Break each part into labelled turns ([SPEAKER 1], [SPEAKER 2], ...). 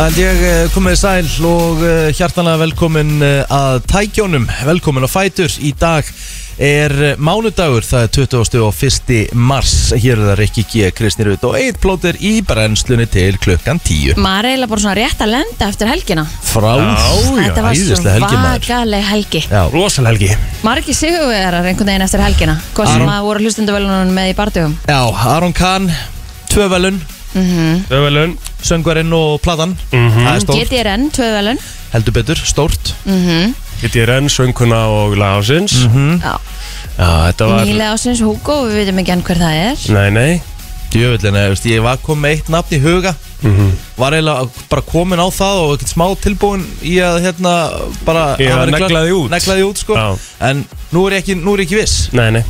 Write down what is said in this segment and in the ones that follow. [SPEAKER 1] En ég eh, komið sæl og eh, hjartanlega velkomin eh, að tækjónum, velkomin á Fætur. Í dag er eh, mánudagur, það er 21. mars. Hér er það Rikki G, Kristi Rut og Eitt Plóter í brennslunni til klukkan 10.
[SPEAKER 2] Maður er eiginlega bara svona rétt að lenda eftir helgina
[SPEAKER 1] Frá
[SPEAKER 3] Já,
[SPEAKER 2] Þetta var
[SPEAKER 1] æðislega
[SPEAKER 2] svo
[SPEAKER 1] helgi, maður.
[SPEAKER 2] vakaleg helgi
[SPEAKER 1] Já,
[SPEAKER 3] Rosal Helgi
[SPEAKER 2] Margi sigurvegarar einhvern veginn eftir helgina Hvað
[SPEAKER 1] Mhm.
[SPEAKER 2] sem að voru hlustendavölunum með í bardugum
[SPEAKER 1] já Aron Kahn, tvö velun,
[SPEAKER 3] Öfvelun
[SPEAKER 1] söngvarinn og platan. Það er stórt,
[SPEAKER 2] GTRN, tvö velun
[SPEAKER 1] heldur betur, stórt.
[SPEAKER 2] Mm.
[SPEAKER 3] GTRN, sönguna og lagásins
[SPEAKER 1] Mhm.
[SPEAKER 2] Já.
[SPEAKER 3] Já, þetta var
[SPEAKER 2] Nýlega ásins Hugo, við veitum ekki enn hver það er
[SPEAKER 3] Nei, nei
[SPEAKER 1] Jöfullin, eh, veist, ég var komið með eitt nafn í huga
[SPEAKER 3] Mhm.
[SPEAKER 1] Var eiginlega bara komin á það og ekkert smá tilbúin í að hérna bara
[SPEAKER 3] Í að
[SPEAKER 1] hafa verið
[SPEAKER 3] negla
[SPEAKER 1] glögg-
[SPEAKER 3] þig út.
[SPEAKER 1] negla þig út sko.
[SPEAKER 3] Já.
[SPEAKER 1] En nú er ég ekki, nú er ég ekki viss
[SPEAKER 3] Nei, nei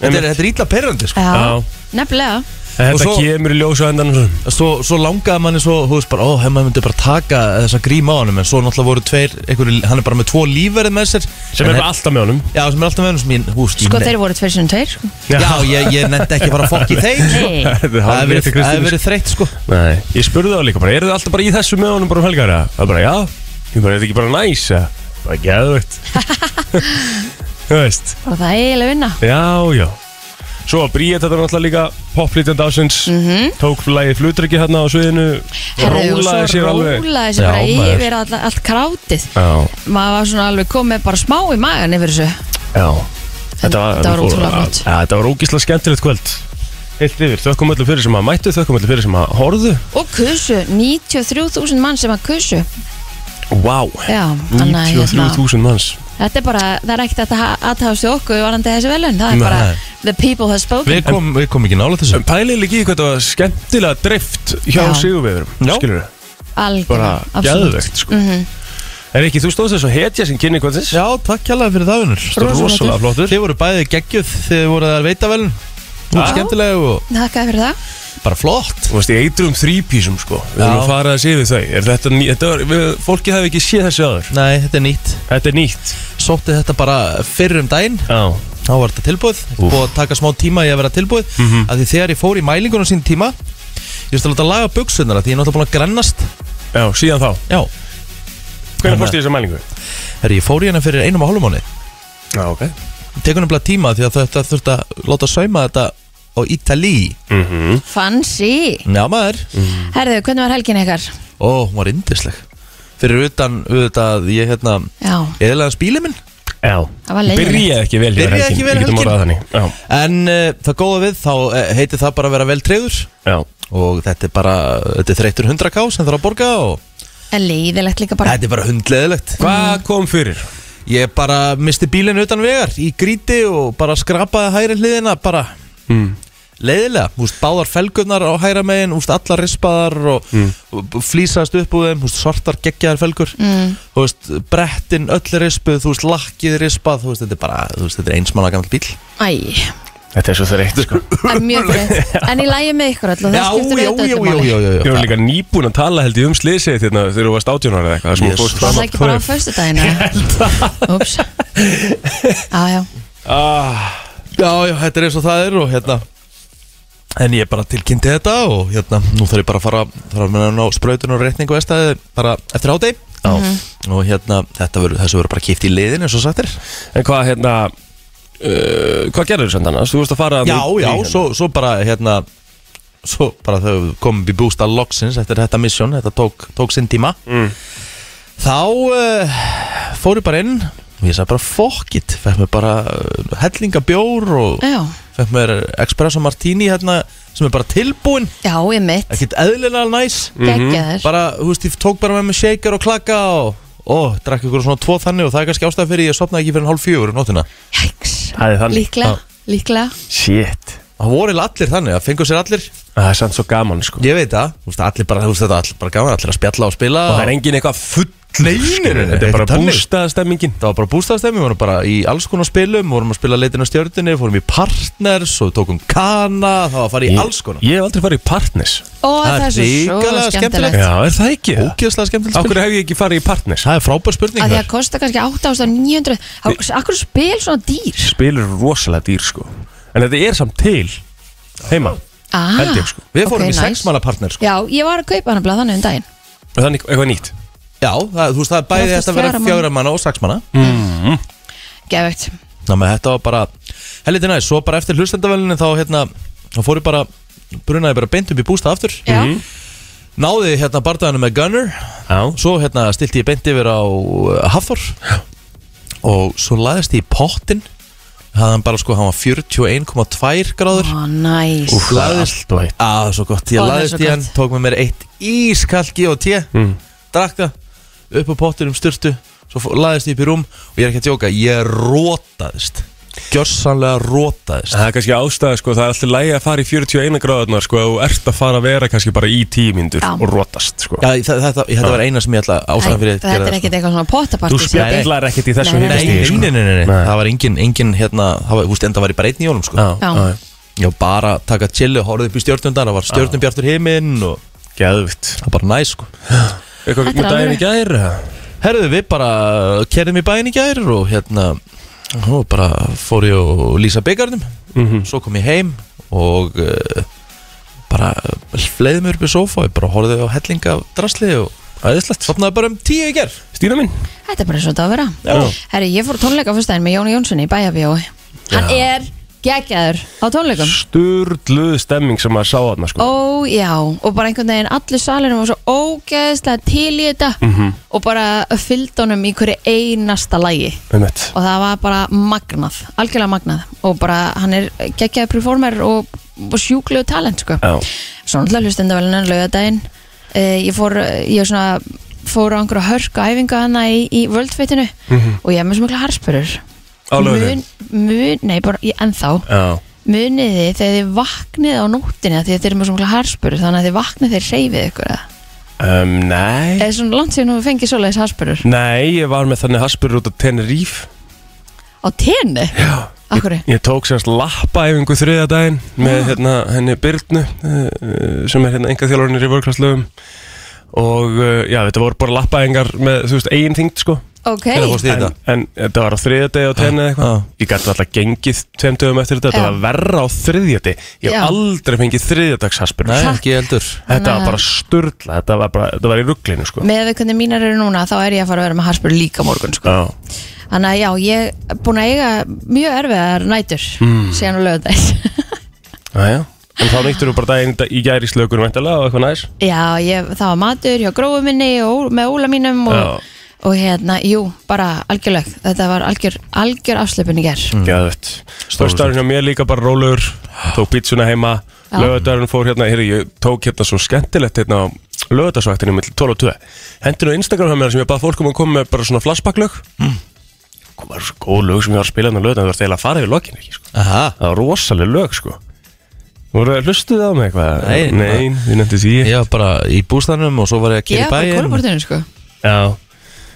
[SPEAKER 1] Þetta er,
[SPEAKER 3] Einmitt.
[SPEAKER 1] þetta er illa perrandi sko.
[SPEAKER 2] Já,
[SPEAKER 3] Já.
[SPEAKER 2] nefnilega
[SPEAKER 3] En
[SPEAKER 1] Og
[SPEAKER 3] Þetta
[SPEAKER 1] svo-
[SPEAKER 3] kemur í ljós á endan
[SPEAKER 1] svo, svo langaði manni svo, þú veist bara, ó, hef maður myndi bara taka þessa grím á honum En svo náttúrulega voru tveir, einhverju, hann er bara með tvo lífverði með sér
[SPEAKER 3] Sem
[SPEAKER 1] En
[SPEAKER 3] er
[SPEAKER 1] he-
[SPEAKER 3] alltaf með honum
[SPEAKER 1] Já, sem er alltaf með honum sem ég, húst
[SPEAKER 2] Sko þeir voru tveir sinni tveir sko.
[SPEAKER 1] Já, ég, ég nefndi ekki bara að fokk í þeim sko.
[SPEAKER 2] Nei.
[SPEAKER 3] Þetta er
[SPEAKER 1] Það hefur
[SPEAKER 3] hálfrið
[SPEAKER 1] verið-
[SPEAKER 3] til
[SPEAKER 1] það hefur
[SPEAKER 3] Kristín
[SPEAKER 1] verið þreytt sko
[SPEAKER 3] Nei Ég spurði þá líka bara Eru þið alltaf bara í þessu með honum bara um helgar eða? Það er bara, já Ég bara, er þetta ekki bara næs eða? Bara geðvögt Þú veist
[SPEAKER 2] Og það er eiginlega vinna
[SPEAKER 3] Já, já Svo að Bríett, þetta var náttúrulega líka poplítjand ásins mm -hmm. Tók lagið flutrekki hérna á sviðinu
[SPEAKER 2] Herðu, og svo
[SPEAKER 3] Rólaði sér alveg
[SPEAKER 2] Rólaði sér
[SPEAKER 1] Já,
[SPEAKER 2] bara
[SPEAKER 1] maður.
[SPEAKER 2] yfir all, allt krátið
[SPEAKER 3] Já,
[SPEAKER 2] Maður var svona alveg komið bara smá í magan yfir þessu
[SPEAKER 3] já Þetta var,
[SPEAKER 2] þetta var ótrúlega flott.
[SPEAKER 3] Já, Þetta var ógísla skemmtilegt kvöld Heilt yfir, þökkum öllu fyrir sem að mættu, þökkum öllu fyrir sem að horðu
[SPEAKER 2] Og kusu, 93.000 mann sem að kusu
[SPEAKER 3] Vá,
[SPEAKER 2] Já, þannig að hérna,
[SPEAKER 3] 93.000 manns
[SPEAKER 2] þetta er bara, það er ekkert að aðtáðast okkur varandi þessi velun, það er
[SPEAKER 3] Nei.
[SPEAKER 2] bara the people have spoken
[SPEAKER 1] Við komum kom ekki nála þessu
[SPEAKER 3] En pælið líka í hvað þetta var skemmtilega dreift hjá
[SPEAKER 2] Já.
[SPEAKER 3] Sigurveðurum
[SPEAKER 1] Já.
[SPEAKER 3] Skilur við, bara
[SPEAKER 2] algjörlega, absolutt. Mhm.
[SPEAKER 3] geðvegt sko. Er ekki, þú stóðst þess að hetja sem kynni hvað þess
[SPEAKER 1] Já, takk hérlega fyrir það, vinnur
[SPEAKER 3] Rosalega flottur
[SPEAKER 1] Þið voru bæði geggjöð, þið voru þar veitavelin Þú voru
[SPEAKER 3] Já.
[SPEAKER 1] skemmtilega og
[SPEAKER 2] Þakkaði fyrir það
[SPEAKER 1] bara flott
[SPEAKER 3] Þú veist, í eitrum þrýpísum sko Við
[SPEAKER 1] Já.
[SPEAKER 3] erum að fara þessi yfir þau Er þetta ný, þetta var, við, Fólki hefði ekki séð þessi aður
[SPEAKER 1] Nei, þetta er nýtt
[SPEAKER 3] Þetta er nýtt
[SPEAKER 1] Sótti þetta bara fyrir um daginn
[SPEAKER 3] Já,
[SPEAKER 1] Þá var þetta tilbúið Búið að taka smá tíma í að vera tilbúið mm
[SPEAKER 3] Mhm.
[SPEAKER 1] Af því þegar ég fór í mælingunum sín tíma Ég veist að láta laga buksunar Því ég er náttúrulega búin að grannast
[SPEAKER 3] já síðan þá
[SPEAKER 1] Já,
[SPEAKER 3] Hvernig fórstu í þessa mælingu?
[SPEAKER 1] herri, ég fór í hana fyrir einum og hálfum mánu
[SPEAKER 3] Já, ok
[SPEAKER 1] Tekur nefnilega tíma því að þetta þurfti að láta sauma þetta á Ítalí
[SPEAKER 2] Fancy
[SPEAKER 3] Mm.
[SPEAKER 1] Já, maður
[SPEAKER 2] Herðu, hvernig var helgin ykkar?
[SPEAKER 1] Ó, hún var yndisleg Fyrir utan, auðvitað, ég hérna
[SPEAKER 2] Já,
[SPEAKER 1] Eðlaðan spíli minn
[SPEAKER 3] Já,
[SPEAKER 2] Það var leiðinlegt.
[SPEAKER 3] Byrjaði ekki vel
[SPEAKER 1] Byrjaði
[SPEAKER 3] helgin,
[SPEAKER 1] ekki vel
[SPEAKER 3] Við getum
[SPEAKER 1] helgin.
[SPEAKER 3] orðað þannig Já,
[SPEAKER 1] En uh, það góða við, þá uh, heitir það bara að vera vel treyður
[SPEAKER 3] já
[SPEAKER 1] Og þetta er bara, þetta er þreyttur 100k sem þarf að borga og
[SPEAKER 2] en leiðilegt líka bara
[SPEAKER 1] Þetta er bara hundleðilegt
[SPEAKER 3] Hvað kom fyrir?
[SPEAKER 1] Ég bara misti bílinn utan vegar í gríti og bara skrapaði hægri hliðina bara
[SPEAKER 3] Mm.
[SPEAKER 1] leiðilega, úst, báðar felgurnar á hægra megin, úst, allar rispaðar og,
[SPEAKER 3] Mm.
[SPEAKER 1] og flýsast upp úr þeim, úst, svartar geggjaðar felgur mm. úst, brettin öll rispuð, þú veist, lakkið rispað, þú veist, þetta er bara, þú veist, þetta er einsmanna gammal bíl.
[SPEAKER 2] Æ,
[SPEAKER 3] Þetta er svo þreytt sko
[SPEAKER 2] það er mjög greitt En ég lægi með ykkur öll og það skiptir auðvitað öllu máli.
[SPEAKER 1] já,
[SPEAKER 3] Ég var líka nýbúin að tala held ég um slisið þegar þegar þú varst átjónar eða eitthvað
[SPEAKER 1] Yes.
[SPEAKER 3] yes.
[SPEAKER 2] Var það ekki bara á föstudaginu? Úps Já, já,
[SPEAKER 3] ah,
[SPEAKER 1] Já, já, þetta er eins og það er og hérna En ég bara tilkynnti þetta og hérna, nú þarf ég bara að fara þarf að menna á sprautun og reikningu eðstæði bara eftir ádegi Já. og hérna, þetta verður, þessu verður bara kipt í liðin eins og sagt er
[SPEAKER 3] En hvað hérna uh, Hvað gerður þessu annars? Þú varst að fara
[SPEAKER 1] Já, já,
[SPEAKER 3] svo
[SPEAKER 1] svo, svo bara hérna svo bara þau komum við bústa loksins eftir þetta misjón, þetta tók, tók sinn tíma
[SPEAKER 3] Mm.
[SPEAKER 1] þá uh, fór ég bara inn og ég sagði bara fuck it, fekk mér bara uh, hellinga bjór og
[SPEAKER 2] já,
[SPEAKER 1] fekk mér espresso martini hérna sem er bara tilbúin
[SPEAKER 2] já, ég mitt
[SPEAKER 1] ekkert eðlilega næs
[SPEAKER 2] Gekkja þér
[SPEAKER 1] bara, þú veist, ég tók bara með mig shaker og klaka og ó, drakk ykkur svona tvo þannig og það er kannski ástæða fyrir ég sopnaði ekki fyrir en hálf fjögur um nóttina
[SPEAKER 2] Jæks,
[SPEAKER 3] Það er þannig
[SPEAKER 2] líklega, líklega
[SPEAKER 3] Shit Ah,
[SPEAKER 1] það voru eiginlega allir þannig, það fengur sér allir
[SPEAKER 3] Það er samt svo gaman sko
[SPEAKER 1] Ég veit það, þú veist, allir bara, þú veist þetta, allir bara gaman, allir að spjalla og spila
[SPEAKER 3] Og það er engin eitthvað full
[SPEAKER 1] Nei, nei, nei, nei,
[SPEAKER 3] Þetta er
[SPEAKER 1] ekki
[SPEAKER 3] bara
[SPEAKER 1] þannig.
[SPEAKER 3] bústaðstemmingin
[SPEAKER 1] Það var bara bústafstæmi, við vorum bara í alls konar spilum, vorum að spila leitin á stjörnunni, fórum í partners og tókum kana, það var að fara í alls konar.
[SPEAKER 3] Ég hef aldrei farið í partners
[SPEAKER 2] Ó, það er svo, svo
[SPEAKER 1] hrikalega skemmtilegt.
[SPEAKER 2] skemmtilegt
[SPEAKER 3] Já, er það ekki?
[SPEAKER 1] Ógeðslega skemmtilegt spil.
[SPEAKER 3] Akkur hef ég ekki farið í partners?
[SPEAKER 1] Það er frábær
[SPEAKER 2] að
[SPEAKER 1] spurning
[SPEAKER 2] því
[SPEAKER 1] þar.
[SPEAKER 2] að kosta kannski 8.900 Á- Akkur spil svona dýr
[SPEAKER 3] spil eru rosalega dýr sko En þetta er samt til heima
[SPEAKER 2] ah,
[SPEAKER 3] Held ég, sko.
[SPEAKER 1] Við fórum í
[SPEAKER 2] ok, nice.
[SPEAKER 1] sexmanna partner, sko.
[SPEAKER 2] Já, ég var að kaupa hann að blaða þannig um daginn
[SPEAKER 3] Og þannig eitthvað nýtt
[SPEAKER 1] Já, það, þú veist, það er bæði
[SPEAKER 2] Það er
[SPEAKER 1] þetta að vera
[SPEAKER 2] fjögurra manna.
[SPEAKER 1] fjögra manna og sex manna
[SPEAKER 3] mm.
[SPEAKER 2] Geðvegt
[SPEAKER 1] Ná, menn, þetta var bara helviti næst Svo bara eftir hlustendavælinu þá, hérna, þá fór ég bara Brunaði bara beint upp í bústað aftur
[SPEAKER 2] Já,
[SPEAKER 1] Náði hérna bardaðinu með Gunner
[SPEAKER 3] Já
[SPEAKER 1] Svo hérna stilti ég beint yfir á uh, Hafþór Og svo laðist ég í pottin Það hann bara sko, hann var 41,2 gráður
[SPEAKER 2] ó, næs
[SPEAKER 3] Úf, það er
[SPEAKER 1] Lagðist-
[SPEAKER 3] allt og eitt
[SPEAKER 1] Á, svo gott, ég
[SPEAKER 2] Ó, það er
[SPEAKER 1] laðist
[SPEAKER 2] svo
[SPEAKER 1] í hann
[SPEAKER 2] gott.
[SPEAKER 1] Tók með mér eitt ískall G.O.T. Mm. Drakk það upp á pottinum styrtu Svo fó- laðist ég upp í rúm Og ég er ekki að djóka, ég rótaðist Gjörsanlega rótaðist
[SPEAKER 3] Það er kannski ástæða sko, það er alltaf lægi að fara í 41 gráðunar sko, ef þú ert að fara að vera kannski bara í 10 myndur
[SPEAKER 2] Já.
[SPEAKER 3] og rótast sko.
[SPEAKER 1] Já, þa- þetta, þetta var eina sem ég ætla ástæðan fyrir að
[SPEAKER 2] Þetta
[SPEAKER 1] gera sko.
[SPEAKER 2] er ekkert eitthvað svona pottapartí sko.
[SPEAKER 3] Þú spjallar ekkert í þessu sko.
[SPEAKER 2] Nei,
[SPEAKER 1] Nei,
[SPEAKER 3] hitastigi,
[SPEAKER 1] nei, nei, nei, nei,
[SPEAKER 3] Nei.
[SPEAKER 1] það var engin, engin hérna, það var, úst, enda var ég bara einn í jólum sko.
[SPEAKER 3] Já,
[SPEAKER 2] Já.
[SPEAKER 3] já,
[SPEAKER 1] Já, bara taka chillu, horfði upp í stjórnundar Það var stjórnubjartur heiminn og
[SPEAKER 3] geðvitt
[SPEAKER 1] það var bara næs sko
[SPEAKER 3] Eitthvað
[SPEAKER 2] Þetta er
[SPEAKER 3] með daginn
[SPEAKER 2] alveg-
[SPEAKER 3] í gæri
[SPEAKER 1] Herðu, við bara kerðum í bæinn í gær og hérna og bara fór ég og lýsa byggarnum Svo kom ég heim og uh, bara fleiði mér upp í sófa og bara horfði á helling af drasli og
[SPEAKER 3] Æðislegt
[SPEAKER 1] sopnaði bara um tíu í gær
[SPEAKER 3] Stína mín
[SPEAKER 2] Þetta er bara eins og þetta á að vera
[SPEAKER 3] Já.
[SPEAKER 2] Herri, ég fór á tónleika á fyrstæðin með Jóni Jónssoni í Bæjabíói Hann er geggjaður á tónleikum
[SPEAKER 3] Sturluð stemming sem maður sá þarna sko.
[SPEAKER 2] Ó já, og bara einhvern veginn allir salinu var svo ógeðslega til í þetta
[SPEAKER 3] Mm. Mhm,
[SPEAKER 2] og bara fylgd honum í hverju einasta lagi
[SPEAKER 3] oh.
[SPEAKER 2] og það var bara magnað, algjörlega magnað og bara hann er geggjaður performer og, og sjúklegu talent sko.
[SPEAKER 3] Já.
[SPEAKER 2] Svo náttúrulega hlustendavælunan lögadaginn uh, ég fór, eh, ég svona fór á einhverja hörku æfingu hana í, í völdfeitinu
[SPEAKER 3] Mhm.
[SPEAKER 2] og ég er með svo mikla harspurur
[SPEAKER 3] Á laugardaginn?
[SPEAKER 2] mun, mun, nei bara ég, ennþá
[SPEAKER 3] Já
[SPEAKER 2] munið þið þegar þið vaknið á nóttinni af því að þið eru með svo mikla harspurur þannig að þið vaknið þeir reyfið ykkur eða?
[SPEAKER 3] um, Nei
[SPEAKER 2] eða svona langt síðan við fengið svoleiðis harspurur
[SPEAKER 3] Nei, ég var með þannig haspur út á Tenerife
[SPEAKER 2] á tenni? Já Akkur?
[SPEAKER 3] Ég tók semst lappaæfingu þriða daginn með
[SPEAKER 2] Ah.
[SPEAKER 3] hérna, henni Byrnu eh, sem er hérna enga þjálfurinnir í vörklastlöfum og eh, já, þetta voru bara lappaæfingar með, þú veist, eigin þyngd sko
[SPEAKER 2] Ok
[SPEAKER 1] Hvenær fórstu í
[SPEAKER 3] en,
[SPEAKER 1] þetta?
[SPEAKER 3] en þetta var á þriða degi á tenni eða
[SPEAKER 1] Já.
[SPEAKER 3] eitthvað Ég gæti alltaf gengið tveim dögum eftir
[SPEAKER 2] Ah,
[SPEAKER 3] þetta
[SPEAKER 2] Já.
[SPEAKER 3] Þetta var verra á þriðja degi Ég
[SPEAKER 2] Já.
[SPEAKER 3] hef aldrei fengið þriðjadags haspur
[SPEAKER 1] Nei,
[SPEAKER 2] Takk.
[SPEAKER 1] ekki heldur
[SPEAKER 3] Þetta
[SPEAKER 2] Nei.
[SPEAKER 3] var bara sturla, þetta var, bara, þetta var í rugglinu sko
[SPEAKER 2] með við hvernig mínar eru núna þá er ég að fara að vera með harspur líka á morgun sko.
[SPEAKER 3] Já,
[SPEAKER 2] þannig að já, ég er búin að eiga mjög erfiðar nætur
[SPEAKER 1] Hmm.
[SPEAKER 2] síðan á lögðaðis
[SPEAKER 3] aðja En þá nýttur þú bara daginn í gæri í slökunum væntanlega og eitthvað næs
[SPEAKER 2] já, ég, það var matur hjá grófu minni og Ó- með óla mínum og, og hérna, jú, bara algjörleg þetta var algjör, algjör afslöpun í
[SPEAKER 1] Hmm.
[SPEAKER 2] ger
[SPEAKER 3] Gæðvett Förstarinn hjá mér líka bara rólegur Tók pítsuna heima
[SPEAKER 2] Já.
[SPEAKER 3] Lögðarinn fór hérna Hér ég tók hérna svo skemmtilegt hérna á lögðarsvæktinu mill 12 og 2 Hendinu á Instagram hjá mér sem ég bað fólk um að koma með bara svona flashbacklög mm. Kom bara svo góð lög sem ég var að spila hérna lögðarinn Það var þegar að fara yfir lokin ekki sko
[SPEAKER 1] Aha,
[SPEAKER 3] Það var rosaleg lög sko Voru hlustuð á mig eitthvað?
[SPEAKER 1] Nei,
[SPEAKER 3] Nein, við nefndi því
[SPEAKER 1] ég var bara í bústanum og svo var ég að
[SPEAKER 2] ég
[SPEAKER 1] kera í
[SPEAKER 2] er bara í
[SPEAKER 1] bæinn
[SPEAKER 2] kólabortinu sko
[SPEAKER 3] Já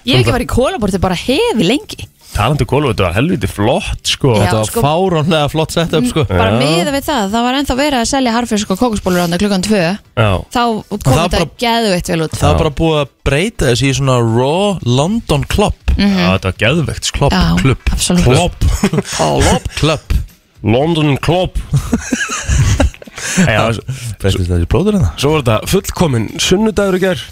[SPEAKER 2] ég hef ekki verið í kólabortinu bara hefi lengi
[SPEAKER 3] Talandi kólu, þetta var helviti flott sko
[SPEAKER 2] Já.
[SPEAKER 1] Þetta var
[SPEAKER 2] sko- Mm.
[SPEAKER 1] fáránlega flott setup sko
[SPEAKER 2] bara
[SPEAKER 3] Já.
[SPEAKER 2] miða við það, það var ennþá verið að selja harfisk og kókusbólur ánda klukkan 2
[SPEAKER 3] Já.
[SPEAKER 2] þá kom
[SPEAKER 1] Það var
[SPEAKER 2] þetta
[SPEAKER 1] bara-
[SPEAKER 2] geðveitt vel út
[SPEAKER 1] Það var bara búið að breyta þessi í svona Raw London Club
[SPEAKER 3] Já, þetta var geðvegt sko
[SPEAKER 1] Klopp,
[SPEAKER 2] Mhm. Já,
[SPEAKER 1] klubb,
[SPEAKER 2] absolutt.
[SPEAKER 1] klopp Klopp, klubb
[SPEAKER 3] London Club Já,
[SPEAKER 1] Breytist þetta í blóður en það?
[SPEAKER 3] svo var þetta fullkomin sunnudagur í gær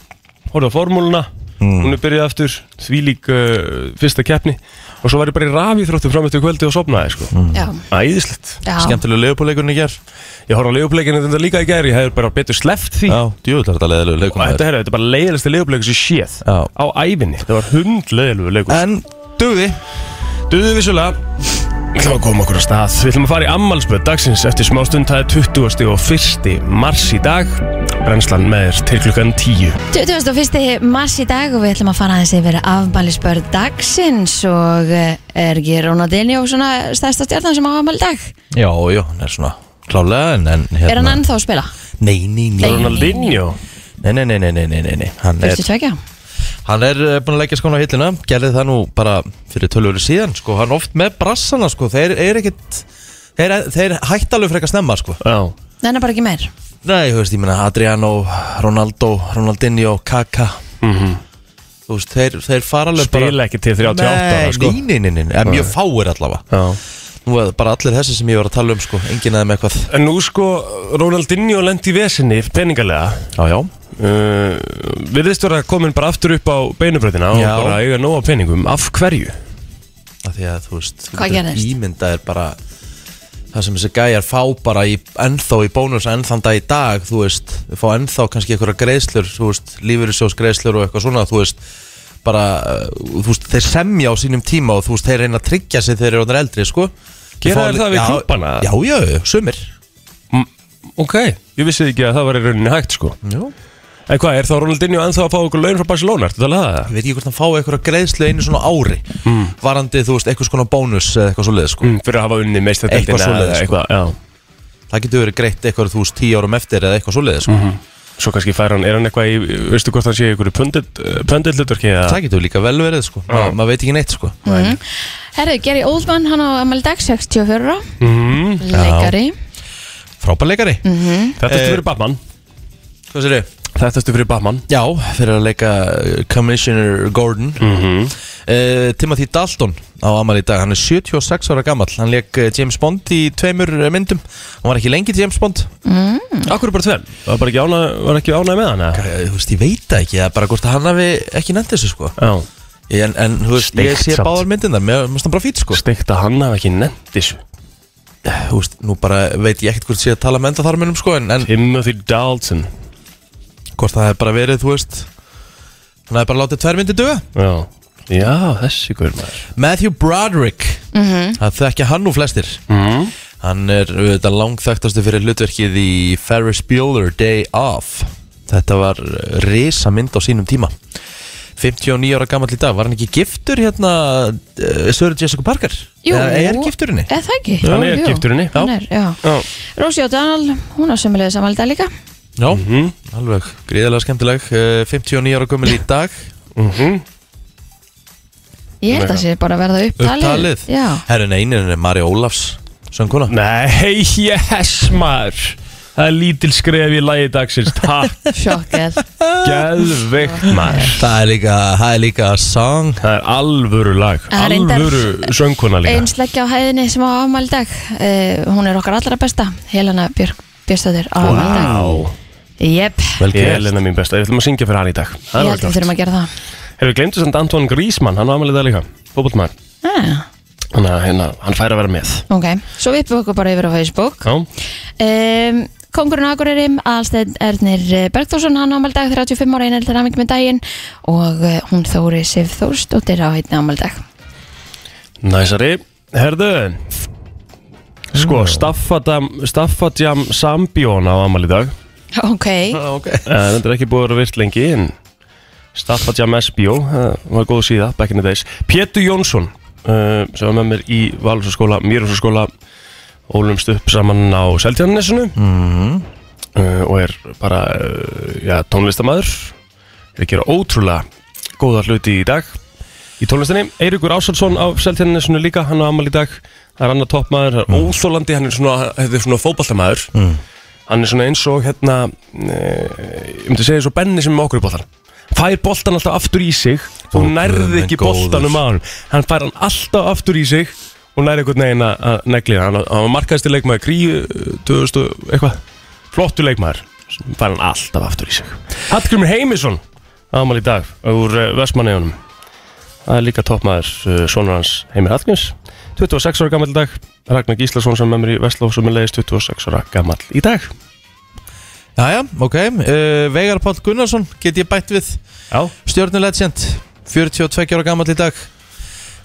[SPEAKER 3] Hóruðu á formúluna,
[SPEAKER 1] Mm.
[SPEAKER 3] hún er byrjað aftur Þvílík uh, fyrsta keppni Og svo var ég bara í rafið þróttum fram eftir kvöldi og sopnaði sko
[SPEAKER 1] Mm.
[SPEAKER 2] já,
[SPEAKER 3] Æðislegt
[SPEAKER 2] já.
[SPEAKER 1] Skemmtilega leifupóleikurinn í ger
[SPEAKER 3] Ég horfði á leigubleikinu þetta líka í gær Ég hefði bara betur sleft því
[SPEAKER 1] Já, djúvill er þetta leiðilegu
[SPEAKER 3] Og þetta,
[SPEAKER 1] leikum
[SPEAKER 3] herra, þetta er bara leiðilegsti leigubleikur sem ég séð
[SPEAKER 1] Já.
[SPEAKER 3] Á ævinni, þetta var hundleiðilegu leikur
[SPEAKER 1] En dugði
[SPEAKER 3] Duðu vissulega Við ætlum að koma okkur á stað Við ætlum að fara í ammalspöð dagsins eftir smástund Það er 20. og 1. mars í dag Brennslan með þér til klukkan 10
[SPEAKER 2] 21. mars í dag og við ætlum að fara aðeins yfir afmælisbörð dagsins og eh, er ekki Rónald Eljó svona stærsta stjarnan sem á afmæli í dag?
[SPEAKER 1] Já, já, hann er svona klálega en, en hérna
[SPEAKER 2] Er hann ennþá að spila?
[SPEAKER 1] Nei, nei, nei
[SPEAKER 3] Ronaldinho
[SPEAKER 1] Nei, nei, nei, nei, nei, nei, nei, nei. Hann, er,
[SPEAKER 2] 42?
[SPEAKER 1] hann er eh, búinn að leggja skona á hillina Gerði það nú bara fyrir tölvölu síðan sko. Hann oft með brassana sko. Þeir er ekkit Þeir, þeir hætti alveg frekar snemma sko.
[SPEAKER 3] Já
[SPEAKER 2] Nei, hann er bara ekki meir.
[SPEAKER 1] Nei, þú veist, ég meina Adriano, Ronaldo, Ronaldinho, Kaka Þú veist, þeir, þeir fara alveg bara
[SPEAKER 3] Mhm. Spila ekki til 38 ára, sko.
[SPEAKER 1] Nei, nei, nei, nei, nei, en mjög fáir allavega
[SPEAKER 3] Já
[SPEAKER 1] Nú er bara allir þessi sem ég var að tala um sko, enginn aðeim eitthvað
[SPEAKER 3] En nú sko Ronaldinho lendi í vesinni peningalega
[SPEAKER 1] Já, já,
[SPEAKER 3] uh, Við veist vera komin bara aftur upp á beinubröðina og
[SPEAKER 1] Já.
[SPEAKER 3] bara eiga nóg á peningum Af hverju?
[SPEAKER 1] af því að þú veist
[SPEAKER 2] Hvað gerðist?
[SPEAKER 1] ímynda er bara það sem þessi gæjar fá bara í, ennþá í bónus ennþann dag í dag þú veist þau fá ennþá kannski einhverja greiðslur þú veist lífyrirsjós greiðslur og eitthvað svona þú veist bara uh, þú veist þeir semja á sínum tíma og þú veist þeir reyna að tryggja sig þegar þeir eru orðnir eldri sko
[SPEAKER 3] Gera
[SPEAKER 1] Þau fá
[SPEAKER 3] þeir
[SPEAKER 1] li-
[SPEAKER 3] það við
[SPEAKER 1] Já,
[SPEAKER 3] klubbana?
[SPEAKER 1] Já, já, já, sumir
[SPEAKER 3] Ok Ég vissi ekki að það var í rauninni hægt sko
[SPEAKER 1] já.
[SPEAKER 3] En hvað, er þá Ronaldinho ennþá að fá okkur laun frá Barcelona? Ertu talað að um það?
[SPEAKER 1] Ég veit ekki hvort hann fá einhverja greiðslu einu svona ári varandi þú veist eitthvað svona bónus eða eitthvað svo sko
[SPEAKER 3] Mm, fyrir að hafa unni meist þetta
[SPEAKER 1] Eitthvað svoleiðis, sko.
[SPEAKER 3] eitthvað, já
[SPEAKER 1] það getur verið greitt eitthvað þú veist tíu árum eftir eða eitthvað svo sko
[SPEAKER 3] Svo kannski fær hann, er hann eitthvað í, veistu hvort hann sé í einhverju pöndið hlutverki eða
[SPEAKER 1] Það getur líka vel verið sko Ma, Maður veit ekki neitt sko
[SPEAKER 2] Mm. Herðu, Gary Oldman, hann á ML Dag 64 ára,
[SPEAKER 3] Mhm,
[SPEAKER 2] leikari
[SPEAKER 1] Frábærleikari mm -hmm.
[SPEAKER 3] Þetta er fyrir Batman
[SPEAKER 1] Hvað sér þau?
[SPEAKER 3] Þetta er fyrir Batman
[SPEAKER 1] Já, fyrir að leika uh, Commissioner Gordon mm Timothy Dalton á amal í dag Hann er 76 ára gammal Hann leik uh, James Bond í tveimur uh, myndum Hann var ekki lengi James Bond Mm.
[SPEAKER 3] Akkur er bara tveim, var bara ekki ánæg, var ekki ánæg með hann eða?
[SPEAKER 1] Eh, Þú veist, ég veit það ekki Það er bara hvort að hann hafi ekki nefnt þessu sko
[SPEAKER 3] Já,
[SPEAKER 1] En, en þú veist, ég
[SPEAKER 3] Steikt
[SPEAKER 1] sé
[SPEAKER 3] samt.
[SPEAKER 1] báðar myndin þar Mér mest hann bara fýt sko
[SPEAKER 3] steikt að hann hafi ekki nefnt þessu
[SPEAKER 1] Þú veist, nú bara veit ég ekkert hvort sé að tala með endaþarminum sko En, en
[SPEAKER 3] Timothy Dalton
[SPEAKER 1] hvort það hefði bara verið, þú veist Hann hefði bara látið tvær myndi döga
[SPEAKER 3] Já, já þessi guður maður
[SPEAKER 1] Matthew Broderick Það þekkja hann nú flestir
[SPEAKER 3] mm.
[SPEAKER 1] Hann er auðvitað langþægtastu fyrir hlutverkið í Ferris Bueller Day Off Þetta var risa mynd á sínum tíma 59 ára gammal í dag Var hann ekki giftur hérna uh, Sir Jessica Parker? Eða er giftur henni?
[SPEAKER 2] Eða það ekki?
[SPEAKER 3] Hann
[SPEAKER 2] Jú,
[SPEAKER 3] er
[SPEAKER 2] jú.
[SPEAKER 3] giftur henni, já.
[SPEAKER 2] Hann er, já.
[SPEAKER 3] Já.
[SPEAKER 2] Rosie O'Donnell, hún á sömulegði samalda líka
[SPEAKER 1] Já,
[SPEAKER 3] Mhm.
[SPEAKER 1] alveg gríðilega skemmtileg uh, 59 ára gammal í dag
[SPEAKER 3] Mhm.
[SPEAKER 2] Ég held að sé bara að verða upptalið
[SPEAKER 1] Upptalið
[SPEAKER 2] Já,
[SPEAKER 1] Herrin einin er Mari Ólafs Sönguna
[SPEAKER 3] Nei, yes maður Það er lítil skref í lagi dagsins Takk,
[SPEAKER 2] sjokkið
[SPEAKER 3] geðveikt maður
[SPEAKER 1] Það er líka, það er líka song
[SPEAKER 3] Það er alvöru lag,
[SPEAKER 2] Það er reyndar-
[SPEAKER 3] alvöru sönguna líka
[SPEAKER 2] Einsleggja á hæðinni sem á afmæli í dag eh, Hún er okkar allra besta Helena Björk Björstöður á afmæli í dag
[SPEAKER 3] Vá,
[SPEAKER 2] Jep,
[SPEAKER 1] Vel
[SPEAKER 3] ég
[SPEAKER 1] gert.
[SPEAKER 3] er lennar mín besta, við ætlum að syngja fyrir hann í dag Það
[SPEAKER 2] ég held að við
[SPEAKER 3] er vel gert
[SPEAKER 2] þurfum að gera það
[SPEAKER 3] Hefur við glemt þessand Antoine Griezmann, hann var aðmælið það líka Fótboltmaður,
[SPEAKER 2] ah,
[SPEAKER 3] þannig að hérna, hann fær að vera með
[SPEAKER 2] Ok, svo vippum við okkur bara yfir á Facebook
[SPEAKER 3] Já,
[SPEAKER 2] um, Kongurinn Akureyri Alsteinn Ernir eh, Bergþórsson hann á afmæli í dag 35 ára einheltar haming með daginn og eh, hún Þóri Sif Þórsdóttir á einni afmæli í dag
[SPEAKER 3] næsari Herðu Sko, Staffadam, Staffadjam Sambjón á aðmælið dag
[SPEAKER 2] Ok,
[SPEAKER 1] ah, okay.
[SPEAKER 3] Eh, Þetta er ekki búið að vera virt lengi en Staffadjam SBO uh, var góð síða, back in the days Pétur Jónsson uh, sem var með mér í Valhúsaskóla, Mýrhúsaskóla ólumst upp saman á Seltjarnesinu mm. uh, og er bara uh, já, tónlistamæður er að gera ótrúlega góða hluti í dag í tónlistinni Eiríkur Ásalsson á Seltjarnesinu líka hann á amal í dag það er annar toppmaður, það er óþólandi hann er svona, þetta er svona fótballtamaður hann er svona eins og hérna eh, ég myndi segja eins og Benni sem er með okkur í boltan fær boltan alltaf aftur í sig
[SPEAKER 1] Ó,
[SPEAKER 3] og
[SPEAKER 1] guð
[SPEAKER 3] nærði
[SPEAKER 1] minn
[SPEAKER 3] ekki
[SPEAKER 1] góður.
[SPEAKER 3] boltanum á hann hann fær hann alltaf aftur í sig og nærði einhvern veginn að- að negli hann hann var markaðist í leikmaður gríu 2000 og eitthvað, flottu leikmaður sem fær hann alltaf aftur í sig Hallgrimur Heimisson ámali í dag úr eh, Vestmanneunum Það er líka toppmaður uh, sonur hans Heimir Hallgríms 26 ára gammal í dag Ragnar Gíslason sem er með mér í Vestlóf sem er leiðist 26 ára gammal í dag
[SPEAKER 1] Jæja, ok, uh, Veigar Páll Gunnarsson get ég bætt við
[SPEAKER 3] Já,
[SPEAKER 1] Stjörnulegend, 42 ára gammal í dag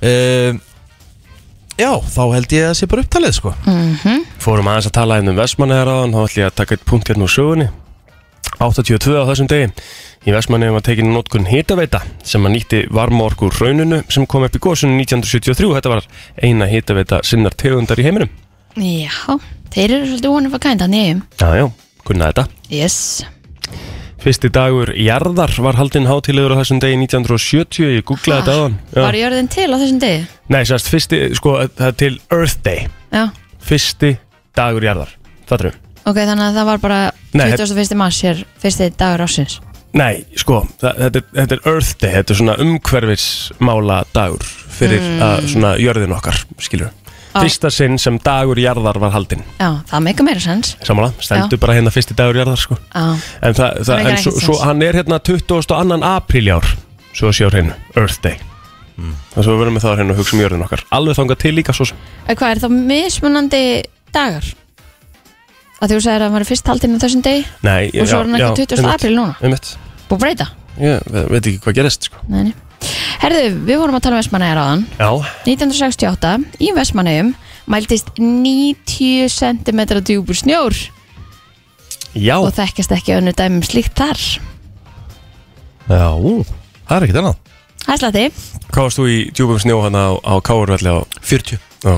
[SPEAKER 1] uh, Já, þá held ég að sé bara upptalið sko
[SPEAKER 2] Mm. Mhm.
[SPEAKER 3] fórum aðeins að tala hérna um Vestmannegar á hann þá ætlum ég að taka eitt punkt hérna úr sögunni 82 á þessum degi í Vestmannegum var tekinni notkun hitaveita sem að nýtti varma orku úr rauninu sem kom upp í gósunum 1973 þetta var eina hitaveita sinnar tegundar í heiminum
[SPEAKER 2] já Þeir eru svolítið vonum að kænda nýjum
[SPEAKER 3] Já, já, kunna þetta
[SPEAKER 2] Yes
[SPEAKER 3] Fyrsti dagur jarðar var haldinn hátilegur á þessum degi 1970 ég googlaði þetta á hann
[SPEAKER 2] Ah. Var jörðin til á þessum degi?
[SPEAKER 3] Nei, sérst, fyrsti, sko, það er til Earth Day
[SPEAKER 2] Já,
[SPEAKER 3] Fyrsti dagur jarðar Fattur við?
[SPEAKER 2] ok, þannig að það var bara
[SPEAKER 3] Nei,
[SPEAKER 2] 21. mars hér, fyrsti dagur ásins
[SPEAKER 3] Nei, sko, það, þetta, er- þetta er Earth Day
[SPEAKER 2] Mm.
[SPEAKER 3] Þetta er svona umhverfismála dagur Fyrir að, svona jörðin okkar, skilur Fyrsta sinn sem dagur jarðar var haldinn
[SPEAKER 2] Já, það meika meira sens
[SPEAKER 3] Samanlega, stendur bara hérna fyrsti dagur jarðar sko
[SPEAKER 2] Já,
[SPEAKER 3] En, það,
[SPEAKER 2] Það
[SPEAKER 3] það,
[SPEAKER 2] meikar
[SPEAKER 3] en svo,
[SPEAKER 2] ekkert
[SPEAKER 3] svo
[SPEAKER 2] sens.
[SPEAKER 3] hann er hérna 22. apríl í ár Svo að sjá hreinu, Earth Day Það svo við verðum með það hreinu og hugsa um jörðin okkar Alveg þangað til líka svo sem
[SPEAKER 2] En hvað er þá mismunandi dagar? Að þú sagðir að maður er fyrst haldinn á þessum degi
[SPEAKER 3] Nei,
[SPEAKER 2] Og svo er hann ekki 20. apríl núna
[SPEAKER 3] Einmitt,
[SPEAKER 2] Búið að breyta
[SPEAKER 3] ég ve- veit ekki hvað gerist sko
[SPEAKER 2] Nei, nei. Herðu, við vorum að tala um Vestmanæjar áðan
[SPEAKER 3] Já,
[SPEAKER 2] 1968 í Vestmanæjum mæltist 90 cm djúbur snjór
[SPEAKER 3] já,
[SPEAKER 2] og þekkjast ekki önnu dæmum slíkt þar
[SPEAKER 1] Já, ú, það er ekkert annað
[SPEAKER 2] Hæslati,
[SPEAKER 3] hvað varst þú í djúbum snjó hann á, á Káurvelli á
[SPEAKER 1] 40
[SPEAKER 3] Já,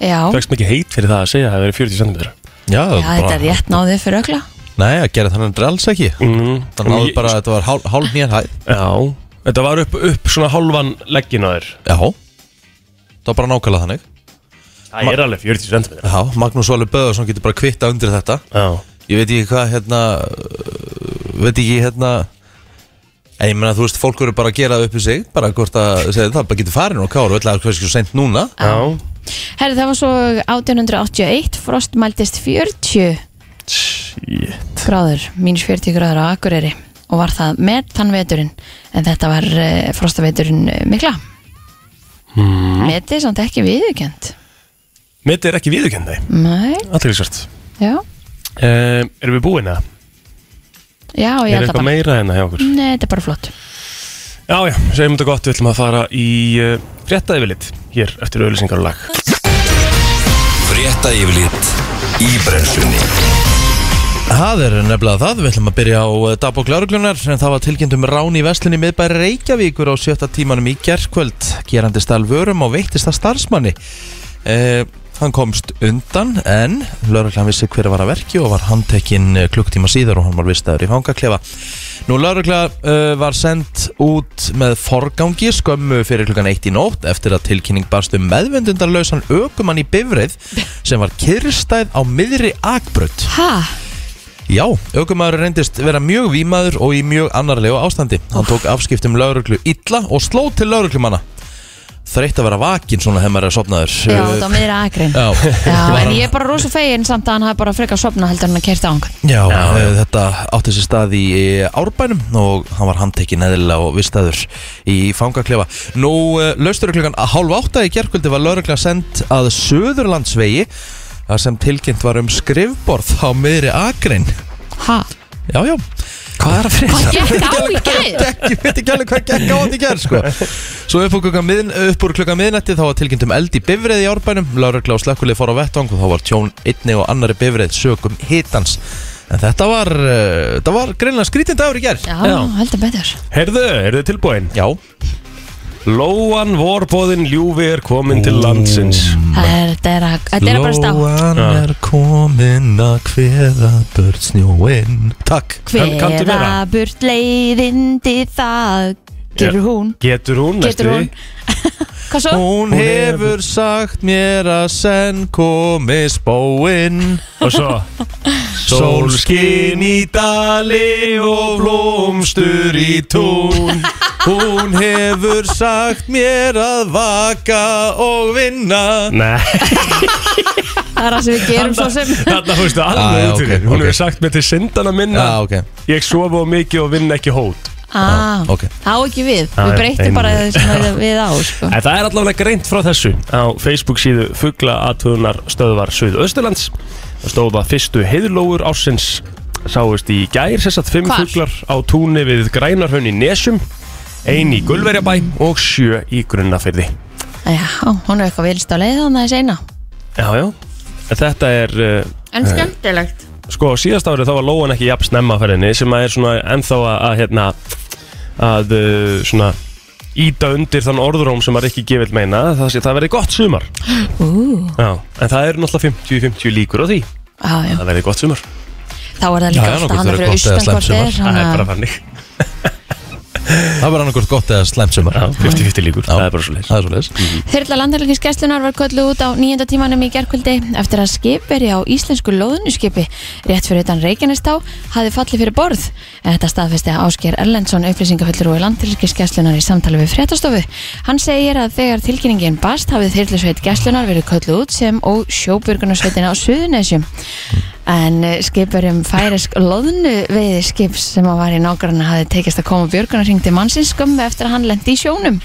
[SPEAKER 2] já,
[SPEAKER 3] fegst mikið heit fyrir það að segja að það hefur verið 40 cm
[SPEAKER 1] Já,
[SPEAKER 2] já þetta er rétt náðið fyrir ökla
[SPEAKER 1] Nei, að gera þannig er alls ekki
[SPEAKER 3] mm.
[SPEAKER 1] Það náðu bara að þetta var hál, hálf nýjan hæð
[SPEAKER 3] Já, þetta var upp, upp svona hálfan leggin á þér
[SPEAKER 1] Já Það var bara nákvæmlega þannig
[SPEAKER 3] Það er alveg 40 cm
[SPEAKER 1] Já, Magnús Valur Böðarsson getur bara kvitta undir þetta
[SPEAKER 3] Já,
[SPEAKER 1] Ég veit ekki hvað, hérna uh, Veit ekki, hérna En ég meina, þú veist, fólk eru bara að gera upp í sig Bara hvort að, segja, það bara getur farin og káru Það er hvað sem sent núna
[SPEAKER 3] já,
[SPEAKER 2] Herðu, það var svo 1881 frost mæltist 40
[SPEAKER 3] shit
[SPEAKER 2] gráður, mínus 40 gráður á Akureyri og var það með þann veturinn en þetta var uh, frostaveturinn eh, mikla mm. metið samt ekki viðurkend
[SPEAKER 3] Mitt er ekki viðurkenn þeim,
[SPEAKER 2] Nei,
[SPEAKER 3] aðtilsvært
[SPEAKER 2] já
[SPEAKER 3] um, Erum við búin að?
[SPEAKER 2] já, ég
[SPEAKER 3] Er
[SPEAKER 2] held að
[SPEAKER 3] eitthvað
[SPEAKER 2] bara
[SPEAKER 3] meira hérna hjá okkur?
[SPEAKER 2] Nei, þetta er bara flott
[SPEAKER 3] Já, já, segjum þetta gott, við ætlum að fara í uh, fréttaði vilit Hér eftir auðlýsingar og lag
[SPEAKER 4] Frétta yfirlit í brennslunni
[SPEAKER 1] Það er nefnilega það, við ætlum að byrja á eh, dagbók lauruglunar en það var tilkynnt um rán í veslinni miðbæri Reykjavíkur á sjötta tímanum í gerkvöld gerandi stal vörum og veittist að starfsmanni eh, Hann komst undan en lauruglan vissi hver var að verki og var handtekinn eh, klukktíma síðar og hann var vistaður í fangaklefa Nú laurugla uh, var sendt út með forgangi skömmu fyrir klukkan eitt í nótt eftir að tilkynning barst um meðvendundarlausan ökumann í bifrið sem var kyrrstæð á miðri akbraut
[SPEAKER 2] Ha,
[SPEAKER 1] Já, aukumæður reyndist vera mjög výmaður og í mjög annarlegu ástandi. Hann tók afskiptum lauruglu illa og sló til lauruglumanna. Þreytt að vera vakinn svona þegar maður er sopnaður.
[SPEAKER 2] já, þetta var meira Akureyri
[SPEAKER 1] Já,
[SPEAKER 2] Já,
[SPEAKER 1] Var
[SPEAKER 2] en
[SPEAKER 1] hann-
[SPEAKER 2] ég er bara rosa fegin samt að hann hafi bara frekar sopna heldur en að kerta ángan
[SPEAKER 1] Já, eh, þetta átti sér stað í eh, Árbænum og hann var handtekinn eðlilega og vistaður í fangaklefa. Nú, eh, laustur klukkan að hálf átta í gerkvöldi var laurugla sendt að Suðurlandsvegi þar sem tilkynnt var um skrifborð á miðri akrein.
[SPEAKER 2] Ha,
[SPEAKER 1] Já, já. Hvað er að frétta?
[SPEAKER 2] hvað gekk á í gæð?
[SPEAKER 1] gekk, ég veit ekki alveg hvað gekk á þetta í gerð sko. Svo upp úr klukka, miðn, upp úr klukka miðnætti þá var tilkynnt um eld í bifrið í árbænum Lárugla og slökkulið fór á vettvang og þá var tjón einni og annari bifrið sögum hitans En þetta var, uh, þetta var greinlega skrítin dagur í gerð
[SPEAKER 2] Já, heldur betur
[SPEAKER 3] Herðu, eru þið tilbúin?
[SPEAKER 1] Já,
[SPEAKER 3] Lóan vorbóðin ljúfi er komin til landsins
[SPEAKER 2] Það er, þetta er, að- þetta er að bara stá
[SPEAKER 1] Lóan
[SPEAKER 3] Já.
[SPEAKER 1] er komin að kveða börn snjóinn Takk
[SPEAKER 3] Kann- kanntu
[SPEAKER 2] Hver
[SPEAKER 3] meira?
[SPEAKER 2] að burt leiðindi það gerur hún
[SPEAKER 3] Getur hún,
[SPEAKER 2] Getur hún Hvað svo?
[SPEAKER 1] Hún hefur sagt mér að senn komi spóinn
[SPEAKER 3] Og svo
[SPEAKER 1] Sólskin í dali og blómstur í tún Hún hefur sagt mér að vaka og vinna
[SPEAKER 3] Nei,
[SPEAKER 2] Það er það sem við gerum svo sem
[SPEAKER 3] þarna fórstu
[SPEAKER 1] Ah,
[SPEAKER 3] alveg
[SPEAKER 1] já,
[SPEAKER 3] út
[SPEAKER 1] ok,
[SPEAKER 3] fyrir Hún
[SPEAKER 1] ok.
[SPEAKER 3] hefur sagt mér til syndana minna
[SPEAKER 1] Já, ok.
[SPEAKER 3] Ég sofa á mikið og vinn ekki hót
[SPEAKER 2] ah,
[SPEAKER 1] ok.
[SPEAKER 2] Það á ekki við,
[SPEAKER 3] Já,
[SPEAKER 2] við
[SPEAKER 3] já,
[SPEAKER 2] breytum bara
[SPEAKER 3] einmitt.
[SPEAKER 2] það sem við- við á sko.
[SPEAKER 3] En það er allavega greint frá þessu á Facebook síðu Fugla aðtöðunar stöðvar Suðausturlands og stóða fyrstu heiðlóur ársins sáist í gær sessat fimm
[SPEAKER 2] Hvar?
[SPEAKER 3] fuglar á túni við Grænarhönn í Nesjum ein í Gulverjabæ og sjö í Grunnafyrði
[SPEAKER 2] Já, hún er eitthvað vilst á leið þannig að segna
[SPEAKER 3] Já, já En Þetta er, uh,
[SPEAKER 2] En skemmtilegt
[SPEAKER 3] sko á síðast árið þá var lóan ekki jafn snemma á ferðinni sem að er svona ennþá að, að hérna að uh, svona íta undir þann orðróm sem að ekki gefið meina það sé það verði gott sumar
[SPEAKER 2] Ú,
[SPEAKER 3] Já, en það eru náttúrulega 50-50 líkur á því
[SPEAKER 2] á, já.
[SPEAKER 3] Það verði gott sumar
[SPEAKER 2] Þá er það líka
[SPEAKER 1] Já, já,
[SPEAKER 2] alltaf
[SPEAKER 1] nokkuð
[SPEAKER 2] hann
[SPEAKER 1] verður
[SPEAKER 2] fyrir
[SPEAKER 1] gott eða
[SPEAKER 2] austan
[SPEAKER 1] slæmt
[SPEAKER 2] hvort
[SPEAKER 1] sumar.
[SPEAKER 2] er
[SPEAKER 3] Það er
[SPEAKER 2] þannig
[SPEAKER 3] bara
[SPEAKER 2] að-
[SPEAKER 3] fannig
[SPEAKER 1] Það var annarkort gott eða slæmt sumar
[SPEAKER 3] 50-50 líkur,
[SPEAKER 1] Já.
[SPEAKER 3] það er bara svo leys
[SPEAKER 1] Það er svolítið
[SPEAKER 2] Þyrla landhelgisgæslunar var kölluð út á nýjönda tímanum í gerkvöldi eftir að skipverja á íslensku lóðunuskipi rétt fyrir utan Reykjanestá hafði fallið fyrir borð. En þetta staðfesti að Ásker Erlendsson upplýsingaföllur og landhelgisgæslunar í samtali við fréttastofu. Hann segir að þegar tilkynningin bast hafið þyrlusveit gæslunar verið kölluð út sem og sjóbjörgunarsveitin á Suðunesjum. En eh, skipverjum færisk loðnu veiði skips sem að var í nágrann hafði tekist að koma björgunarsring til mannsins skömmu eftir að hann lendi í sjónum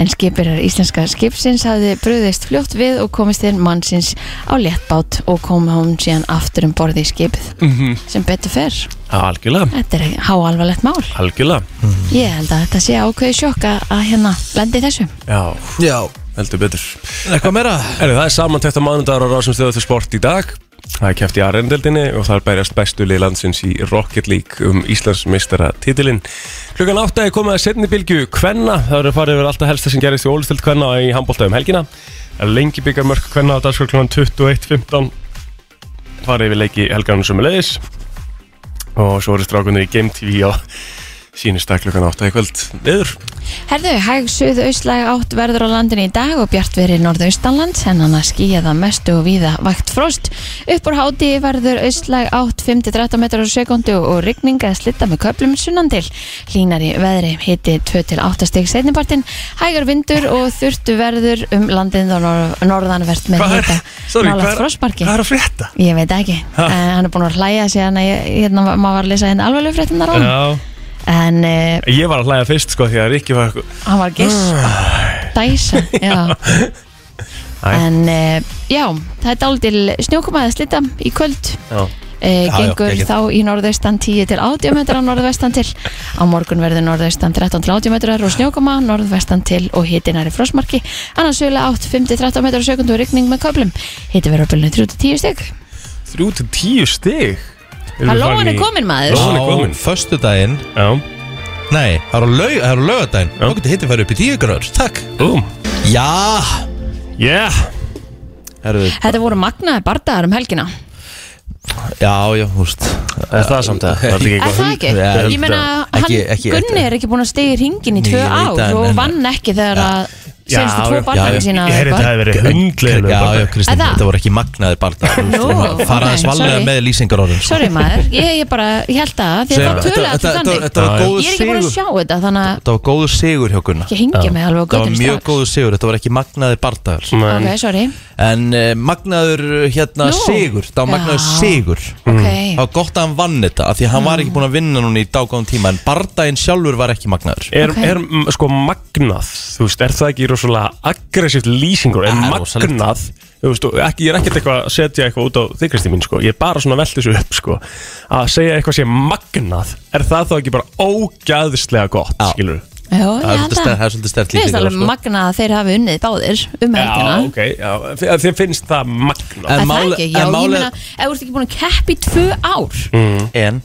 [SPEAKER 2] en skipirjar íslenska skipsins hafði bröðist fljótt við og komist inn mannsins á léttbát og kom hún síðan aftur um borði í skipið sem betur fer,
[SPEAKER 3] Algjörlega,
[SPEAKER 2] þetta er háalvarlegt mál
[SPEAKER 3] algjörlega
[SPEAKER 2] ég held að þetta sé ákveði sjokk að- að hérna lendi í þessu
[SPEAKER 3] Já,
[SPEAKER 1] Já,
[SPEAKER 3] heldur betur
[SPEAKER 1] eitthvað meira
[SPEAKER 3] Herru, það er samantækt á mánudagur á rásum stöðu fyrir sport í dag Það er kæft í Arendeldinni og þar berjast bestu lið landsins í Rocket League um Íslands meistara titilinn. Klukkan 8 er komið að setni bylgju Kvenna, það eru farið yfir alltaf helsta sem gerist í ólistild Kvenna í handbólta um helgina Það eru lengi byggar mörg Kvenna á dagskóla klukkan 21.15 farið yfir leiki helgarnum sem er leiðis og svo eru strákunni í Game TV á sínustak klukkan 8 í kvöld niður.
[SPEAKER 2] Herðu, hæg suðaustlæg átt verður á landinu í dag og bjartveri norðaustanlands en hann að skýja það mestu og víða vægt frost. Upp úr háti verður austlæg átt 5-13 metrar á sekundu og rigning að slitta með köplum sunnan til. Línar í veðri hiti 2-8 stig setnipartin, hægar vindur og þurftu verður um landinu og nor norðanvert með
[SPEAKER 3] Hvað er-
[SPEAKER 2] hita.
[SPEAKER 3] sorry, hvað
[SPEAKER 2] nálægt
[SPEAKER 3] er-
[SPEAKER 2] frostmarki.
[SPEAKER 3] Hvað er að frétta?
[SPEAKER 2] Ég veit ekki, en hann er búin að hlæja síðan að ég, hérna, maður var að lesa hérna alveg fréttinar á hann.
[SPEAKER 3] Já,
[SPEAKER 2] En uh,
[SPEAKER 3] ég var að hlæja fyrst sko því að Rikki var
[SPEAKER 2] hann var að gispa
[SPEAKER 1] Ah.
[SPEAKER 2] dæsa, já
[SPEAKER 3] Æ.
[SPEAKER 2] en uh, já, það er dálítil snjókumaði slita í kvöld
[SPEAKER 3] Já.
[SPEAKER 2] Uh,
[SPEAKER 1] já,
[SPEAKER 2] gengur
[SPEAKER 1] geggjað.
[SPEAKER 2] þá í norðaustan 10 til 80 metrar á norðvestan til á morgun verður norðaustan 13 til 80 metrar og snjókoma norðvestan til og hiti næri frosmarki annars völu 8, 5 til 13 metrar á sekundu og rigning með köflum hiti verður á bylunni 3 til 10 stygg
[SPEAKER 3] Þrjú til tíu stig
[SPEAKER 2] Hallóan er komin maður
[SPEAKER 3] Lóan er komin.
[SPEAKER 1] Á föstudaginn
[SPEAKER 3] Já,
[SPEAKER 1] Nei, það er á laug- það er á laugardaginn Þá getur hittir færi upp í tíu gráður Takk
[SPEAKER 3] búm
[SPEAKER 1] Já
[SPEAKER 3] Yeah
[SPEAKER 1] Herru,
[SPEAKER 2] Þetta voru magnaði bardaðar um helgina
[SPEAKER 1] Já, já, húst
[SPEAKER 3] Er það samt að? Það er ekki
[SPEAKER 2] Er það ekki?
[SPEAKER 1] Já,
[SPEAKER 2] ég meina, hann
[SPEAKER 1] ekki- ekki-
[SPEAKER 2] Gunni er ekki búin að stegja hringin í tvö
[SPEAKER 1] Ég veit
[SPEAKER 2] ár
[SPEAKER 1] það,
[SPEAKER 2] og
[SPEAKER 1] en-
[SPEAKER 2] vann ekki þegar að senstu
[SPEAKER 3] já,
[SPEAKER 2] tvo
[SPEAKER 3] já.
[SPEAKER 1] Já,
[SPEAKER 2] barnagi
[SPEAKER 1] já.
[SPEAKER 2] sína
[SPEAKER 3] Ég heyrði þetta hefði verið hundlega
[SPEAKER 1] Já, já, Kristín,
[SPEAKER 2] Er það?
[SPEAKER 1] þetta voru ekki magnaðir barða
[SPEAKER 2] Nú,
[SPEAKER 1] Fara
[SPEAKER 2] ok,
[SPEAKER 1] að svallega
[SPEAKER 2] sorry.
[SPEAKER 1] með lýsingaróðum
[SPEAKER 2] Sorry maður, ég, ég bara, ég held að því að það töluði allir þannig
[SPEAKER 1] Þetta var
[SPEAKER 3] Já, já.
[SPEAKER 1] góður
[SPEAKER 2] Ég er ekki búin að
[SPEAKER 1] sigur
[SPEAKER 2] sjá þetta þannig að
[SPEAKER 1] Þetta var góður sigur hjá Gunnar
[SPEAKER 2] ég hengi mig alveg á
[SPEAKER 1] Það var
[SPEAKER 2] göttum
[SPEAKER 1] mjög
[SPEAKER 2] strax
[SPEAKER 1] góður sigur, þetta var ekki magnaðir barðar
[SPEAKER 2] Ok, sorry,
[SPEAKER 1] En uh, magnaður uh, hérna
[SPEAKER 2] Nú.
[SPEAKER 1] sigur Það var magnaður
[SPEAKER 2] Já.
[SPEAKER 1] sigur Það
[SPEAKER 2] ok
[SPEAKER 1] var gott að hann vann þetta af Því að hann var ekki búin að vinna núna í dágáðum tíma En barðaginn sjálfur var ekki magnaður
[SPEAKER 3] Er,
[SPEAKER 2] Ok.
[SPEAKER 3] er mm, sko magnað, þú veist, er það ekki rosalega aggressíft lýsingur, er
[SPEAKER 1] Það er rosalegt.
[SPEAKER 3] magnað, þú veist, og ekki, ég er ekkert eitthvað að setja eitthvað út á þig Kristi mín, sko, ég er bara svona velt þessu upp, sko, að segja eitthvað sé magnað, er það þá ekki bara ógæðislega gott,
[SPEAKER 1] Já.
[SPEAKER 3] skilur við?
[SPEAKER 2] Jó,
[SPEAKER 1] Það
[SPEAKER 2] ég
[SPEAKER 1] er
[SPEAKER 2] held
[SPEAKER 1] svolítið sterk- það
[SPEAKER 2] að
[SPEAKER 1] er svolítið sko. stert
[SPEAKER 2] Mér finnst alveg magnað að þeir hafi unnið báðir um helgina
[SPEAKER 3] Já, ok, já, þi- þið finnst það
[SPEAKER 2] Er
[SPEAKER 3] magnað.
[SPEAKER 1] En
[SPEAKER 2] það
[SPEAKER 1] máli-
[SPEAKER 2] ekki? Já,
[SPEAKER 1] en
[SPEAKER 2] ég
[SPEAKER 1] máli-
[SPEAKER 2] meina, ef þú ert ekki búin að keppa í tvö ár
[SPEAKER 1] Mm. En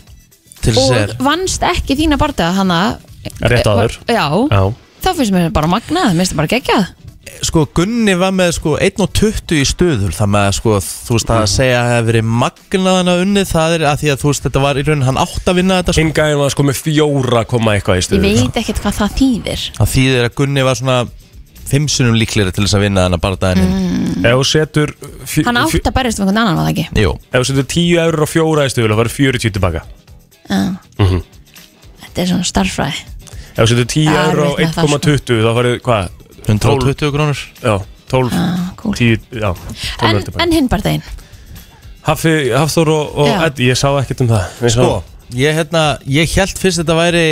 [SPEAKER 1] til þess að
[SPEAKER 2] og
[SPEAKER 1] segja-
[SPEAKER 2] vannst ekki þína barða þannig
[SPEAKER 3] Rétt áður.
[SPEAKER 2] já,
[SPEAKER 3] Já.
[SPEAKER 2] þá finnst mér bara magnað, mér finnst það bara geggjað
[SPEAKER 1] Sko Gunni var með sko 1.20 í stöðul Þannig að sko þú veist að segja að það hefur verið magnaðan að unni Það er að því að þú veist þetta var í raunin hann átt að vinna þetta sko.
[SPEAKER 3] Hinn gæðin var sko með fjóra koma eitthvað í
[SPEAKER 2] ég
[SPEAKER 3] stöðu
[SPEAKER 2] veit ekkert hvað það þýðir
[SPEAKER 1] Það þýðir að Gunni var svona Fimm sinnum líklegri til þess að vinna þannig að barðaginn mm.
[SPEAKER 3] Ef þú setur fjö-
[SPEAKER 2] hann
[SPEAKER 3] fjö-
[SPEAKER 2] átt að berjast um einhvern annan var það ekki
[SPEAKER 1] Jú
[SPEAKER 3] Ef þú setur 10 eurur og fjóra í stöðu Það farið 40 tilbaka
[SPEAKER 2] Já. þetta er svona starffræði
[SPEAKER 3] Ef þú setur 10
[SPEAKER 2] Það er
[SPEAKER 3] eurur og
[SPEAKER 2] erfitt með það, sko.
[SPEAKER 3] 1,20 Það farið hvað?
[SPEAKER 1] 120 krónur
[SPEAKER 3] Já, 12
[SPEAKER 2] ah, cool.
[SPEAKER 3] 10, já, 12
[SPEAKER 2] en,
[SPEAKER 3] eurur tilbaka
[SPEAKER 2] en hinn barðin
[SPEAKER 3] Hafi, Hafþór og, og
[SPEAKER 2] Já.
[SPEAKER 3] Eddi, ég sá ekkert um það Ég sá-
[SPEAKER 1] Sko, ég hérna, ég held fyrst þetta væri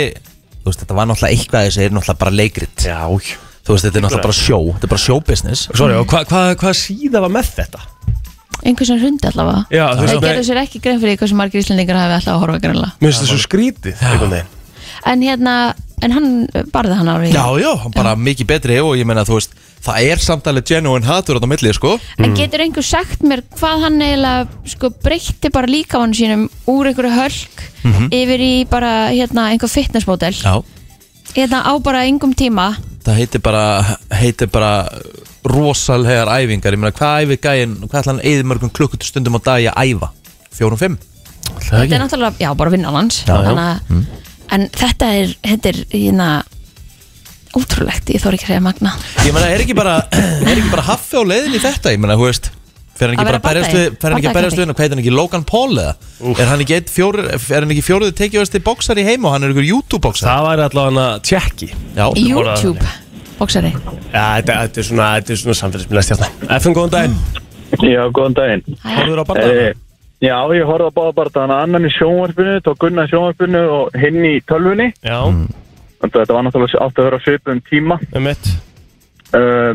[SPEAKER 1] Þú veist, þetta var náttúrulega eitthvað þessi er náttúrulega bara leikrit
[SPEAKER 3] Já
[SPEAKER 1] Þú veist, þetta er náttúrulega bara sjó, þetta er bara sjóbusiness
[SPEAKER 3] Sorry, og hvað hva, hva síða var með þetta?
[SPEAKER 2] einhvers veginn hrundi allavega
[SPEAKER 3] Já, þú
[SPEAKER 2] þeir
[SPEAKER 3] veist
[SPEAKER 2] gerðu
[SPEAKER 3] það
[SPEAKER 2] sér ekki grein fyrir því hversu margir íslendingar hafi alltaf að horfa greinlega
[SPEAKER 3] Mér finnst það svo skrítið einhvern veginn
[SPEAKER 2] en hérna, en hann barði hann árið
[SPEAKER 1] Já, já, hann bara mikið betri og ég meina, þú veist Það er samtalið genuine hatur á það milli, sko
[SPEAKER 2] En getur einhver sagt mér hvað hann eiginlega sko breytti bara líkamann sínum úr einhverju hölk yfir í bara hérna einhver fitnessmodel
[SPEAKER 1] Já
[SPEAKER 2] hérna á bara engum tíma
[SPEAKER 1] Það heitir bara, heitir bara rosalhegar æfingar Ég meina, hvað æfir gæinn, hvað ætla hann eða mörgum klukkutu stundum á dag í að æfa? Fjórum, fimm?
[SPEAKER 2] þetta er náttúrulega, já bara vinnan hans
[SPEAKER 1] Já, já.
[SPEAKER 3] Mm.
[SPEAKER 2] Þannig að- en þetta er, þetta er hérna ótrúlegt, ég þór ekki að segja magna
[SPEAKER 1] Ég meina, er ekki bara, er ekki bara haffi á leiðin í þetta, ég meina, hú veist Fer hann
[SPEAKER 2] Að
[SPEAKER 1] ekki bara
[SPEAKER 2] vera
[SPEAKER 1] að berjast
[SPEAKER 2] bardagi.
[SPEAKER 1] við, fer hann ekki að berjast við, hann, hvað heit hann ekki, Logan Paul eða? Er hann ekki, einn fjór, er hann ekki fjóruðu tekið boxar í heim og hann er ykkur YouTube-boxar?
[SPEAKER 3] Það væri allavega tjekki
[SPEAKER 1] Já,
[SPEAKER 2] YouTube, bóksari
[SPEAKER 3] Já, þetta, þetta er svona, þetta er svona samfélagsmiðlega stjarnar FM, góðan daginn
[SPEAKER 5] Já, góðan daginn.
[SPEAKER 3] Horfður á bandana?
[SPEAKER 5] Eh, já, ég horfði á báða barndagana, annan í sjónvarpinu, tók Gunnar í sjónvarpinu og hinn í tölvunni.
[SPEAKER 3] Já,
[SPEAKER 5] Þannig að þetta var náttúrulega átt að vera svipum tíma.
[SPEAKER 3] um mitt
[SPEAKER 5] Uh,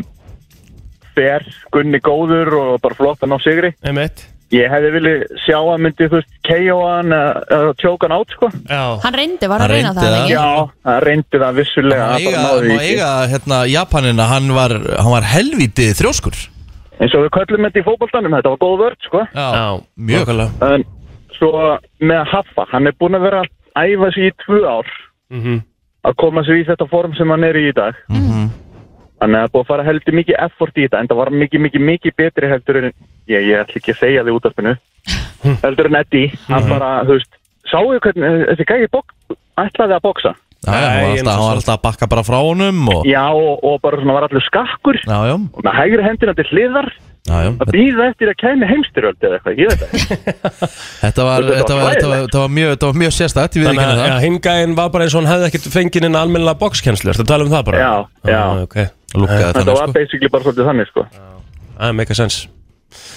[SPEAKER 5] fer Gunni góður og bara flott að ná sigri.
[SPEAKER 3] Um mitt
[SPEAKER 5] Ég hefði viljað sjá að myndi, þú veist, KO hann eða eða tjóka hann át, sko.
[SPEAKER 3] Já
[SPEAKER 2] Hann reyndi, var
[SPEAKER 1] Hann
[SPEAKER 2] að reyna
[SPEAKER 1] reyndi
[SPEAKER 2] það
[SPEAKER 1] það.
[SPEAKER 2] lengi
[SPEAKER 5] Já, hann reyndi það vissulega,
[SPEAKER 1] Má
[SPEAKER 5] hann
[SPEAKER 1] eiga,
[SPEAKER 5] bara
[SPEAKER 1] má
[SPEAKER 5] náði því
[SPEAKER 1] eiga
[SPEAKER 5] ekki.
[SPEAKER 1] hérna, Japanina, hann var, hann var helvítið þrjóskur
[SPEAKER 5] Eins og við köllum þetta í fótboltanum, þetta var góð vörd, sko.
[SPEAKER 3] Já,
[SPEAKER 1] mjög
[SPEAKER 3] nákvæmlega.
[SPEAKER 5] En svo með að haffa, hann er búin að vera að æfa sig í tvö ár
[SPEAKER 3] Mhm.
[SPEAKER 5] að koma sér í þetta form sem hann er í í dag. Þannig að það er búið að fara heldur mikið effort í þetta, en það var mikið, mikið, mikið betri heldur en, ég, ég ætla ekki að segja því útarpinu, heldur en Eddie, hann bara, þú veist, sáu hvernig þessi gægi bók, ætlaði að bóksa.
[SPEAKER 1] Já, já, hann var
[SPEAKER 3] Nei,
[SPEAKER 1] alltaf, hann var alltaf að bakka bara frá honum og,
[SPEAKER 5] Já, og, og bara svona var allur skakkur,
[SPEAKER 1] já, já,
[SPEAKER 5] og með hægri hendina til hliðar,
[SPEAKER 1] já, já.
[SPEAKER 5] að býða eftir að kæmi heimstyröld eða eitthvað, ég veit það.
[SPEAKER 1] Þetta var,
[SPEAKER 5] Þetta var
[SPEAKER 1] þetta var, þetta var, þetta var mjög, þetta var mjög sérstætt, ég við ekki
[SPEAKER 3] Þannig
[SPEAKER 1] henni
[SPEAKER 3] að
[SPEAKER 1] það
[SPEAKER 3] ja, hingaðin var bara eins og hann hefði ekkert fengið inn almennilega bókskennslu, ertu að tala um það bara?
[SPEAKER 5] Já, já.
[SPEAKER 3] Ah, ok,
[SPEAKER 1] Lúkkaði
[SPEAKER 5] Þetta
[SPEAKER 1] þannig,
[SPEAKER 5] var
[SPEAKER 1] sko
[SPEAKER 5] basically bara svolítið þannig, sko.
[SPEAKER 3] það ah, make a sense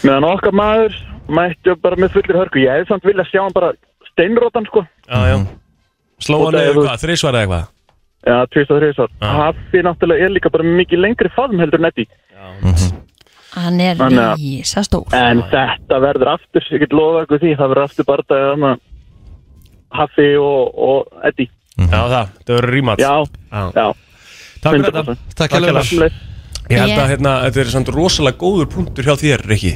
[SPEAKER 5] meðan okkar maður mætti bara með fullir hörku ég hefði samt vilja sjá hann bara steinrótan sko
[SPEAKER 3] Já, já Sló
[SPEAKER 5] Og
[SPEAKER 3] hann
[SPEAKER 5] það er-
[SPEAKER 3] eða hvað, þrísvar eða eitthvað
[SPEAKER 5] já, tvist og þrjusar
[SPEAKER 3] Já.
[SPEAKER 5] hafi náttúrulega er líka bara með mikið lengri faðum heldur en Eddi
[SPEAKER 2] Hann er
[SPEAKER 5] Hann, ja.
[SPEAKER 2] rísa stór
[SPEAKER 5] en þetta verður aftur, ég get lofa ykkur því það verður aftur bara það að hafi og, og Eddi
[SPEAKER 3] Já, það, það verður rímat
[SPEAKER 5] já, já,
[SPEAKER 3] Takk fyrir
[SPEAKER 5] 100%.
[SPEAKER 3] þetta
[SPEAKER 1] Takk
[SPEAKER 3] Takk
[SPEAKER 1] hérlega.
[SPEAKER 3] fyrir Ég held að hérna, þetta er samt rosalega góður punktur hjá þér, Rikki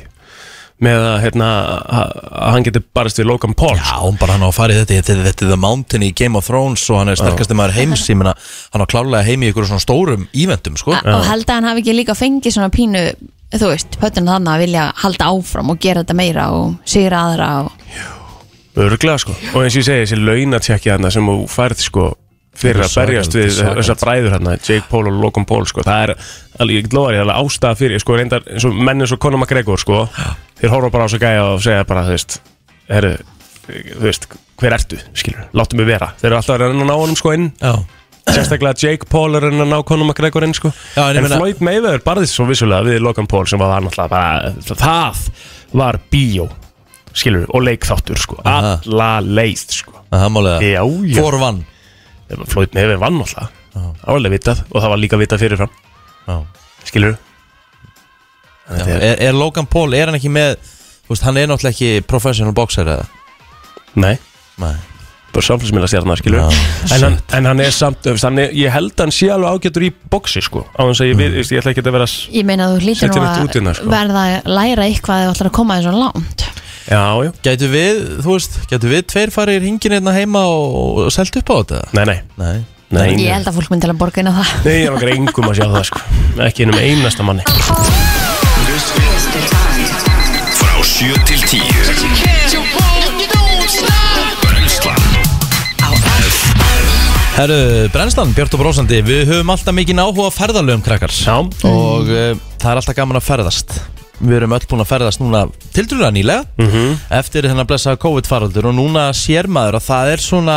[SPEAKER 3] með að hérna, að að hann getur barist við Logan Paul
[SPEAKER 1] Já, hún bara hann á að fara í þetta, þetta, þetta er The Mountain í Game of Thrones og hann er sterkasti maður heims, ég meina, hann á klárlega heim í ykkur svona stórum íventum, sko.
[SPEAKER 2] og held að hann hafi ekki líka fengið svona pínu þú veist, pötun þannig að vilja halda áfram og gera þetta meira og sigra aðra og
[SPEAKER 3] Örglega sko Og eins og ég segi, þessi launatjekki hana sem þú færð sko fyrir
[SPEAKER 1] Þetta er
[SPEAKER 3] að berjast
[SPEAKER 1] svakalegt,
[SPEAKER 3] við
[SPEAKER 1] þetta er svakalegt.
[SPEAKER 3] þessar bræður hana Jake Paul og Logan Paul sko Það er, alveg, ég get lofa þér, það er ástæða fyrir sko, reyndar, eins og menn eins og Conor McGregor sko Þeir horfa bara á þessu gæja og segja bara, þú veist Herru, þú veist, hver ertu, skilur, láttu mig vera Þeir eru alltaf að reyna að ná honum sko inn
[SPEAKER 1] Já.
[SPEAKER 3] Sérstaklega Jake Paul er að reyna að ná Conor McGregor inn sko
[SPEAKER 1] Já, en
[SPEAKER 3] En,
[SPEAKER 1] ég meina-
[SPEAKER 3] Floyd Mayweather barðist svo vissulega við Logan Paul sem var náttúrulega bara Það var bíó, skilur, og leikþáttur sko
[SPEAKER 1] Aha.
[SPEAKER 3] Alla leið sko
[SPEAKER 1] Það er málega.
[SPEAKER 3] Já, já.
[SPEAKER 1] For one.
[SPEAKER 3] Floyd Mayweather vann alltaf Það var alveg vitað og það var líka vitað fyrirfram
[SPEAKER 1] Já.
[SPEAKER 3] Skilur
[SPEAKER 1] Já. Er, er Logan Paul, er hann ekki með, þú veist, hann er náttúrulega ekki professional boxer eða?
[SPEAKER 3] Nei,
[SPEAKER 1] Nei.
[SPEAKER 3] bara samfélagsmiðla stjarnar skilur
[SPEAKER 1] Já,
[SPEAKER 3] en, hann, en hann er samt, þú veist, hann er, ég held hann sé alveg ágætur í boxi sko Á hans að ég,
[SPEAKER 1] Mm.
[SPEAKER 3] við, ég ætla ekki að vera s-
[SPEAKER 2] ég meina þú hlýtur
[SPEAKER 3] Setja
[SPEAKER 2] nú
[SPEAKER 3] þetta
[SPEAKER 2] að
[SPEAKER 3] út innan, sko.
[SPEAKER 2] verða að læra eitthvað ef þú ætlar að koma þessu langt
[SPEAKER 3] Já, já,
[SPEAKER 1] Gætu við, þú veist, gætu við tveir farið í hringin hérna heima og, og selt upp á þetta?
[SPEAKER 3] nei, nei
[SPEAKER 1] Nei.
[SPEAKER 3] Nei,
[SPEAKER 2] ég held að fólk myndi alveg borga inn á það
[SPEAKER 3] Nei, ég er okkar engum að sjá það sko Ekki einum einasta manni
[SPEAKER 4] Frá 7 til 10 Brennslan
[SPEAKER 1] Herru, Brennstan, Björn og Brósandi, við höfum alltaf mikið áhuga á ferðalöfum krakkar
[SPEAKER 3] Já,
[SPEAKER 1] og uh, það er alltaf gaman að ferðast Við erum öll búin að ferðast núna tildurlega nýlega eftir þennan blessaða COVID-faraldur og núna sér maður að það er svona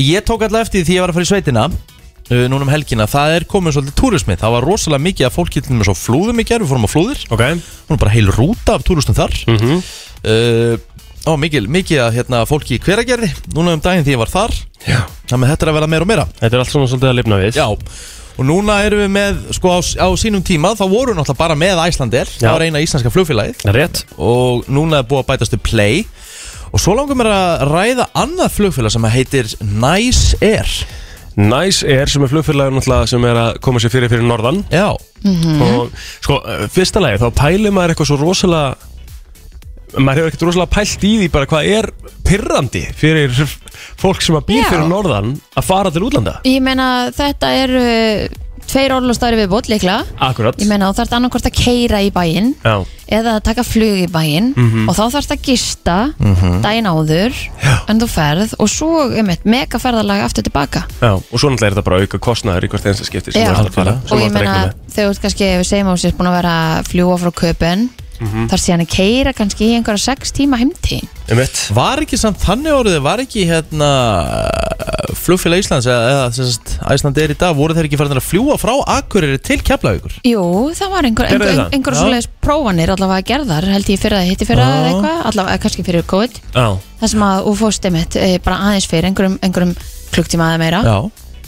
[SPEAKER 1] ég tók alltaf eftir því því ég var að fara í sveitina uh, núna um helgina, það er komið svolítið túrismi það var rosalega mikið að fólki til með svo flúðum í gerð við fórum á flúðir,
[SPEAKER 3] ok
[SPEAKER 1] hún er bara heil rúta af túristum þar mm og mikið, mikið að hérna, fólki í hveragerði núna um daginn því ég var þar
[SPEAKER 3] Já.
[SPEAKER 1] þannig að þetta er að vera meira og meira
[SPEAKER 3] Þetta er allt svona svolítið að lifna við
[SPEAKER 1] Já, og núna erum við með, sko á, á sínum tíma, þá voru við náttúrulega bara með Æslandir,
[SPEAKER 3] Já.
[SPEAKER 1] það var eina íslenska flugfélagið
[SPEAKER 3] Rétt
[SPEAKER 1] og núna er búið að bætast við Play og svo langar mér að ræða annað flugfélag sem heitir Nice Air
[SPEAKER 3] Næs er sem er flugfélagin náttúrulega sem er að koma sér fyrir fyrir norðan
[SPEAKER 1] Já,
[SPEAKER 3] Og sko, eh, fyrsta lagi þá pælir maður eitthvað svo rosalega Maður hefur ekkert rosalega pælt í því bara hvað er pirrandi fyrir fólk sem að býr
[SPEAKER 2] Já.
[SPEAKER 3] fyrir norðan að fara til útlanda
[SPEAKER 2] ég meina þetta eru tveir orlofstæri við bótt líklega
[SPEAKER 3] Akkurat
[SPEAKER 2] Ég meina þá þarf annarkvort að keira í bæinn
[SPEAKER 3] Já, Mhm.
[SPEAKER 2] eða að taka flug í bæinn og þá þarfst að gista daginn áður en þú ferð og svo um eitt megaferðalag aftur tilbaka
[SPEAKER 3] já, og svo náttúrulega er þetta bara auka kostnaður í hvert einsta skipti sem
[SPEAKER 2] Já.
[SPEAKER 3] þú ert að fara- sem
[SPEAKER 2] og
[SPEAKER 3] þú
[SPEAKER 2] ég
[SPEAKER 3] ert að reikna
[SPEAKER 2] meina
[SPEAKER 3] með.
[SPEAKER 2] þegar þú ert kannski ef við segjum að þú sést búin að vera að fljúa frá köpun
[SPEAKER 3] Mhm.
[SPEAKER 2] þar sé hann að keira kannski í einhverja sex tíma heimtíðin
[SPEAKER 3] Einmitt.
[SPEAKER 1] Var ekki samt þannig orðið, var ekki hérna flugfélag Íslands eða, eða sem sagt, Æsland er í dag, voru þeir ekki farin að fljúa frá Akureyri til Keflavíkur?
[SPEAKER 2] Jú, það var einhver,
[SPEAKER 3] Gerðu
[SPEAKER 2] einhver,
[SPEAKER 3] þið
[SPEAKER 2] einhver,
[SPEAKER 3] það?
[SPEAKER 2] einhver
[SPEAKER 1] Já.
[SPEAKER 2] svoleiðis prófanir allavega gerðar held ég fyrir að hitti fyrir
[SPEAKER 1] Já.
[SPEAKER 2] að eitthvað allavega eh, kannski fyrir COVID
[SPEAKER 3] Já,
[SPEAKER 2] þar sem að þú fórst einmitt eh, bara aðeins fyrir einhverjum, einhverjum klukktíma eða meira
[SPEAKER 1] Já,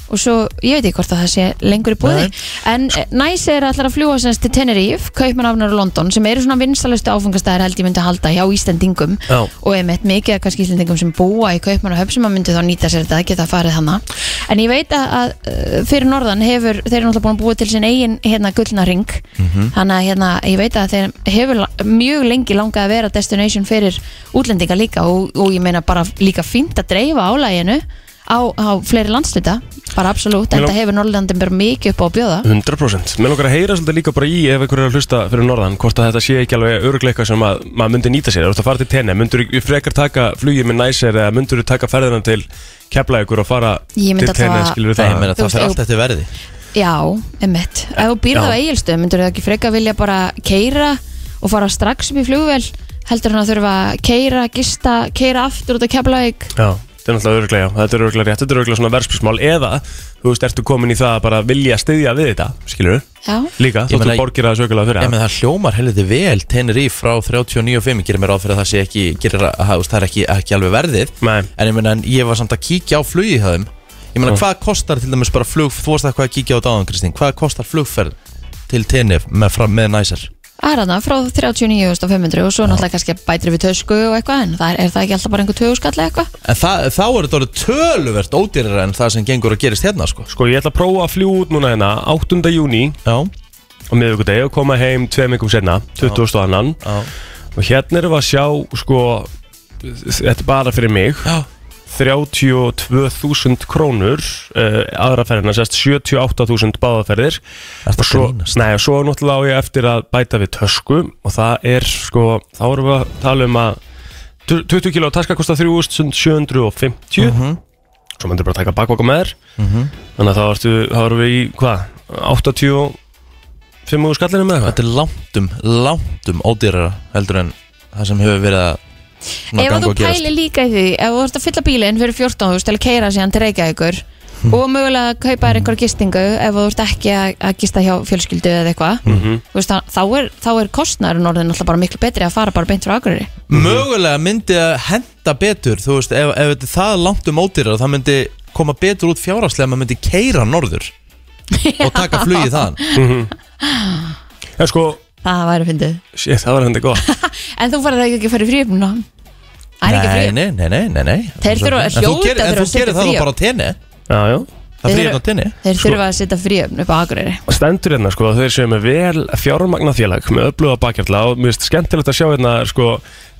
[SPEAKER 2] og svo ég veit ekki hvort að það sé lengur í búði en eh, næs er allar að fljúa semst til Tenerife, Kaupmannafnur og London sem eru svona vinstalustu áfangastæðar held ég myndi að halda hjá Íslendingum
[SPEAKER 3] Já.
[SPEAKER 2] og einmitt mikið af kannski Íslendingum sem búa í Kaupmannahöf sem að myndi þá nýta sér þetta að geta farið hana en ég veit að, að eh, fyrir norðan hefur, þeir eru náttúrulega búin að búa til sinn eigin hérna gullna ring þannig að hérna, ég veit að þeir hefur la- mjög lengi langað að vera destination fyrir útlendinga líka og, og ég meina bara líka fínt að dreifa álæginu á, á fleiri landsluta bara absolutt,
[SPEAKER 3] Mér
[SPEAKER 2] en það
[SPEAKER 3] lang-
[SPEAKER 2] hefur Norrlandin bara mikið upp á að bjóða
[SPEAKER 3] 100% Mér langar að heyra svolítið líka bara í ef einhverju er að hlusta fyrir norðan hvort að þetta sé ekki alveg öruglega eitthvað sem að, maður myndi nýta sér Þú ert að fara til tenni, myndur þú frekar taka flugið með næsir eða myndur þú taka ferðina til kepla ykkur og fara
[SPEAKER 2] Ég myndi
[SPEAKER 3] til
[SPEAKER 2] alltaf
[SPEAKER 3] tenni
[SPEAKER 2] að-
[SPEAKER 3] skilur
[SPEAKER 1] það, ég meina,
[SPEAKER 2] Þú
[SPEAKER 1] það
[SPEAKER 2] veist,
[SPEAKER 1] fer
[SPEAKER 2] ef-
[SPEAKER 1] allt eftir verði
[SPEAKER 2] Já, emitt Ef þú býrð
[SPEAKER 3] Já.
[SPEAKER 2] á eigilstöð, myndur þú ekki freka vilja bara keira og fara strax upp í flugvél heldur hann að þurfa að keira, gista, keira aftur út að kefla þig
[SPEAKER 3] Já, þetta er náttúrulega öruglega, já, þetta er öruglega rétt, þetta er öruglega svona verðspilsmál eða, þú veist, ertu komin í það að bara vilja styðja við þetta, skilur
[SPEAKER 2] Já,
[SPEAKER 3] líka,
[SPEAKER 1] Ég
[SPEAKER 3] þóttu
[SPEAKER 1] meina-
[SPEAKER 3] borgir að sögulega fyrir
[SPEAKER 1] Ég
[SPEAKER 3] það.
[SPEAKER 1] meina, það hljómar heldur vel Tenerife frá 39.5 gerir mér ráð fyrir að það sé ekki gerir, að, að, þú veist, það er ekki, ekki alveg verðið
[SPEAKER 3] Nei.
[SPEAKER 1] en ég meina, en ég var samt að kíkja á flugi hjá þeim Ég meina,
[SPEAKER 3] Já.
[SPEAKER 1] hvað kostar til dæmis bara flug þú varst eitthvað að kíkja á dáðan, Kristín, hvað kostar flugferð til Tenerife með, fram- með næsar?
[SPEAKER 2] aðrana frá 39.500 og svo náttúrulega kannski bætir við tösku og eitthvað en það er, er það ekki alltaf bara einhver töguskall eða eitthvað
[SPEAKER 1] En það, þá er þetta orðið töluvert ódýrara en það sem gengur að gerist hérna, sko
[SPEAKER 3] Sko, ég ætla að prófa að fljú út núna hérna 8. júni
[SPEAKER 1] Já,
[SPEAKER 3] á miðvikudegi og koma heim tveim mikum senna, 20. annan
[SPEAKER 1] já,
[SPEAKER 3] og hérna erum við að sjá, sko, þetta er bara fyrir mig,
[SPEAKER 1] já
[SPEAKER 3] 32.000 krónur uh, aðra ferðina, sérst 78.000 báðaferðir
[SPEAKER 1] Ertu
[SPEAKER 3] og svo,
[SPEAKER 1] að grínast?
[SPEAKER 3] nei, og svo náttúrulega á ég eftir að bæta við tösku og það er sko, þá erum við að tala um að 20 kilo taska kostar 3750
[SPEAKER 1] Mhm.
[SPEAKER 3] svo myndir bara taka bakvaka með þér þannig að þá ertu, þá erum við í hvað, 85 úr skallinu með það
[SPEAKER 1] Þetta er langtum, langtum ódýrara heldur en það sem hefur verið að svona
[SPEAKER 2] Ef að
[SPEAKER 1] ganga
[SPEAKER 2] þú
[SPEAKER 1] og gerast.
[SPEAKER 2] pælir líka í því, ef þú ert að fylla bílinn fyrir 14.000 til að keira síðan til Reykjavíkur og mögulega að kaupa þér einhver gistingu ef þú ert ekki að, að gista hjá fjölskyldu eða eitthvað Þú veist, þá, þá er, þá er kostnæðurinn orðin alltaf bara miklu betri að fara bara beint frá Akureyri
[SPEAKER 1] mögulega myndi að henda betur þú veist, ef, ef þetta er það langt um ódýrar það myndi koma betur út fjárhagslega ef maður myndi keira norður og taka flugið þaðan
[SPEAKER 3] en sko,
[SPEAKER 2] Það væri fyndið
[SPEAKER 3] shit, það var hendur gott
[SPEAKER 2] En þú farið ekki að fara í fríöfnuna Það er ekki
[SPEAKER 1] nei,
[SPEAKER 2] fríöfn
[SPEAKER 1] nei, nei, nei, nei, nei.
[SPEAKER 2] Þeir þurfa að
[SPEAKER 1] En þú
[SPEAKER 2] hljóta
[SPEAKER 1] gerir-
[SPEAKER 2] þurfa
[SPEAKER 1] en þú
[SPEAKER 2] að setja
[SPEAKER 1] gerir það
[SPEAKER 2] frí
[SPEAKER 1] þá
[SPEAKER 2] á.
[SPEAKER 1] bara á tenni
[SPEAKER 3] já, já
[SPEAKER 1] það
[SPEAKER 2] Þeir Mm.
[SPEAKER 1] fríðin
[SPEAKER 2] eru-
[SPEAKER 1] á tenni
[SPEAKER 2] Þeir
[SPEAKER 3] Sko-
[SPEAKER 2] þurfa að setja fríöfn upp á Akureyri
[SPEAKER 3] Og stendur hérna sko að þeir séu með vel fjármagna félag með öfluga bakhjartla og mér finnst skemmtilegt að sjá hérna sko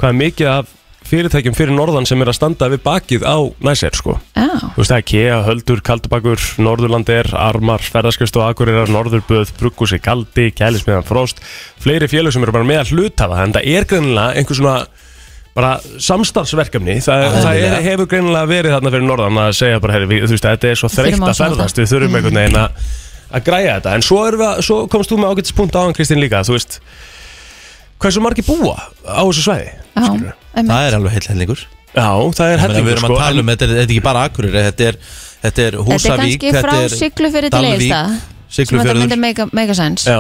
[SPEAKER 3] hvað er mikið af fyrirtækjum fyrir norðan sem er að standa við bakið á næsir sko
[SPEAKER 2] Já,
[SPEAKER 3] Þú veist það er KEA, Höldur, Kaldabakur, Norðurlandir, Armar, Ferðarskjöfst og Akureyrar, Norðurböð, Bruggusi, Kaldi, Kælismiðan, Frost Fleiri félag sem eru bara með að hlutafa en það er greinilega einhver svona bara samstarfsverkefni það, það er,
[SPEAKER 1] Eðlilega.
[SPEAKER 3] hefur greinilega verið þarna fyrir norðan að segja bara, heyri, við, þú veist, þetta er svo
[SPEAKER 2] þurfum
[SPEAKER 3] þreytt
[SPEAKER 2] á
[SPEAKER 3] að
[SPEAKER 2] svona
[SPEAKER 3] ferðast,
[SPEAKER 2] það.
[SPEAKER 3] við þurfum einhvern veginn að að græja þetta, en svo, erum við, að- svo komst þú með ágættispunkt á hann Kristín líka, þú veist hversu margir búa á þessu svæði
[SPEAKER 2] já
[SPEAKER 3] skilurðu?
[SPEAKER 2] einmitt.
[SPEAKER 1] það er alveg heill hellingur
[SPEAKER 3] Já, það er
[SPEAKER 1] Ég meina, við
[SPEAKER 3] hellingur sko,
[SPEAKER 1] erum að tala um, þetta er, þetta er ekki bara Akureyri þetta er, þetta er
[SPEAKER 2] sko, Þetta er
[SPEAKER 1] Húsavík
[SPEAKER 2] kannski frá Siglufyrði til
[SPEAKER 1] Dalvík,
[SPEAKER 2] Egilstað sem þetta myndi
[SPEAKER 1] Siglufjörður
[SPEAKER 2] make, make a sense
[SPEAKER 3] Já,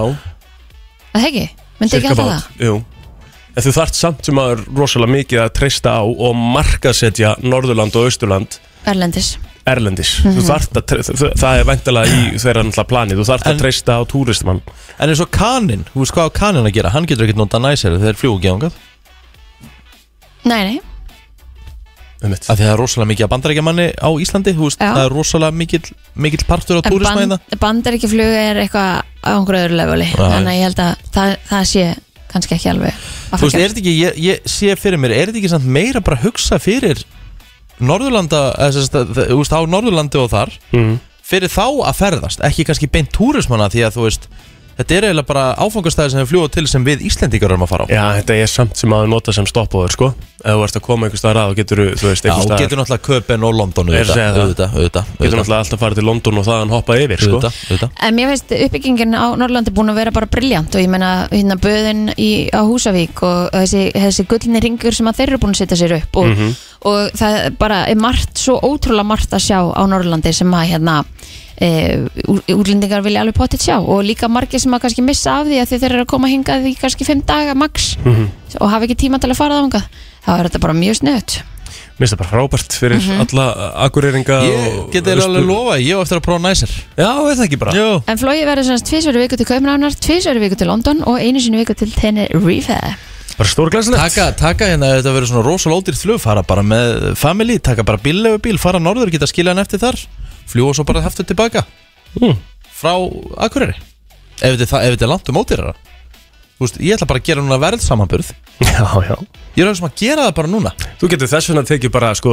[SPEAKER 2] Það ekki, myndi ekki
[SPEAKER 3] Cirka
[SPEAKER 2] alltaf
[SPEAKER 3] bát,
[SPEAKER 2] það
[SPEAKER 3] jú En þú þarft samt sem aður rosalega mikið að treysta á og markasetja Norðurland og Austurland
[SPEAKER 2] Erlendis
[SPEAKER 3] erlendis Þú
[SPEAKER 1] Mhm.
[SPEAKER 3] þarft að, tre- þ- það er væntalega í þeirra náttúrulega planið Þú þarft
[SPEAKER 1] En-
[SPEAKER 3] að treysta á túristmann
[SPEAKER 1] en eins og Kanin, þú veist hvað á Kanin að gera hann getur ekkert nota næsir þegar fljúgi ángað
[SPEAKER 2] Nei, nei,
[SPEAKER 3] um mitt
[SPEAKER 1] af því það er rosalega mikið að bandarækjamanni á Íslandi þú veist,
[SPEAKER 2] Já.
[SPEAKER 1] það er rosalega mikill, mikill partur á
[SPEAKER 2] en
[SPEAKER 1] túrisma
[SPEAKER 2] band,
[SPEAKER 1] hérna
[SPEAKER 2] bandaríkjaflug er eitthvað á einhverju öðru leveli
[SPEAKER 1] Já,
[SPEAKER 2] Þannig að ég held að það, það sé kannski ekki alveg að
[SPEAKER 1] Þú veist,
[SPEAKER 2] fara
[SPEAKER 1] er þetta ekki, ég, ég sé fyrir mér, er þetta ekki samt meira bara að hugsa fyrir Norðurlanda, eða sem sagt, að- þú veist, á Norðurlandi og þar
[SPEAKER 3] mm.
[SPEAKER 1] fyrir þá að ferðast ekki kannski beint túrismanna því að þú veist þetta er eiginlega bara áfangastæði sem við fljúa til sem við Íslendingar erum að fara á
[SPEAKER 3] Já, þetta er samt sem að nota sem stoppaður, sko Ef þú ert að koma einhver staðar að og getur, þú veist,
[SPEAKER 1] Já,
[SPEAKER 3] einhver
[SPEAKER 1] og
[SPEAKER 3] staðar
[SPEAKER 1] getur náttúrulega Köpen og London
[SPEAKER 3] Er að segja það.
[SPEAKER 1] auðvitað, auðvitað,
[SPEAKER 3] Getur
[SPEAKER 1] auðvitað,
[SPEAKER 3] náttúrulega alltaf farið til London og þaðan hoppað yfir, sko
[SPEAKER 1] auðvitað, auðvitað.
[SPEAKER 2] En mér finnst uppbyggingin á Norrlandi búin að vera bara briljant og ég menna hérna böðin í, á Húsavík og þessi, þessi gullni ringur sem að þeir eru búin að setja sér upp og, og það er bara er margt, svo ótrúlega margt að sjá á Norrlandi sem að hérna e, úr, úrlendingar vilja alveg potið sjá og líka margir sem að kannski missa af því að því þeir eru að koma hingað í kannski fimm daga max og hafa ekki tíma til að fara þangað þá er þetta bara mjög snöðt
[SPEAKER 3] Mér finnst það bara frábært fyrir alla akureyringa
[SPEAKER 1] Mhm. Ég
[SPEAKER 3] og-
[SPEAKER 1] geti
[SPEAKER 3] veistu-
[SPEAKER 1] alveg lofa, ég á eftir að prófa næsir
[SPEAKER 3] Já, er það ekki bara
[SPEAKER 1] Jú
[SPEAKER 2] En flóið verður svona tvísveru viku til Kaupnánar, tvísveru viku til London og einu sinni viku til Tenerife
[SPEAKER 3] Bara stórglæslegt
[SPEAKER 1] Taka, taka hérna, þetta verður svona rosalega ódýrt flug fara bara með family, taka bara bíllegu bíl fara norður, geta skilja hann eftir þar fljúa svo bara heftu tilbaka
[SPEAKER 3] Mm.
[SPEAKER 1] frá Akureyri ef þetta er það- ef þetta er langt um ódýrara Þú veist, ég ætla bara að gera núna verðsamanburð
[SPEAKER 3] Já, já
[SPEAKER 1] ég er að hugsa um að gera það bara núna
[SPEAKER 3] Þú getur þess vegna tekið bara, sko,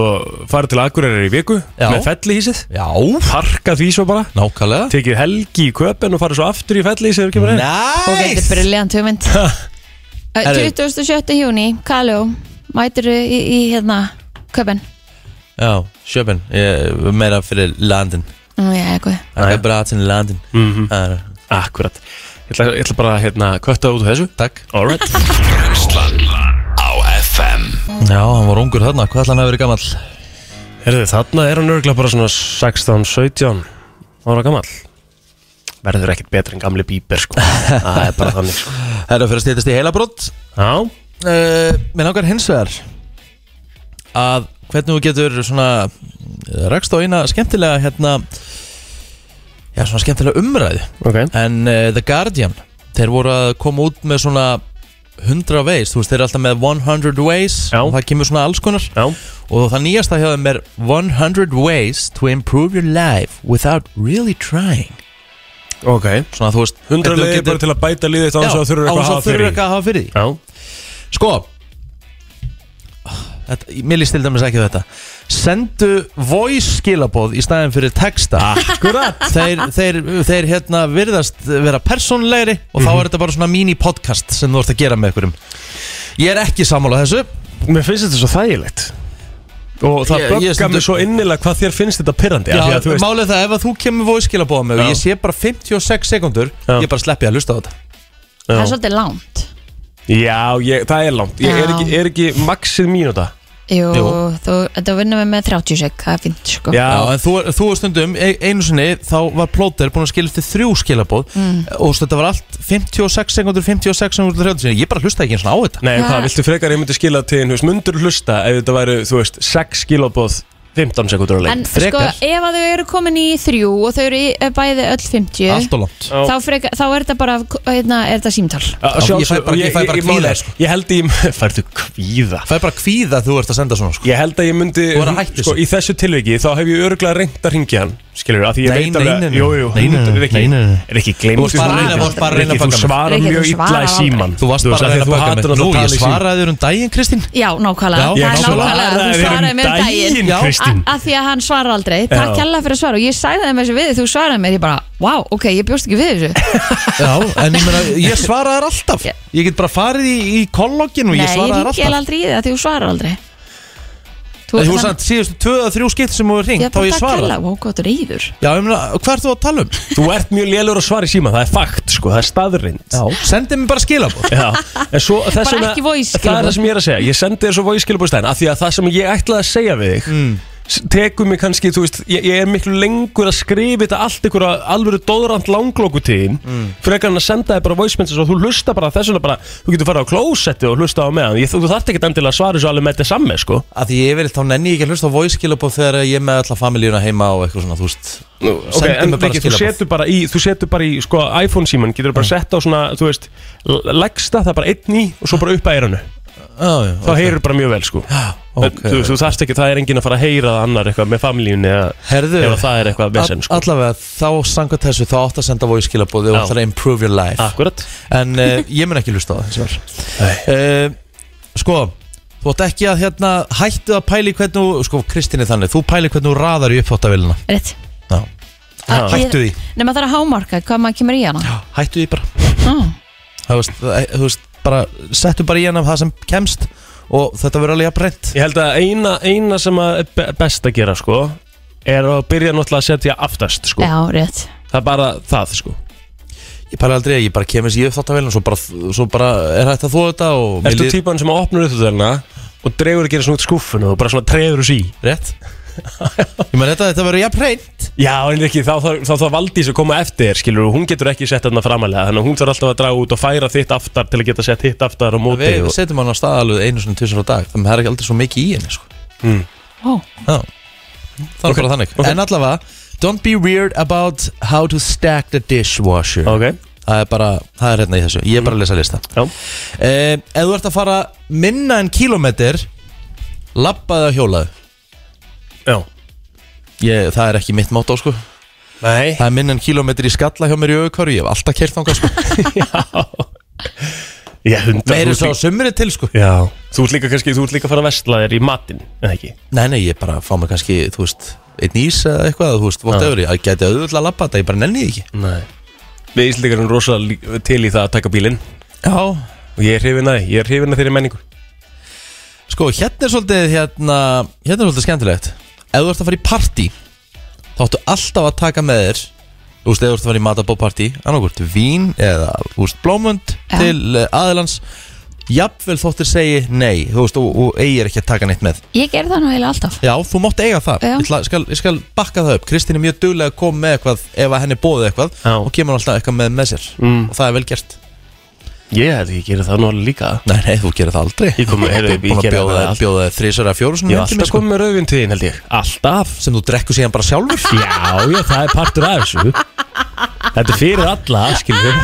[SPEAKER 3] farið til akureyrar í viku
[SPEAKER 1] Já.
[SPEAKER 3] Með fellihísið
[SPEAKER 1] Já,
[SPEAKER 3] Parkað því svo bara
[SPEAKER 1] nákvæmlega
[SPEAKER 3] Tekið helgi í köpen og farið svo aftur í fellihísið ef kemur heim.
[SPEAKER 2] Ok, þetta er
[SPEAKER 1] Næs
[SPEAKER 2] briljant hugmynd Eh,
[SPEAKER 1] Herru.
[SPEAKER 2] 27. júni, Kaljó mætur í, í hérna köpen
[SPEAKER 1] Já, sjöfinn, meira fyrir landin
[SPEAKER 2] Nú, já, eitthvað
[SPEAKER 1] Það er bara aðsinn landin
[SPEAKER 3] Mhm.
[SPEAKER 1] Það er-
[SPEAKER 3] Akkurat Ég ætla, ég ætla bara að hérna, kötta út úr þessu
[SPEAKER 1] Takk
[SPEAKER 3] Alright
[SPEAKER 4] Brennslan á FM
[SPEAKER 1] Já, hann var ungur þarna, hvað ætla hann að vera gamall?
[SPEAKER 3] Herðu, þarna er hann örgulega bara svona 16-17 ára gamall Verður ekkert betur en gamli bíber sko Það er bara þannig sko
[SPEAKER 1] Það er að fyrir að stýtast í heilabrott
[SPEAKER 3] Já,
[SPEAKER 1] uh, Mér langar hins vegar að hvernig þú getur svona eh, rakst á eina skemmtilega hérna já, svona skemmtilega umræðu
[SPEAKER 3] ok
[SPEAKER 1] en uh, The Guardian þeir voru að koma út með svona 100 ways, þú veist þeir eru alltaf með 100 ways
[SPEAKER 3] Já.
[SPEAKER 1] og það kemur svona alls konar
[SPEAKER 3] Já,
[SPEAKER 1] og það nýjasta hjá þeim er 100 ways to improve your life without really trying
[SPEAKER 3] ok
[SPEAKER 1] svona þú veist hvernig
[SPEAKER 3] 100
[SPEAKER 1] þú
[SPEAKER 3] leiðir
[SPEAKER 1] getur-
[SPEAKER 3] bara til að bæta líðið
[SPEAKER 1] Já,
[SPEAKER 3] þess að þurfa
[SPEAKER 1] án
[SPEAKER 3] eitthvað að
[SPEAKER 1] þess
[SPEAKER 3] hafa
[SPEAKER 1] að þurfa
[SPEAKER 3] fyrir
[SPEAKER 1] eitthvað að hafa fyrir því
[SPEAKER 3] Já,
[SPEAKER 1] Sko þetta, Mér líst til dæmis ekki á þetta Sendu voice skilaboð í staðin fyrir texta Akkurat þeir, þeir, þeir hérna virðast vera persónlegri Og þá
[SPEAKER 3] Mhm.
[SPEAKER 1] er þetta bara svona mini podcast sem þú ert að gera með ykkurum Ég er ekki sammála þessu
[SPEAKER 3] mér finnst þetta svo þægilegt Og það
[SPEAKER 1] Ég- ég
[SPEAKER 3] böggar
[SPEAKER 1] stundum-
[SPEAKER 3] mig svo innilega hvað þér finnst þetta pyrrandi
[SPEAKER 1] Já,
[SPEAKER 3] að, þú veist,
[SPEAKER 1] Málið er það ef að þú kemur voice skilaboð með
[SPEAKER 3] Já.
[SPEAKER 1] Og ég sé bara 56 sekundur
[SPEAKER 3] Já.
[SPEAKER 1] Ég bara sleppi að hlusta á þetta
[SPEAKER 2] Það er
[SPEAKER 3] já.
[SPEAKER 2] svolítið langt
[SPEAKER 3] já ég, það er langt Ég er
[SPEAKER 2] Já.
[SPEAKER 3] ekki, er ekki maxið mínúta
[SPEAKER 2] Jú,
[SPEAKER 1] Jú.
[SPEAKER 2] þú, þú vinnum við með 30 sek Það er fínt, sko
[SPEAKER 3] Já,
[SPEAKER 1] Já, en þú, þú er stundum, e- einu sinni þá var plóter búin að skilja eftir þrjú skilabóð og þetta var allt 56 sekundur, 56 sekundur, 30 sekundur, ég bara hlusta ekki eins og á þetta.
[SPEAKER 3] Nei, en
[SPEAKER 2] Já.
[SPEAKER 3] hvað, viltu frekar ég myndi skila til, þú veist, mundur hlusta ef þetta væri, þú veist, 6 skilabóð 15 sekundur að leið
[SPEAKER 2] En
[SPEAKER 1] frekar.
[SPEAKER 2] sko, ef að þau eru komin í þrjú og þau eru í, eh, bæði öll 50
[SPEAKER 1] Allt og langt.
[SPEAKER 2] þá, freka, þá er þetta bara hérna, er þetta símtal
[SPEAKER 3] Að
[SPEAKER 1] Já, ég
[SPEAKER 3] sjálfsög-
[SPEAKER 1] fæ bara- ég fæ bara
[SPEAKER 3] mál
[SPEAKER 1] kvíða,
[SPEAKER 3] er,
[SPEAKER 1] sko.
[SPEAKER 3] Ég held ég, færðu kvíða
[SPEAKER 1] Það er bara kvíða að þú ert að senda svona sko.
[SPEAKER 3] Ég held að ég
[SPEAKER 1] Þú
[SPEAKER 3] myndi,
[SPEAKER 1] verður að hætta
[SPEAKER 3] sko,
[SPEAKER 1] þessu.
[SPEAKER 3] í þessu tilviki Þá hef ég örgulega reynd að ringja hann, skilur Því ég
[SPEAKER 1] Nei,
[SPEAKER 3] veit
[SPEAKER 1] nei,
[SPEAKER 3] alveg,
[SPEAKER 1] nei, nei.
[SPEAKER 3] jú, jú,
[SPEAKER 1] Nei, nei, nei,
[SPEAKER 3] er ekki,
[SPEAKER 1] nei, nei, nei.
[SPEAKER 3] er ekki glemt
[SPEAKER 1] Þú varst bara að reyna- þú varst bara að reyna að
[SPEAKER 3] Þú
[SPEAKER 1] bugga mig.
[SPEAKER 3] svarar
[SPEAKER 2] Rikki, þú
[SPEAKER 3] mjög illa
[SPEAKER 2] svarar
[SPEAKER 3] í
[SPEAKER 2] aldrei.
[SPEAKER 3] síman
[SPEAKER 1] Þú varst bara að reyna að baka mig. Nú, ég svaraði þér um daginn, Kristín.
[SPEAKER 2] Já, nákvæmlega,
[SPEAKER 1] Já,
[SPEAKER 2] það er
[SPEAKER 1] nákvæmlega.
[SPEAKER 2] nákvæmlega Þú svaraði mér um daginn
[SPEAKER 1] Já.
[SPEAKER 3] Kristín
[SPEAKER 2] að því að hann svarar aldrei Takk
[SPEAKER 3] Já.
[SPEAKER 2] hella fyrir að svara og ég sæði það með þessu við þig, þú svaraði mér, ég bara, wow, ok, ég bjóst ekki við þessu
[SPEAKER 1] Já, en ég meina, ég svaraði þér alltaf. Ég get bara farið í, í kollokkin og
[SPEAKER 2] Nei,
[SPEAKER 1] ég
[SPEAKER 2] ég
[SPEAKER 1] svaraði þér
[SPEAKER 2] ringi
[SPEAKER 1] alltaf.
[SPEAKER 2] aldrei í það því þú svarar aldrei
[SPEAKER 1] En
[SPEAKER 2] Þú ert
[SPEAKER 1] Þú
[SPEAKER 2] þannig-
[SPEAKER 1] samt síðustu tvö að þrjú skipt sem þú er
[SPEAKER 2] Ég
[SPEAKER 1] ringt,
[SPEAKER 2] er
[SPEAKER 1] þá
[SPEAKER 2] bara
[SPEAKER 1] ég
[SPEAKER 2] takk hella,
[SPEAKER 1] svaraði.
[SPEAKER 2] wow, hvað þú reyður
[SPEAKER 1] Já, ég meina, hvað ert þú að tala um?
[SPEAKER 3] Þú ert mjög lélur að svara í síman, það er fakt, sko, það er staðrind
[SPEAKER 1] Já, sendi mér bara skilabóð.
[SPEAKER 3] Já, en svo þess
[SPEAKER 2] Bara
[SPEAKER 3] vegna-
[SPEAKER 2] ekki voice
[SPEAKER 3] Það er
[SPEAKER 2] skilaboð.
[SPEAKER 3] það sem ég er að segja, ég sendi þér svo voice skilabóð í stæðin Af því að það sem ég ætlaði að segja við þig mm. Tekur mig kannski, þú veist, ég, ég er miklu lengur að skrifa þetta allt Einhverja alvöru dóðrand langlókutíðin mm. Frekar en að senda þér bara voice messages Og þú hlusta bara þess vegna bara, þú getur farið á klósetti og hlusta á meðan ég, Þú þarft ekki endilega að svara þessu alveg með þetta samme, sko
[SPEAKER 1] Af því ég vil þá nenni ég ekki að hlusta á voice skilabóð þegar ég er með alla familíuna heima og eitthvað svona, þú veist Nú,
[SPEAKER 3] Ok, en Riki, þú setur bara í, þú setur bara í, sko, iPhone síman Getur bara sett á svona, þú veist, l- leggsta það bara einn í Og svo bara upp að eiranu
[SPEAKER 1] ah, já,
[SPEAKER 3] þá okay. heyrur bara mjög vel sko
[SPEAKER 1] Ah, ok.
[SPEAKER 3] þú, þú þarft ekki, það er enginn að fara að heyra það annar eitthvað með familíunni eða
[SPEAKER 1] Herðu,
[SPEAKER 3] ef það er eitthvað vesen sko.
[SPEAKER 1] allavega þá sangat þessu þá átt að senda voice skilabóð og
[SPEAKER 3] Já.
[SPEAKER 1] það er improve your life
[SPEAKER 3] Akkurat
[SPEAKER 1] en uh, ég mun ekki hlusta á það hins vegar. uh, sko þú átt ekki að hérna hættu að pæli hvernig þú- sko Kristín er þannig, þú pæli hvernig þú raðar í uppþóttavélina
[SPEAKER 2] Rétt,
[SPEAKER 1] Já.
[SPEAKER 2] Að-
[SPEAKER 1] Já. Hættu því.
[SPEAKER 2] ég- Nei, maður þarf að hámarka hvað maður kemur í hana
[SPEAKER 1] hættu því bara
[SPEAKER 2] Já,
[SPEAKER 1] það, veist, það, þú veist, bara settu bara í hann af það sem kemst og þetta verður alveg að breynt
[SPEAKER 3] Ég held að eina, eina sem að er be- best að gera sko er að byrja náttúrulega að setja aftast sko
[SPEAKER 2] já rétt
[SPEAKER 3] Það er bara það sko
[SPEAKER 1] ég pæla aldrei að ég bara kemur sér í uppþáttavélina og svo bara, svo bara er hægt að þú þetta og mér
[SPEAKER 3] Ertu
[SPEAKER 1] líður-
[SPEAKER 3] típan sem opnur upp þetta og dregur að gera svona út skúffinu og bara svona treður þessu í
[SPEAKER 1] rétt ég meina þetta, þetta verður jafn reynd
[SPEAKER 3] Já, en ekki, þá þá- þá þá Valdís að koma eftir þér, skilur, hún getur ekki sett þarna framalega þannig að hún þarf alltaf að draga út og færa þitt aftar til að geta sett hitt aftar á móti
[SPEAKER 1] við
[SPEAKER 3] og...
[SPEAKER 1] setjum hann á stað alveg einu svona tvisar á dag þannig að það er ekki aldrei svo mikið í henni sko.
[SPEAKER 2] Ó,
[SPEAKER 1] Já. það er bara þannig
[SPEAKER 3] ok.
[SPEAKER 1] en allavega, don't be weird about how to stack the dishwasher
[SPEAKER 3] Ok,
[SPEAKER 1] það er bara, það er hérna í þessu ég er bara að lesa lista
[SPEAKER 3] já,
[SPEAKER 1] Eh, ef þú ert að fara minna en kílómetr Lappaði að hjólaði
[SPEAKER 3] já
[SPEAKER 1] ég, Það er ekki mitt mátó sko
[SPEAKER 3] Nei
[SPEAKER 1] Það er minna en kílómetr í skalla hjá mér í auðkváru Ég hef alltaf kert þangað sko
[SPEAKER 3] Ég hundra
[SPEAKER 1] Meiri svo sömurinn til sko
[SPEAKER 3] Já, þú ert líka kannski, þú ert líka að fara að vestla þér í matinn, en ekki
[SPEAKER 1] Nei, nei, ég bara fá mig kannski, þú veist Einn ís eða eitthvað, þú veist, vott öfri Það gæti auðvitað að lappa þetta, ég bara nenni því ekki
[SPEAKER 3] Nei Við Íslandikar erum rosalega til í það að taka bílinn
[SPEAKER 1] Já,
[SPEAKER 3] og ég er hrifin að því, ég er hrifin að þeirri menningu
[SPEAKER 1] sko, hérna er svolítið hérna, hérna er svolítið skemmtilegt Ef þú ert að fara í partí Þá áttu alltaf að taka með þér Þú veist, ef þú ert að fara í matabópartí Annarkvort vín eða, þú veist, blómund
[SPEAKER 2] Já.
[SPEAKER 1] Til eh, aðilans Jafnvel þóttir segi nei Þú veist, og, og eigir ekki að taka neitt með
[SPEAKER 2] ég ger það nú eiginlega alltaf
[SPEAKER 1] Já, þú mátt eiga það
[SPEAKER 2] Já.
[SPEAKER 1] ég, ætla, skal, ég skal bakka það upp Kristín er mjög duglega að koma með eitthvað Ef að henni bóði eitthvað
[SPEAKER 3] Já.
[SPEAKER 1] Og kemur alltaf eitthvað með með sér
[SPEAKER 3] Mm.
[SPEAKER 1] Og það er vel gert
[SPEAKER 3] Ég held ekki að gera það nú alveg líka
[SPEAKER 1] Nei, nei, þú gerir það aldrei
[SPEAKER 3] Ég kom, heyrðu,
[SPEAKER 1] Búin
[SPEAKER 3] ég
[SPEAKER 1] að
[SPEAKER 3] gera það
[SPEAKER 1] bjóða,
[SPEAKER 3] alltaf
[SPEAKER 1] bjóða þrísar að fjóru
[SPEAKER 3] Ég er alltaf komið með rauðvinn til þín held ég Alltaf
[SPEAKER 1] sko. sem þú drekku síðan bara sjálfur
[SPEAKER 3] Já, já, það er partur af þessu Þetta er fyrir alla, skilur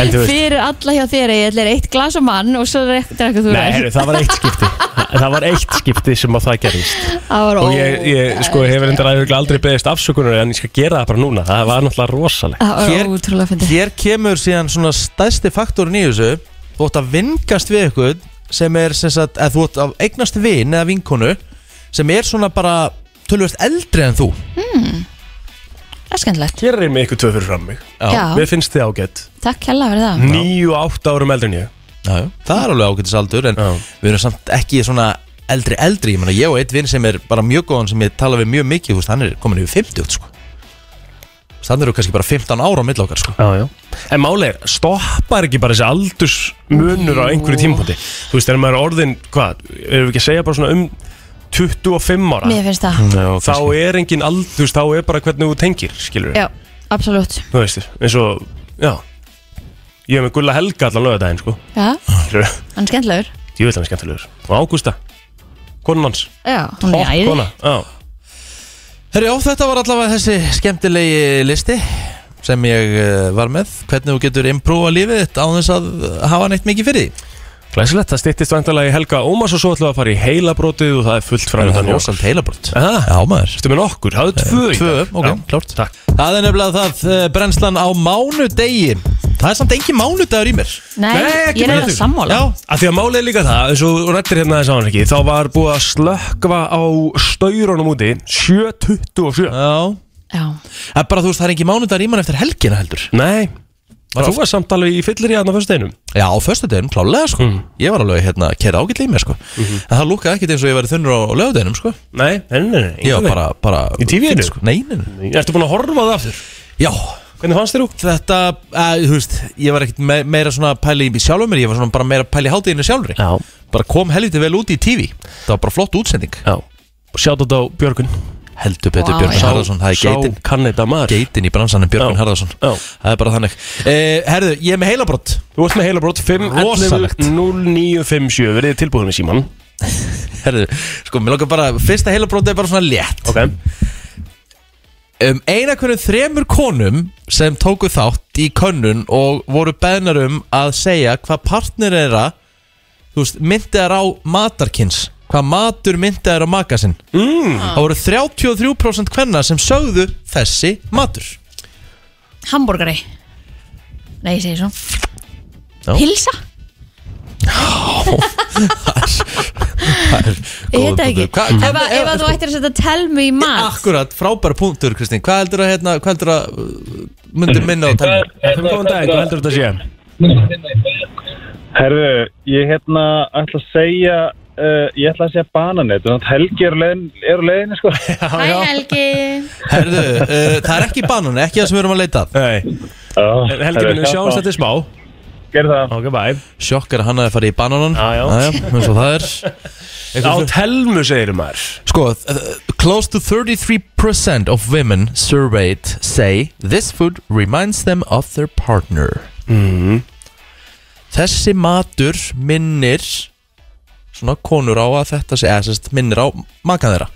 [SPEAKER 3] En þú veist
[SPEAKER 2] Fyrir alla hjá þér ég ætlir eitt glas á mann og svo rektur ekki þú
[SPEAKER 3] Nei,
[SPEAKER 2] vel.
[SPEAKER 3] heyrðu, það var eitt skipti Það var eitt skipti sem að það gerist
[SPEAKER 2] Það var
[SPEAKER 3] Og ég, ég sko, hefur endur aldrei beðist afsökunar En ég skal gera það bara núna Það var náttúrulega rosalega
[SPEAKER 2] Það var
[SPEAKER 1] Hér-
[SPEAKER 2] ótrúlega fyndið
[SPEAKER 1] Hér kemur síðan svona stæðsti faktorinn í þessu Þú ætti að vingast við ykkur sem er sem sagt, að þú ætti að eignast vin eða vinkonu sem er svona bara tölvöld eldri en þú
[SPEAKER 2] Það er skemmtilegt
[SPEAKER 3] Hér er mig ykkur tvö fyrir fram mig
[SPEAKER 2] Já,
[SPEAKER 3] Mér finnst þið ágætt
[SPEAKER 2] takk hella fyrir það
[SPEAKER 3] Níu og átta árum eldri en ég
[SPEAKER 1] já, já. Það er alveg ágætis aldur en
[SPEAKER 3] Já.
[SPEAKER 1] við erum samt ekki svona eldri eldri Ég, meina, ég og einn vin sem er bara mjög góðan sem ég tala við mjög mikið þú veist, hann er komin yfir 50 sko. Þú veist, hann eru kannski bara 15 ára á milli okkar sko.
[SPEAKER 3] Já, já. En máli er, stoppar ekki bara þessi aldursmunur á einhverju tímpúti Þú veist, þegar maður er orðin, hvað, erum við ekki að segja bara svona um 25 ára
[SPEAKER 2] Mér finnst það
[SPEAKER 1] já,
[SPEAKER 3] Þá er engin aldurs, þá er bara hvernig þú tengir, skilur við
[SPEAKER 2] Já, absolutt
[SPEAKER 3] Þú veist, eins og, já Ég hef með Gulla Helga allan lögadaginn, sko
[SPEAKER 2] Já,
[SPEAKER 3] Skilur við,
[SPEAKER 2] hann er skemmtilegur
[SPEAKER 3] ég vil hann er skemmtilegur Og Ágústa, konan hans,
[SPEAKER 2] Já, hún er æði
[SPEAKER 3] kona Já,
[SPEAKER 1] Herjá, þetta var allavega þessi skemmtilegi listi sem ég eh, var með hvernig þú getur improva lífið þitt án þess að hafa neitt mikið fyrir því
[SPEAKER 3] glæsilegt, það styttist vandalega í Helga Ómars og svo ætlum við að fara í heilabrótið og það er fullt
[SPEAKER 1] Það er
[SPEAKER 3] framöndan
[SPEAKER 1] rosalega heilabrott
[SPEAKER 3] Þetta
[SPEAKER 1] Já maður
[SPEAKER 3] með nokkur, hafðu tvö í
[SPEAKER 1] Tvö,
[SPEAKER 3] dag.
[SPEAKER 1] ok,
[SPEAKER 3] Já,
[SPEAKER 1] klárt.
[SPEAKER 3] Takk
[SPEAKER 1] Það er nefnilega það eh, brennslan á mánudegi Það er samt engin mánudagur í mér
[SPEAKER 2] Nei,
[SPEAKER 3] Nei, ekki
[SPEAKER 2] ég er
[SPEAKER 3] betur.
[SPEAKER 2] eitthvað sammála
[SPEAKER 3] að því að málið er líka það, eins og rættir hérna þess aðan ekki, þá var búið að slökkva á staurunum úti 7.27
[SPEAKER 1] Já
[SPEAKER 2] Já,
[SPEAKER 1] Það er bara þú veist, það er engin mánudagur í mér eftir helgina heldur
[SPEAKER 3] Nei, þú var samt alveg í fyllir í aðna fyrsteinum
[SPEAKER 1] Já, á föstudeginum, klálega
[SPEAKER 3] Mhm.
[SPEAKER 1] sko Ég var alveg hérna, kera ágætlega í mér sko En það lúkaði ekkert eins og ég verið þunnur á lögudeginum sko
[SPEAKER 3] Nei, nei, nei, nei
[SPEAKER 1] Ég var bara, bara
[SPEAKER 3] Í TV -inu?
[SPEAKER 1] fínn, sko. Nei, nei, nei
[SPEAKER 3] engan veginn. Ertu búin að horfa á það aftur?
[SPEAKER 1] Já,
[SPEAKER 3] Hvernig fannst þér þú?
[SPEAKER 1] þetta, að, þú veist, ég var ekkert me meira svona pæli í sjálfum mér, ég var svona bara meira pæli í hátíðinu sjálfri.
[SPEAKER 3] Já,
[SPEAKER 1] Bara kom helviti vel út í TV. Það var bara flott útsending.
[SPEAKER 3] já Sjátt á Björgun
[SPEAKER 1] Heldur betur
[SPEAKER 2] Vá,
[SPEAKER 1] Björgun
[SPEAKER 2] já.
[SPEAKER 1] Harðarsson, það er geitin,
[SPEAKER 3] Sá kanneta maður
[SPEAKER 1] geitin í bransanum Björgun
[SPEAKER 3] Já.
[SPEAKER 1] Harðarsson.
[SPEAKER 3] Já.
[SPEAKER 1] Það er bara þannig. Eh, herðu, ég er með heilabrott.
[SPEAKER 3] Þú ert með heilabrót 5
[SPEAKER 1] Rosalegt.
[SPEAKER 3] 11 0957 Verðið þið tilbúin með síman
[SPEAKER 1] Herðu, sko, mér langar bara, fyrsta heilabrott er bara svona létt.
[SPEAKER 3] Ok
[SPEAKER 1] Um eina hvernig þremur konum sem tóku þátt í könnun og voru beðnar um að segja hvað partner þeirra, þú veist, myndi þær á matarkins. Hvað matur myndi þær á makasinn.
[SPEAKER 3] mm.
[SPEAKER 1] Það voru 33% hvenna sem sögðu þessi matur
[SPEAKER 2] hambúrgari Nei, ég segi svona
[SPEAKER 1] Já.
[SPEAKER 2] Pilsa
[SPEAKER 1] Það er góður
[SPEAKER 2] Ég veit það ekki
[SPEAKER 1] punktur. Hvað- sko-
[SPEAKER 2] Ef, að- ef að þú ættir að setja tell me í mat
[SPEAKER 1] Akkurat, frábæra punktur Kristín Hvað heldur að, hérna, hvað heldur að uh, myndi minna á tæmi?
[SPEAKER 3] Efum góðan dag, Mm. hvað heldur þetta að sé?
[SPEAKER 5] Herðu, ég hérna ætla að segja uh, ég ætla að segja bananett þannig að Helgi er á leiðin, er á leiðinni sko
[SPEAKER 2] Hæ Helgi
[SPEAKER 1] Herðu, uh, það er ekki banan, ekki það sem við erum að leita að
[SPEAKER 3] Nei,
[SPEAKER 5] oh,
[SPEAKER 3] Helgi minn, við sjáumst þetta í smá Ok,
[SPEAKER 5] Gerð það
[SPEAKER 3] bye
[SPEAKER 1] Sjokk er að hann hafi farið í bananan
[SPEAKER 3] Já, já.
[SPEAKER 1] eins og það er
[SPEAKER 3] Á
[SPEAKER 1] Eitthvað-
[SPEAKER 3] telmu segir maður
[SPEAKER 1] Sko, uh, close to 33% of women surveyed say this food reminds them of their partner.
[SPEAKER 3] Mhm.
[SPEAKER 1] Þessi matur minnir svona konur á að þetta sé, eða sérst minnir á makan þeirra.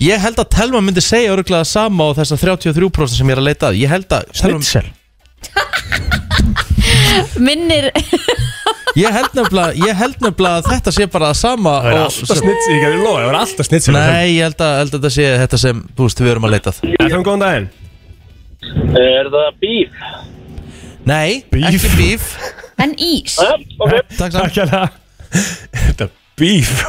[SPEAKER 1] Ég held að Telma myndi segja öruglega sama á þessa 33% sem ég er að leita að. Ég held að Telma,
[SPEAKER 3] Snitsel
[SPEAKER 2] Minnir
[SPEAKER 1] ég held nefnilega, ég held nefnilega að þetta sé bara það sama
[SPEAKER 3] Það er
[SPEAKER 1] og-
[SPEAKER 3] alltaf snitsel, ég gæti lofa, það er alltaf snitsel
[SPEAKER 1] Nei, ég held að, held að þetta sé þetta sem, búst, við erum að leitað.
[SPEAKER 3] Efum góðan daginn
[SPEAKER 5] Er það bíf?
[SPEAKER 1] Nei, ekki bíf.
[SPEAKER 2] En ís
[SPEAKER 1] Takk samt.
[SPEAKER 3] Takk hérna Þetta bíf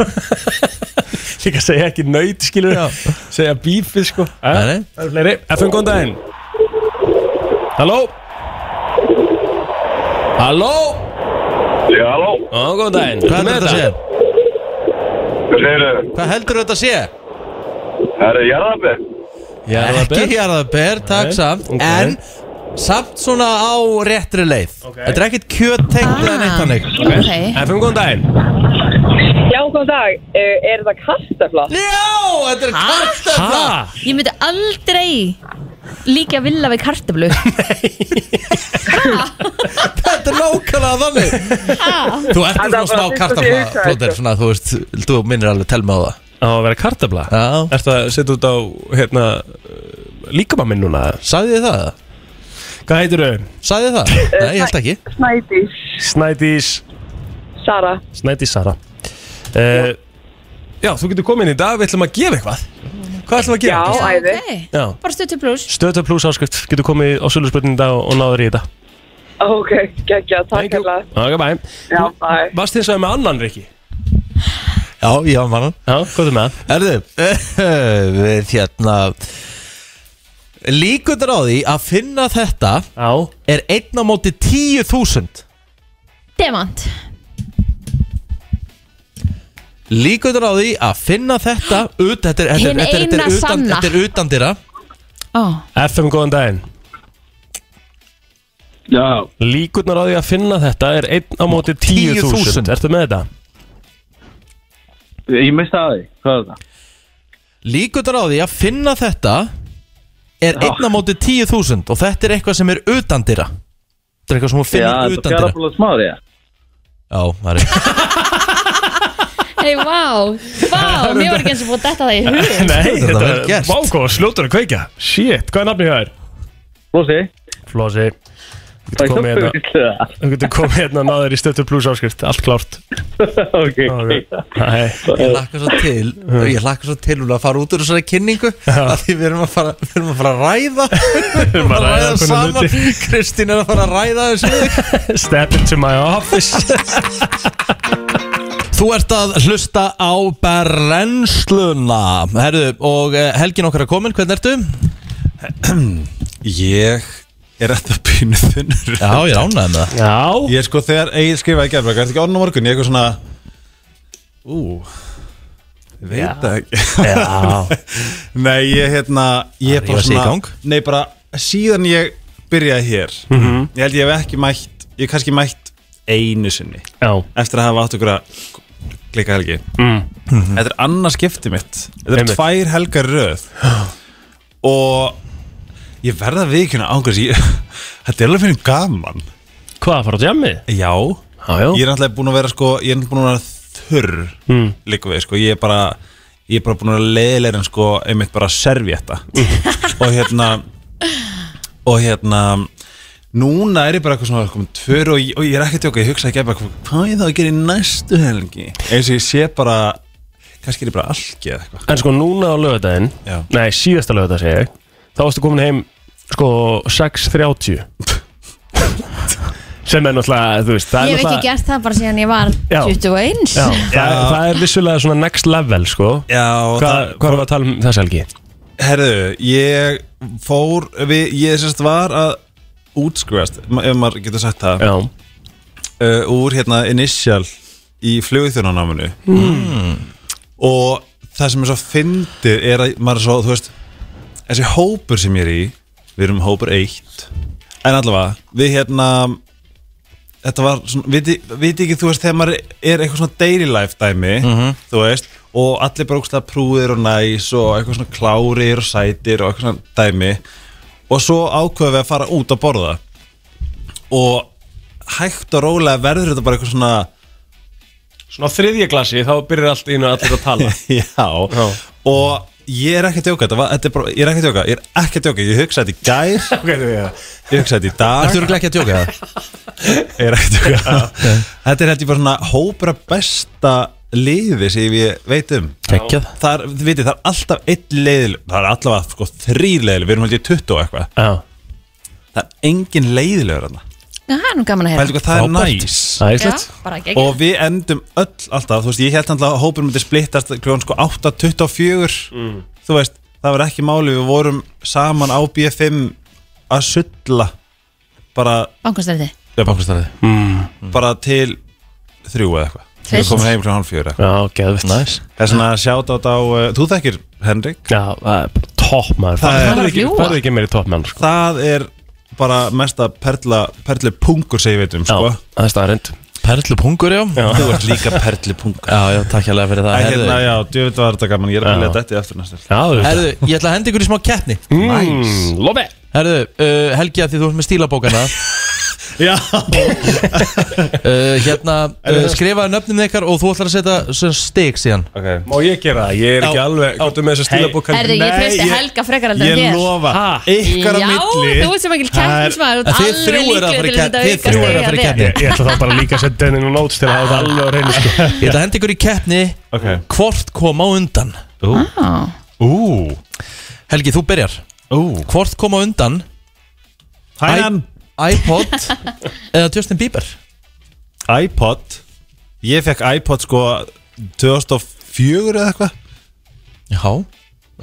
[SPEAKER 3] Líka segja ekki nöyt skilur
[SPEAKER 1] Já.
[SPEAKER 3] Segja bífið sko Eh,
[SPEAKER 1] Nei, nei.
[SPEAKER 3] Það er fleiri Efum góðan daginn Halló Halló
[SPEAKER 5] Já, halló
[SPEAKER 3] Ó, góðan daginn
[SPEAKER 1] Hvað heldur þetta að sé?
[SPEAKER 5] Hvað segirðu?
[SPEAKER 1] Hvað heldur þetta að sé?
[SPEAKER 5] Er það jarðabæð?
[SPEAKER 3] Já, það er
[SPEAKER 1] Ekki hérna.
[SPEAKER 3] ber
[SPEAKER 1] jarðaber, takk
[SPEAKER 3] Nei,
[SPEAKER 1] samt
[SPEAKER 3] ok.
[SPEAKER 1] En samt svona á réttri leið
[SPEAKER 3] Ok.
[SPEAKER 1] Þetta er ekkert kjöttengt eða neitt þannig
[SPEAKER 2] Ok
[SPEAKER 3] Efum góðan daginn
[SPEAKER 6] Já, góðan dag. Uh, er það kartafla?
[SPEAKER 1] Já, þetta er kartafla
[SPEAKER 3] Ha?
[SPEAKER 2] Ég myndi aldrei líka vilja við kartablu
[SPEAKER 1] Þetta er nákvæmlega þannig Þú ert nú
[SPEAKER 6] Þetta
[SPEAKER 1] svona
[SPEAKER 6] var
[SPEAKER 1] smá
[SPEAKER 6] fyrst og
[SPEAKER 1] kartafla
[SPEAKER 6] síðast,
[SPEAKER 1] Plóter,
[SPEAKER 6] sko.
[SPEAKER 1] svona, þú veist, þú minnir alveg telma á það
[SPEAKER 3] Á að vera kartabla
[SPEAKER 1] Já,
[SPEAKER 3] Ertu að setja út á hérna Líkamaminn núna
[SPEAKER 1] sagði þið það?
[SPEAKER 3] Hvað heitir þau?
[SPEAKER 1] Sagði þið það? Nei, ég held ekki
[SPEAKER 6] Snædís.
[SPEAKER 3] Snædís
[SPEAKER 6] Sara.
[SPEAKER 3] Snæti Sara uh, Já, þú getur komið inn í dag, við ætlum að gefa eitthvað Hvað ætlum við að
[SPEAKER 6] Já,
[SPEAKER 3] gefa?
[SPEAKER 6] æði.
[SPEAKER 2] Ok
[SPEAKER 3] Já.
[SPEAKER 2] Bara stötu pluss
[SPEAKER 3] Stöðtöð pluss áskrift, getur komið á söluspötnin í dag og, og náður í þetta
[SPEAKER 6] Ok, geggja, takk hella.
[SPEAKER 3] Ok, bæ
[SPEAKER 6] Já, bæ.
[SPEAKER 3] Varst þið eins og með annan, Rikki?
[SPEAKER 1] Já, já, mannan
[SPEAKER 3] Já, hvað er með það?
[SPEAKER 1] Erðu, við hérna Líkundur á því að finna þetta
[SPEAKER 3] Já
[SPEAKER 1] er einn á móti 10.000
[SPEAKER 2] Demant
[SPEAKER 1] Líkundur á því að finna þetta ut, þetta, er, þetta, er,
[SPEAKER 2] Hin
[SPEAKER 1] þetta, er, þetta, er
[SPEAKER 2] eina
[SPEAKER 1] utan,
[SPEAKER 2] sanna.
[SPEAKER 1] þetta er utan dýra
[SPEAKER 2] Ó
[SPEAKER 3] FM, góðan daginn
[SPEAKER 5] Já
[SPEAKER 3] Líkurnar á því að finna þetta er einn á móti
[SPEAKER 1] 10.000.
[SPEAKER 3] 10.000 Ertu með þetta?
[SPEAKER 5] Ég misti að því Hvað er það?
[SPEAKER 1] Líkundur á því að finna þetta er einn á móti 10.000 og þetta er eitthvað sem er utan dýra Þetta er eitthvað sem hún
[SPEAKER 5] Já,
[SPEAKER 1] finnir
[SPEAKER 5] þetta
[SPEAKER 1] utan
[SPEAKER 5] er
[SPEAKER 1] dýra
[SPEAKER 5] jarðabæð smári, já
[SPEAKER 1] Já, það er rétt.
[SPEAKER 2] Hei, vá Vá, mér var ekki eins og búið að detta það í hug
[SPEAKER 3] Nei,
[SPEAKER 1] Þetta var vel gert.
[SPEAKER 3] vákó, sljótur að kveika Shit, hvað er nafnið hjá þér?
[SPEAKER 5] Flósi
[SPEAKER 3] Flósi Þú
[SPEAKER 5] Það
[SPEAKER 3] getur komið
[SPEAKER 5] er
[SPEAKER 3] hérna,
[SPEAKER 5] það
[SPEAKER 3] þú getur komið hérna náður í stöttur pluss áskrift Allt klárt
[SPEAKER 5] Ok,
[SPEAKER 3] Ok. Nei,
[SPEAKER 1] Ég hlakka svo til Ég hlakka svo til Úlfa, að fara út úr þessari kynningu að því við erum að fara, við erum að, fara að ræða Við erum að
[SPEAKER 3] að ræða
[SPEAKER 1] ræða
[SPEAKER 3] hvernig
[SPEAKER 1] saman
[SPEAKER 3] hluti.
[SPEAKER 1] Kristín er að fara að ræða þessu við
[SPEAKER 3] Step into my office
[SPEAKER 1] Þú ert að hlusta á brennsluna Herðu, og eh, helgin okkar er komin, hvernig ertu?
[SPEAKER 7] Ég er eftir pínu þunnur
[SPEAKER 1] Já, ég ránaði með það
[SPEAKER 3] Já
[SPEAKER 7] Ég er sko þegar Egil skrifaði gerð Er þetta ekki orðin á morgun? Ég er eitthvað svona Ú Ég veit það ekki
[SPEAKER 3] Já,
[SPEAKER 7] Nei, ég hérna Ég
[SPEAKER 1] Að
[SPEAKER 7] er bara
[SPEAKER 1] rífa sig í
[SPEAKER 7] svona
[SPEAKER 1] gang.
[SPEAKER 7] Nei, bara síðan ég byrjaði hér Ég held ég hef ekki mætt Ég hef kannski mætt einu sinni
[SPEAKER 3] já, Mm.
[SPEAKER 7] Eftir að hafa átt ykkur að klika helgi Þetta er annað skipti mitt Þetta er
[SPEAKER 3] Einmitt.
[SPEAKER 7] tvær helgar í röð Og Ég verða við ekki ángurs ég, Þetta er alveg fyrir gaman
[SPEAKER 3] hvað að fara á djamið?
[SPEAKER 7] Já
[SPEAKER 3] Já, já,
[SPEAKER 7] Ég er náttúrulega búin að vera sko Ég er náttúrulega búin að vera þurr mm. Líka við sko Ég er bara Ég er bara búin að vera leiðilegir en sko Einmitt bara servietta Og hérna Og hérna Núna er ég bara eitthvað svona komin tvör og, ég- og ég er ekki að tjóka, ég hugsa ekki bara hvað- hvað ég þá að gera í næstu helgi eins og ég sé bara kannski er ég bara algi eða eitthvað
[SPEAKER 3] en sko núna á lögadaginn
[SPEAKER 7] Já.
[SPEAKER 3] Nei, síðasta lögadag segi ég Þá varstu komin heim sko 6.30 sem er náttúrulega, þú
[SPEAKER 2] Ég hef
[SPEAKER 3] veist það er
[SPEAKER 2] ekki
[SPEAKER 3] náttúrulega-
[SPEAKER 2] gert það bara síðan ég var
[SPEAKER 3] Já.
[SPEAKER 2] 21
[SPEAKER 3] Já, það,
[SPEAKER 7] Já.
[SPEAKER 3] það er vissulega svona next level sko
[SPEAKER 7] Já, og
[SPEAKER 3] Hva,
[SPEAKER 7] það-
[SPEAKER 3] Hvað var að tala um þess helgi?
[SPEAKER 7] Herðu, ég fór við, Ég sérst var að útskrifast ma- Ef maður getur sagt það
[SPEAKER 3] Já,
[SPEAKER 7] uh, Úr hérna initial Í flugþjónanáminu mm. Og það sem er svo fyndið Er að maður er svo, þú veist Þessi hópur sem ég er í Við erum hópur eitt En allavega, við hérna Þetta var svona, viti, viti ekki, þú veist, þegar maður er eitthvað svona daily life dæmi, þú veist, og allir bara ógstlega prúðir og næs og eitthvað svona klárir og sætir og eitthvað svona dæmi og svo ákveðum við að fara út að borða og hægt og rólega verður þetta bara eitthvað svona
[SPEAKER 3] svona á þriðja glassi þá byrjar allt í einu allir að tala
[SPEAKER 7] Já,
[SPEAKER 3] Já.
[SPEAKER 7] og ég er ekki að djóka, þetta var, þetta er bara, ég er ekki að djóka, ég er ekki að djóka, ég hugsaði þetta í gær,
[SPEAKER 3] okay, þú, já.
[SPEAKER 7] ég hugsaði þetta í dag.
[SPEAKER 1] Ertu örugglega ekki að djóka það?
[SPEAKER 7] Ég er ekkert að tjóka Þetta er held ég bara svona hópur að besta liði sem ég veit um
[SPEAKER 1] Kekkjað.
[SPEAKER 7] Það er, þið vitið, það er alltaf einn leiðil Það er allavega sko þrýr leiðil Við erum held ég 20 og eitthvað
[SPEAKER 3] Já.
[SPEAKER 7] Það er engin leiðilegur þarna
[SPEAKER 2] Það er nú gaman að
[SPEAKER 7] Pældu
[SPEAKER 2] hérna
[SPEAKER 7] hvað það er
[SPEAKER 1] Frábært.
[SPEAKER 7] næs
[SPEAKER 3] Það er
[SPEAKER 2] Já,
[SPEAKER 3] slett
[SPEAKER 2] bara ekki
[SPEAKER 7] Og við endum öll alltaf Þú veist, ég held alltaf að hópur myndi splittast Kljóðan sko 8.24 Þú veist, það var ekki máli Við vorum saman á BFM Að sulla Bara,
[SPEAKER 2] Bankastræti
[SPEAKER 7] já, bankastæði Bara til þrjú eða eitthvað Mm. Við
[SPEAKER 2] Fyrst.
[SPEAKER 7] komum heim kljóðan hálf fjögur eitthvað
[SPEAKER 3] Já, geðvitt
[SPEAKER 1] Næs
[SPEAKER 7] Það er svona sjátt á þá, uh, þú þekkir Henrik
[SPEAKER 3] Já, það er bara topp maður
[SPEAKER 7] Það er-
[SPEAKER 3] er
[SPEAKER 2] Bara
[SPEAKER 3] ekki,
[SPEAKER 2] fljúga.
[SPEAKER 3] það er ekki meiri topp maður sko.
[SPEAKER 7] Það er bara mesta perla, perli pungur sem ég veit um
[SPEAKER 3] Já,
[SPEAKER 7] sko.
[SPEAKER 3] það er staðarind
[SPEAKER 1] Perlupungur, já
[SPEAKER 7] Þú ert líka perli pungur
[SPEAKER 1] Já, já, takk hérlega fyrir það Herðu,
[SPEAKER 7] Hérna, já, djöfitt var þetta gaman, ég er
[SPEAKER 3] Já.
[SPEAKER 7] að vilja þetta eftir næstil
[SPEAKER 3] Já, þú veist
[SPEAKER 1] herðu, ég ætla að henda ykkur í smá keppni
[SPEAKER 3] mm, Lofi
[SPEAKER 1] Herðu, uh, Helgi að því þú ert með stílabókana
[SPEAKER 3] Já
[SPEAKER 1] uh, Hérna, uh, skrifaðu nöfnum ykkar og þú ætlar að setja sem stig síðan
[SPEAKER 7] okay.
[SPEAKER 3] Má ég gera það? Ég er ekki
[SPEAKER 1] Já.
[SPEAKER 3] alveg Hvort er með þess að stíla bók
[SPEAKER 2] Erðu, ég
[SPEAKER 7] Nei,
[SPEAKER 2] treysti
[SPEAKER 7] ég-
[SPEAKER 2] Helga frekar heldur en
[SPEAKER 7] Ég
[SPEAKER 2] þér
[SPEAKER 7] lofa,
[SPEAKER 3] Ha?
[SPEAKER 7] ykkar á
[SPEAKER 2] Já,
[SPEAKER 7] milli
[SPEAKER 2] þú ert sem ekki
[SPEAKER 7] það er-
[SPEAKER 2] keppnismæður
[SPEAKER 1] En þið
[SPEAKER 2] Alveg
[SPEAKER 1] þrjú eru að fara
[SPEAKER 2] líklega
[SPEAKER 1] í
[SPEAKER 2] til þetta
[SPEAKER 1] kepp- þið
[SPEAKER 2] auka
[SPEAKER 1] þrjú eru að
[SPEAKER 2] stig
[SPEAKER 1] fara í
[SPEAKER 2] hjá þér.
[SPEAKER 1] keppni.
[SPEAKER 3] Ég ætla það bara líka að setja henni nú nóts til að hafa það alveg á reyni sko.
[SPEAKER 1] Ég ætla að henda ykkur í keppni
[SPEAKER 7] Ok.
[SPEAKER 1] Hvort kom á undan
[SPEAKER 2] Á.
[SPEAKER 7] Ú,
[SPEAKER 1] Helgi, þú byrjar
[SPEAKER 7] ú
[SPEAKER 1] Hvort kom á undan
[SPEAKER 7] Hænan,
[SPEAKER 1] iPod eða Justin Bieber
[SPEAKER 7] iPod Ég fekk iPod sko 2004 eða eitthvað
[SPEAKER 1] Já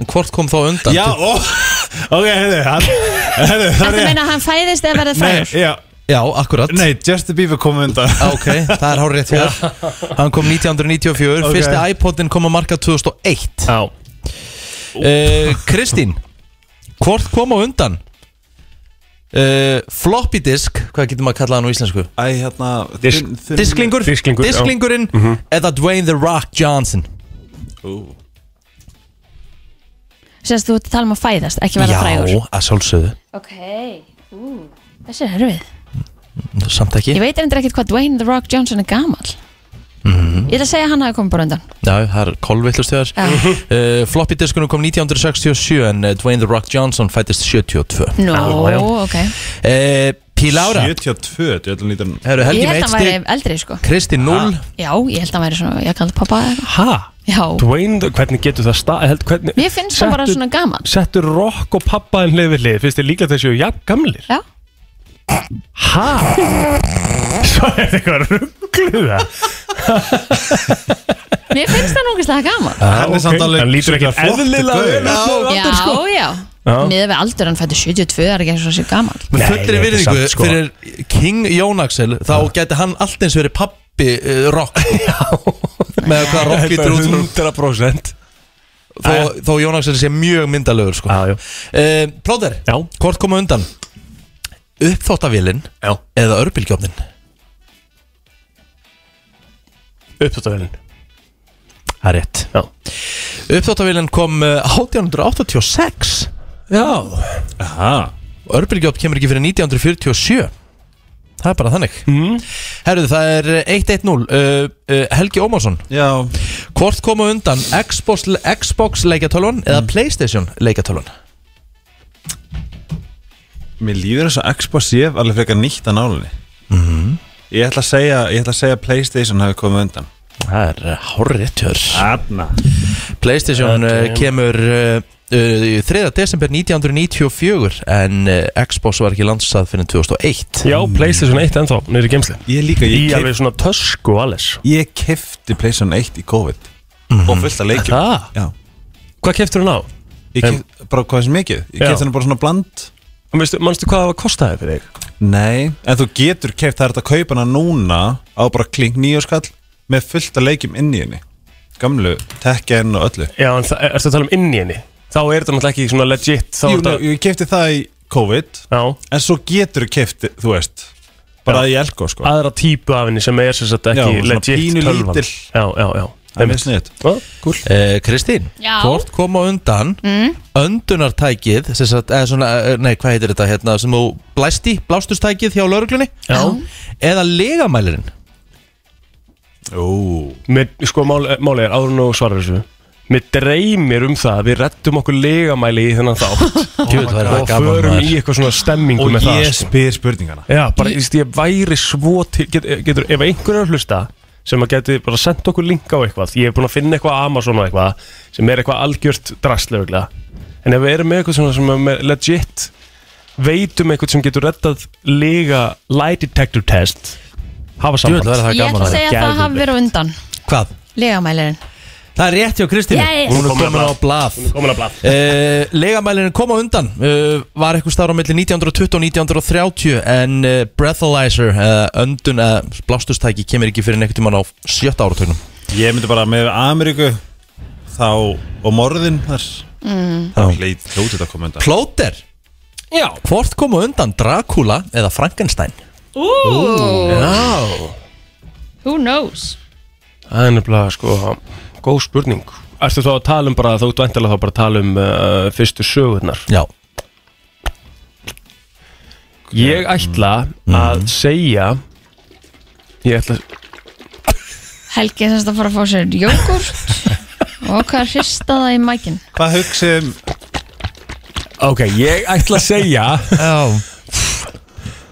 [SPEAKER 1] En hvort kom þá á undan
[SPEAKER 7] Já, ó, ok, hefðu, hefðu, það
[SPEAKER 2] Ertu
[SPEAKER 7] er
[SPEAKER 2] að meina að hann fæðist eða verður
[SPEAKER 7] Nei,
[SPEAKER 2] fræður?
[SPEAKER 7] já,
[SPEAKER 1] Já, akkurat
[SPEAKER 7] nei, Justin Bieber kom undan
[SPEAKER 1] Já, Ok, það er hár rétt fyrir Hann kom 1994
[SPEAKER 7] Ok.
[SPEAKER 1] Fyrsti iPodin kom að marka 2001
[SPEAKER 3] Já
[SPEAKER 1] uh, Kristín Hvort kom á undan uh, Floppy disk Hvað getur maður að kalla það nú á íslensku
[SPEAKER 7] Æ, hérna
[SPEAKER 3] Disk-
[SPEAKER 7] þunn- þunn-
[SPEAKER 1] Disklingur,
[SPEAKER 3] Disklingur, já.
[SPEAKER 1] Disklingurinn Eða Dwayne The Rock Johnson
[SPEAKER 7] Ú.
[SPEAKER 2] Sérst þú ert að tala um að fæðast, ekki verða fræður
[SPEAKER 1] Já, að sjálfsögðu
[SPEAKER 2] Ok, ú, þessi er erfið
[SPEAKER 1] Samt ekki
[SPEAKER 2] Ég veit eftir ekkert hvað Dwayne The Rock Johnson er gamal Ég ætla að segja að hann hafi komið bara undan
[SPEAKER 1] Já, það er kolvillust þegar
[SPEAKER 2] Já.
[SPEAKER 1] uh, Floppy diskunum kom 1967 En uh, Dwayne The Rock Johnson fættist 72 uh,
[SPEAKER 2] Nú,
[SPEAKER 3] Já, já.
[SPEAKER 2] ok
[SPEAKER 1] Pílára
[SPEAKER 7] 72, ég ætlum lítan
[SPEAKER 1] Eh, Herru,
[SPEAKER 2] Ég
[SPEAKER 1] Helgi
[SPEAKER 2] held
[SPEAKER 1] með
[SPEAKER 2] að
[SPEAKER 1] eitt
[SPEAKER 2] hann væri
[SPEAKER 1] stig
[SPEAKER 2] eldri sko
[SPEAKER 1] Kristi 0
[SPEAKER 2] Já, ég held að hann væri svona, ég kallt pappa eða eitthvað.
[SPEAKER 3] Ha?
[SPEAKER 2] Já,
[SPEAKER 3] Dwayne, hvernig getur það stað held, hvernig,
[SPEAKER 2] mér finnst hann bara
[SPEAKER 3] Settu-
[SPEAKER 2] svona gaman
[SPEAKER 3] Settur rock og pappa en hlið við hlið Finnst þið líklegt að þessu jafn gamlir?
[SPEAKER 2] Já,
[SPEAKER 3] Ha? Svo er þetta eitthvað ruggluða
[SPEAKER 2] mér finnst hann ógeðslega gaman
[SPEAKER 7] Hann er samt alveg
[SPEAKER 3] Hann Ah, lítur ekki
[SPEAKER 7] sjúklega flottur
[SPEAKER 3] eðlilega
[SPEAKER 7] gaur.
[SPEAKER 3] vel út á
[SPEAKER 2] Já,
[SPEAKER 3] aldur, sko.
[SPEAKER 2] já,
[SPEAKER 3] Já.
[SPEAKER 2] miður við aldur hann fætti 72 er ekki eins og þessi
[SPEAKER 1] Með
[SPEAKER 2] gaman
[SPEAKER 3] Nei,
[SPEAKER 1] fullri
[SPEAKER 3] þetta er
[SPEAKER 1] virðingu
[SPEAKER 3] samt, sko.
[SPEAKER 1] fyrir King Jón Axel Þá gæti hann allt eins verið pappi uh, Rock Með hvað Rock lítur út úr-
[SPEAKER 3] 100%
[SPEAKER 1] Þó, þó Jón Axel sé mjög myndalögur sko.
[SPEAKER 3] Já, já.
[SPEAKER 1] uh, Plóter,
[SPEAKER 3] Já.
[SPEAKER 1] hvort koma undan Uppþóttavélin
[SPEAKER 3] Já.
[SPEAKER 1] Eða örbylgjófnin
[SPEAKER 3] Upptöftavélinn
[SPEAKER 1] Það er rétt
[SPEAKER 3] Já
[SPEAKER 1] Uppþóttavélin kom eh, 1886
[SPEAKER 3] Já
[SPEAKER 7] Aha.
[SPEAKER 1] og örbylgjótt kemur ekki fyrir 1947 Það er bara þannig mm. Herðu, það er eh, 1-1-0 uh, uh, Helgi Ómarsson
[SPEAKER 7] Já,
[SPEAKER 1] Hvort koma undan Xbox, Xbox leikjartölvan eða Playstation leikjartölvan?
[SPEAKER 7] mér líður þess að Xbox ég alveg frekar nýtt að nálinni Mhm. ég, ætla að segja, ég ætla að segja að Playstation hafi komið undan
[SPEAKER 1] Það er hárréttjör
[SPEAKER 7] Adna
[SPEAKER 1] Playstation uh, Ah, kemur uh, uh, 3. desember 1994 en uh, Xbox var ekki landsað fyrir 2001
[SPEAKER 3] Já, Playstation 1 ennþá, niður í geimsli
[SPEAKER 7] Ég líka,
[SPEAKER 3] Í
[SPEAKER 7] ég,
[SPEAKER 3] alveg
[SPEAKER 7] kef,
[SPEAKER 3] svona tösku og alles
[SPEAKER 7] ég kefti Playstation 1 í COVID Og fullt að leikjum
[SPEAKER 3] Það?
[SPEAKER 7] Já,
[SPEAKER 3] Hvað keftur hún á?
[SPEAKER 7] ég kef, bara hvað sem mikið Ég
[SPEAKER 3] Já.
[SPEAKER 7] kefti henni bara svona bland
[SPEAKER 3] Manstu, manstu hvað það var að kosta þér fyrir þig?
[SPEAKER 7] Nei, en þú getur keft það er þetta að kaupa hana núna á bara klink nýjóskall með fullt að leikjum inn í henni gamlu, tekken og öllu
[SPEAKER 3] Já, en það, er, ertu að tala um inn í henni? Þá er þetta náttúrulega ekki svona legit þá
[SPEAKER 7] Jú,
[SPEAKER 3] er þetta-
[SPEAKER 7] jú, ég kefti það í COVID
[SPEAKER 3] Já,
[SPEAKER 7] en svo getur keft, þú veist bara í elko, sko
[SPEAKER 3] aðra típu af henni sem er sem sagt
[SPEAKER 7] Já,
[SPEAKER 3] ekki
[SPEAKER 7] svona
[SPEAKER 3] legit
[SPEAKER 7] pínu
[SPEAKER 3] tölvan
[SPEAKER 7] lítil.
[SPEAKER 3] Já, já, já
[SPEAKER 7] Það er mjög sniðt
[SPEAKER 3] Ó, Cool
[SPEAKER 1] Eh, Kristín,
[SPEAKER 2] Já.
[SPEAKER 1] hvort kom á undan mm. öndunartækið sem sagt, eða svona, eh, nei hvað heitir þetta hérna, sem þú blæst í, blástustækið hjá lauruglunni
[SPEAKER 3] Já.
[SPEAKER 1] eða legamælirinn
[SPEAKER 7] Jú,
[SPEAKER 3] Mér, sko, máli, máli er áður og svarar þessu Mér dreymir um það að við rettum okkur legamæli í þennan þátt
[SPEAKER 1] Djöfull væri það
[SPEAKER 3] og
[SPEAKER 1] gaman,
[SPEAKER 3] förum
[SPEAKER 1] maður.
[SPEAKER 3] í eitthvað svona stemmingu
[SPEAKER 7] og
[SPEAKER 3] með það
[SPEAKER 7] ég
[SPEAKER 3] sko.
[SPEAKER 7] spyr spurningana
[SPEAKER 3] Já, bara, ég, ég væri svo til get, eh, getur, Ef einhverjum er að hlusta sem að geti bara sendt okkur linka á eitthvað ég hef búin að finna eitthvað á Amazon og eitthvað sem er eitthvað algjört drastleguglega en ef við erum með eitthvað svona sem er með legit veitum eitthvað sem getur rettað lega light detector test hafa
[SPEAKER 1] Djöfull væri það
[SPEAKER 3] samband
[SPEAKER 2] Ég ætla
[SPEAKER 1] gaman
[SPEAKER 2] að
[SPEAKER 1] að
[SPEAKER 2] segja að það
[SPEAKER 3] Geðveikt.
[SPEAKER 2] hafi verið á undan
[SPEAKER 1] Hvað?
[SPEAKER 2] Legamælirinn
[SPEAKER 1] Það er rétt hjá Kristín
[SPEAKER 2] Yes.
[SPEAKER 1] Hún er
[SPEAKER 3] Komin
[SPEAKER 1] komin
[SPEAKER 3] á
[SPEAKER 1] á blað
[SPEAKER 3] komin að blað
[SPEAKER 1] Uh, legamælirinn kom á undan uh, var eitthvað starf á milli 1920 og 1930 en uh, breathalyzer uh, öndun uh, blástustæki kemur ekki fyrir neitt tímann á sjötta áratögnum
[SPEAKER 7] ég myndi bara með Ameríku þá og morðin þar þá hleit hljótið að koma undan
[SPEAKER 1] Plóter Já. hvort kom á undan Dracula eða Frankenstein
[SPEAKER 2] Ooh,
[SPEAKER 1] Já.
[SPEAKER 2] Who knows
[SPEAKER 3] Það er nefnilega sko góð spurning Ertu þá að tala um bara, þú ert endilega þá bara að tala um uh, fyrstu sögurnar
[SPEAKER 1] Já.
[SPEAKER 3] Ég ætla
[SPEAKER 1] Mhm.
[SPEAKER 3] að segja Ég ætla
[SPEAKER 2] Helgi er semst að fara að fá sér jógurt og hvað hrista það í mækin
[SPEAKER 7] hvað hugsið um
[SPEAKER 3] Ok, ég ætla að segja
[SPEAKER 1] Já.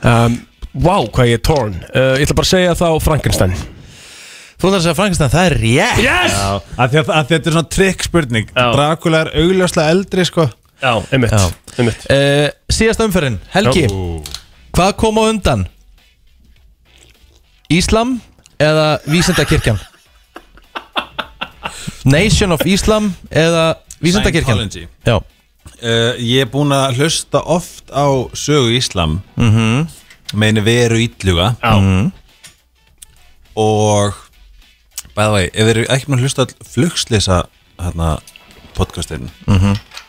[SPEAKER 3] um, Vá, hvað ég er torn uh, Ég ætla bara að segja þá Frankenstein
[SPEAKER 1] þú þarf að segja Frankenstein það er rétt
[SPEAKER 3] Yes!
[SPEAKER 7] Já, af því að, að þetta er svona trikk spurning
[SPEAKER 3] Já.
[SPEAKER 7] Dracula er augljóslega eldri sko
[SPEAKER 3] Já, einmitt,
[SPEAKER 1] Já.
[SPEAKER 3] einmitt.
[SPEAKER 1] uh, síðast umferðin Helgi hvað kom á undan Íslam eða vísindakirkjan Nation of Islam eða vísindakirkjan
[SPEAKER 7] Scientology.
[SPEAKER 1] Já
[SPEAKER 7] uh, Ég er búin að hlusta oft á sögu Íslam mm -hmm. meini veru ítluga
[SPEAKER 3] Já.
[SPEAKER 7] og bæða vei, ef þið eru ekki með að hlusta all flugslisa hérna podcastin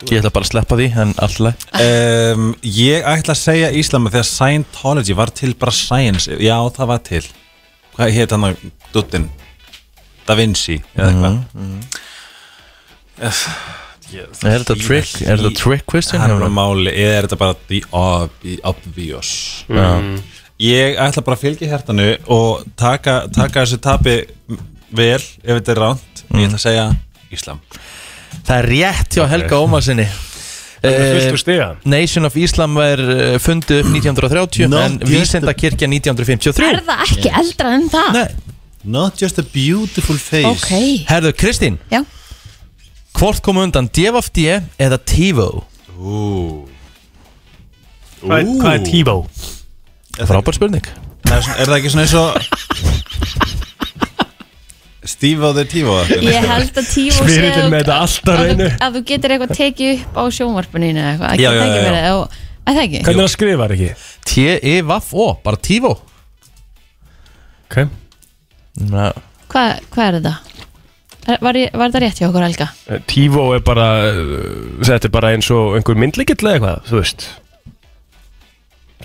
[SPEAKER 1] Ég ætla bara að sleppa því en alltaf
[SPEAKER 7] um, Ég ætla að segja Íslam af því að Scientology var til bara science Já, það var til Hvað hétt hann að duttin? Da Vinci eða eitthvað
[SPEAKER 1] Er þetta trick, er þetta trick question?
[SPEAKER 7] Það er bara máli, eða er þetta bara the ob- obvious Ég ætla bara að fylgja hærtanu og taka, taka þessu tapi vel, ef þetta er ránt Ég ætla að segja Íslam
[SPEAKER 1] Það er rétt hjá Helga Ómarsinni
[SPEAKER 3] Fyrstu stiga
[SPEAKER 1] Nation of Islam var eh, fundið upp 1930
[SPEAKER 7] Not
[SPEAKER 1] en
[SPEAKER 7] yet.
[SPEAKER 1] vísindakirkjan
[SPEAKER 2] Er
[SPEAKER 1] 1953
[SPEAKER 2] það ekki eldra en það?
[SPEAKER 1] Nei,
[SPEAKER 7] Not just a beautiful face
[SPEAKER 2] Ok,
[SPEAKER 1] herðu Kristín
[SPEAKER 2] já
[SPEAKER 1] Hvort kom á undan DFD eða TiVo?
[SPEAKER 3] Hvað er- hvað er Tivo?
[SPEAKER 1] Frábær spurning
[SPEAKER 7] Það Er, svona- er það ekki svona eins og Steve á þeir tífa
[SPEAKER 2] Ég held að tíu og
[SPEAKER 3] Spyrillinn með þetta allt á
[SPEAKER 2] að,
[SPEAKER 3] hreinu.
[SPEAKER 2] þú- að þú getur eitthvað tekið upp á sjónvarpinu þínu eða eitthvað
[SPEAKER 7] Já, já,
[SPEAKER 2] Það
[SPEAKER 7] já,
[SPEAKER 2] ekki
[SPEAKER 7] já.
[SPEAKER 2] verið og- Er það ekki?
[SPEAKER 3] Hvernig er að skrifa er ekki?
[SPEAKER 1] E T-E-V-O, bara TiVo
[SPEAKER 3] Okay.
[SPEAKER 1] Næ,
[SPEAKER 2] Hvað hvað er þetta? Er- Var, ég, var þetta rétt hjá okkur Helga?
[SPEAKER 3] Eh, Tivo er bara uh, Þetta er bara eins og einhver myndlíkill eða eitthvað, þú veist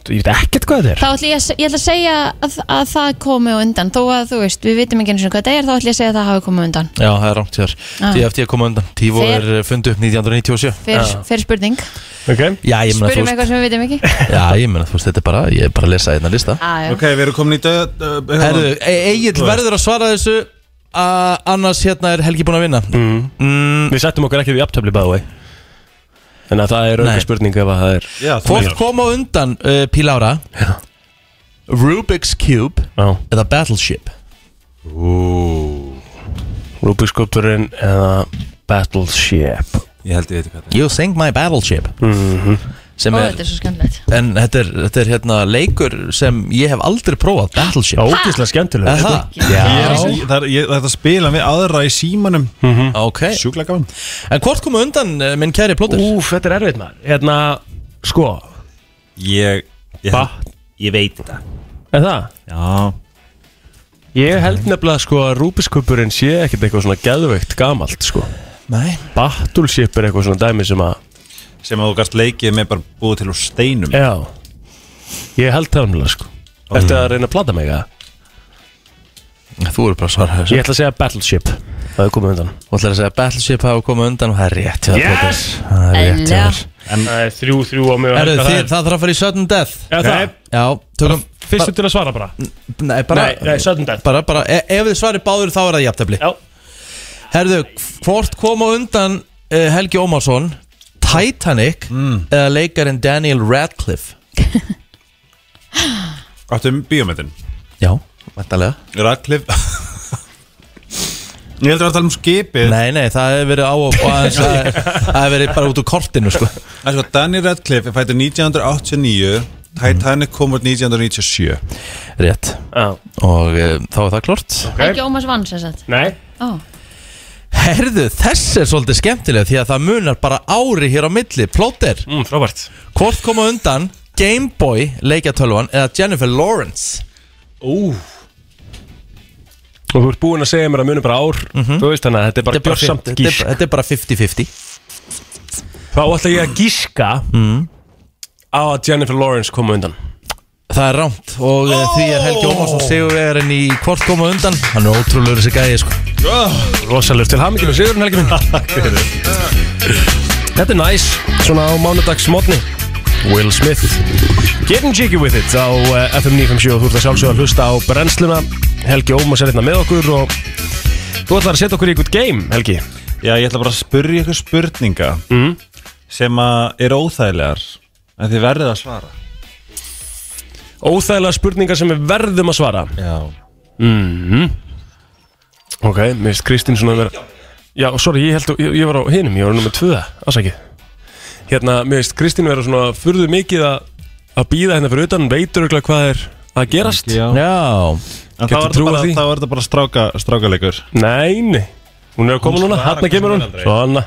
[SPEAKER 3] Ég veit ekkert hvað þetta er
[SPEAKER 2] Þá ætla ég, að se- ég ætla að segja að, að það komi á undan Þó að þú veist, við vitum ekki eins og hvað það er Þá ætla ég að segja að það hafi komið á undan
[SPEAKER 1] Já, það er rámt hér
[SPEAKER 2] Ah.
[SPEAKER 1] DFD kom á undan, TiVo
[SPEAKER 2] Fer-
[SPEAKER 1] er eh, fundið upp 1997
[SPEAKER 2] Fyrir, fyrir spurning
[SPEAKER 3] okay.
[SPEAKER 1] Já, ég meina, þú
[SPEAKER 2] Spurum
[SPEAKER 1] veist,
[SPEAKER 2] eitthvað sem við vitum ekki
[SPEAKER 1] já, ég meina, þú veist, þetta er bara, ég er bara að lesa einna lista
[SPEAKER 2] ah,
[SPEAKER 7] Ok, við erum komin í döð uh,
[SPEAKER 1] Herðu, Egil verður að svara þessu að annars hérna er Helgi búinn að vinna
[SPEAKER 7] Mm.
[SPEAKER 3] Við settum okkur ekki við jafntöfli by the way Þannig að það er
[SPEAKER 1] Nei.
[SPEAKER 3] auka spurning ef að það er
[SPEAKER 7] Já, þú
[SPEAKER 1] Hvort kom á undan uh, Pílára
[SPEAKER 3] Já.
[SPEAKER 1] Rubik's Cube
[SPEAKER 3] Já,
[SPEAKER 1] eða Battleship
[SPEAKER 3] Rubik's Sculpturinn eða Battleship
[SPEAKER 7] Ég held ég veit ekki hvað þetta
[SPEAKER 1] You Sink My Battleship
[SPEAKER 3] Mhm.
[SPEAKER 1] sem
[SPEAKER 2] Ó,
[SPEAKER 1] er,
[SPEAKER 2] þetta er svo skemmtilegt
[SPEAKER 1] en þetta er, þetta er hérna leikur sem ég hef aldrei prófað Battleship
[SPEAKER 3] Ógislega skemmtileg
[SPEAKER 1] Aha,
[SPEAKER 7] er. Ég er- Það er ég- þetta spila við aðra í símanum
[SPEAKER 1] Mm, ok
[SPEAKER 7] Sjúklega gaman
[SPEAKER 1] En hvort komu undan eh, minn kæri plótur?
[SPEAKER 3] Úf, þetta er erfitt maður Hérna, sko
[SPEAKER 7] Ég Ég,
[SPEAKER 3] Hva?
[SPEAKER 7] ég veit þetta
[SPEAKER 3] Er það?
[SPEAKER 7] Já
[SPEAKER 3] Ég held nefnilega sko að Rubiskuppurinn sé ekkert eitthvað svona geðveikt gamalt sko
[SPEAKER 1] Nei
[SPEAKER 3] Battleship er eitthvað svona dæmi sem að
[SPEAKER 7] Sem að þú gast leikið með bara búið til úr steinum
[SPEAKER 3] Já Ég held það nefnilega sko Ertu að reyna að plata mig að?
[SPEAKER 1] Þú eru bara að svara þessu
[SPEAKER 3] Ég ætla að segja Battleship Það er komið undan
[SPEAKER 1] Þú ætlar að segja að Battleship hafa komið undan og það er rétt hjá þér,
[SPEAKER 3] Yes!
[SPEAKER 1] Plóter. Það er rétt hjá þér
[SPEAKER 2] Eðlilega.
[SPEAKER 3] Það er þrjú, þrjú á mig
[SPEAKER 1] Herru, þið, það þarf að fara í sudden death
[SPEAKER 3] Er það?
[SPEAKER 1] Já, tökum
[SPEAKER 3] Fyrstu til að svara bara
[SPEAKER 1] Nei, bara
[SPEAKER 3] Nei, nei, sudden death.
[SPEAKER 1] Bara, bara, e ef þið svarir báður þá er það jafntefli
[SPEAKER 3] Já
[SPEAKER 1] Herðu, hvort koma undan uh, Helgi Ómarsson Titanic
[SPEAKER 3] Mm.
[SPEAKER 1] eða leikarinn Daniel Radcliffe
[SPEAKER 3] Eh.
[SPEAKER 7] Áttu um bíómetin
[SPEAKER 1] Já, vantarlega
[SPEAKER 7] Radcliffe Ég heldur að tala um skipið
[SPEAKER 1] Nei, nei, það hefur verið á og aðeins Það hefur verið bara út úr kortinu, sko
[SPEAKER 7] Það er sko, Danny Radcliffe er fættur 1989 Titanic kom úr 1997
[SPEAKER 1] Rétt
[SPEAKER 3] Já
[SPEAKER 1] Og uh, þá er það klort
[SPEAKER 2] Helgi Ómars vann sem sagt
[SPEAKER 3] Nei
[SPEAKER 2] Ó,
[SPEAKER 1] Herðu, þess er svolítið skemmtileg Því að það munar bara ári hér á milli Plóter,
[SPEAKER 3] mm, Frábært
[SPEAKER 1] hvort koma undan Gameboy leikjatölvan eða Jennifer Lawrence
[SPEAKER 3] Og þú ert búinn að segja mér að muni bara ár Þú veist þannig að Mhm. þetta er bara björnsamt
[SPEAKER 1] þetta er
[SPEAKER 3] gísk
[SPEAKER 1] bara- þetta er bara 50-50
[SPEAKER 3] Þá ætla ég að gíska Mm. Á að Jennifer Lawrence koma undan
[SPEAKER 1] Það er rámt og oh! því er Helgi Ómarsson sigurvegarinn í hvort koma undan Hann er ótrúlegur þessi gæði sko
[SPEAKER 3] Rosalur til hamingjum og sigurinn helgi minn Þetta er næs Svona á mánudags mótni Will Smith Getting jiggy with it á eh, FM 957 og Þú ert að sjálfsögða að hlusta á brennsluna Helgi Ómas er hérna með okkur og Þú ætlar að setja okkur í eitthvað game, Helgi
[SPEAKER 7] Já, ég ætla bara að spyrja ykkur spurninga
[SPEAKER 3] Mm.
[SPEAKER 7] sem að eru óþægilegar en þið verðið að svara
[SPEAKER 3] Óþægilega spurningar sem við verðum að svara
[SPEAKER 7] Já
[SPEAKER 3] Ok, mér finnst Kristín svona að vera Já, sorry, ég held að, ég, ég var á hinum, ég var nummer tvöða, afsakið Hérna, mér finnst Kristín vera svona furðu mikið að að býða hérna fyrir utan, veitur örugglega hvað er að gerast
[SPEAKER 7] Já
[SPEAKER 1] Já,
[SPEAKER 7] En þá
[SPEAKER 3] Getur
[SPEAKER 7] er þetta
[SPEAKER 3] trúað
[SPEAKER 7] bara,
[SPEAKER 3] því?
[SPEAKER 7] þá er þetta bara stráka, strákaleikur
[SPEAKER 3] Nei, nei, hún er að koma
[SPEAKER 7] Hún
[SPEAKER 3] núna,
[SPEAKER 7] svarar hvort
[SPEAKER 3] hérna kemur
[SPEAKER 7] sem
[SPEAKER 3] hún
[SPEAKER 7] er aldrei.
[SPEAKER 3] Svona,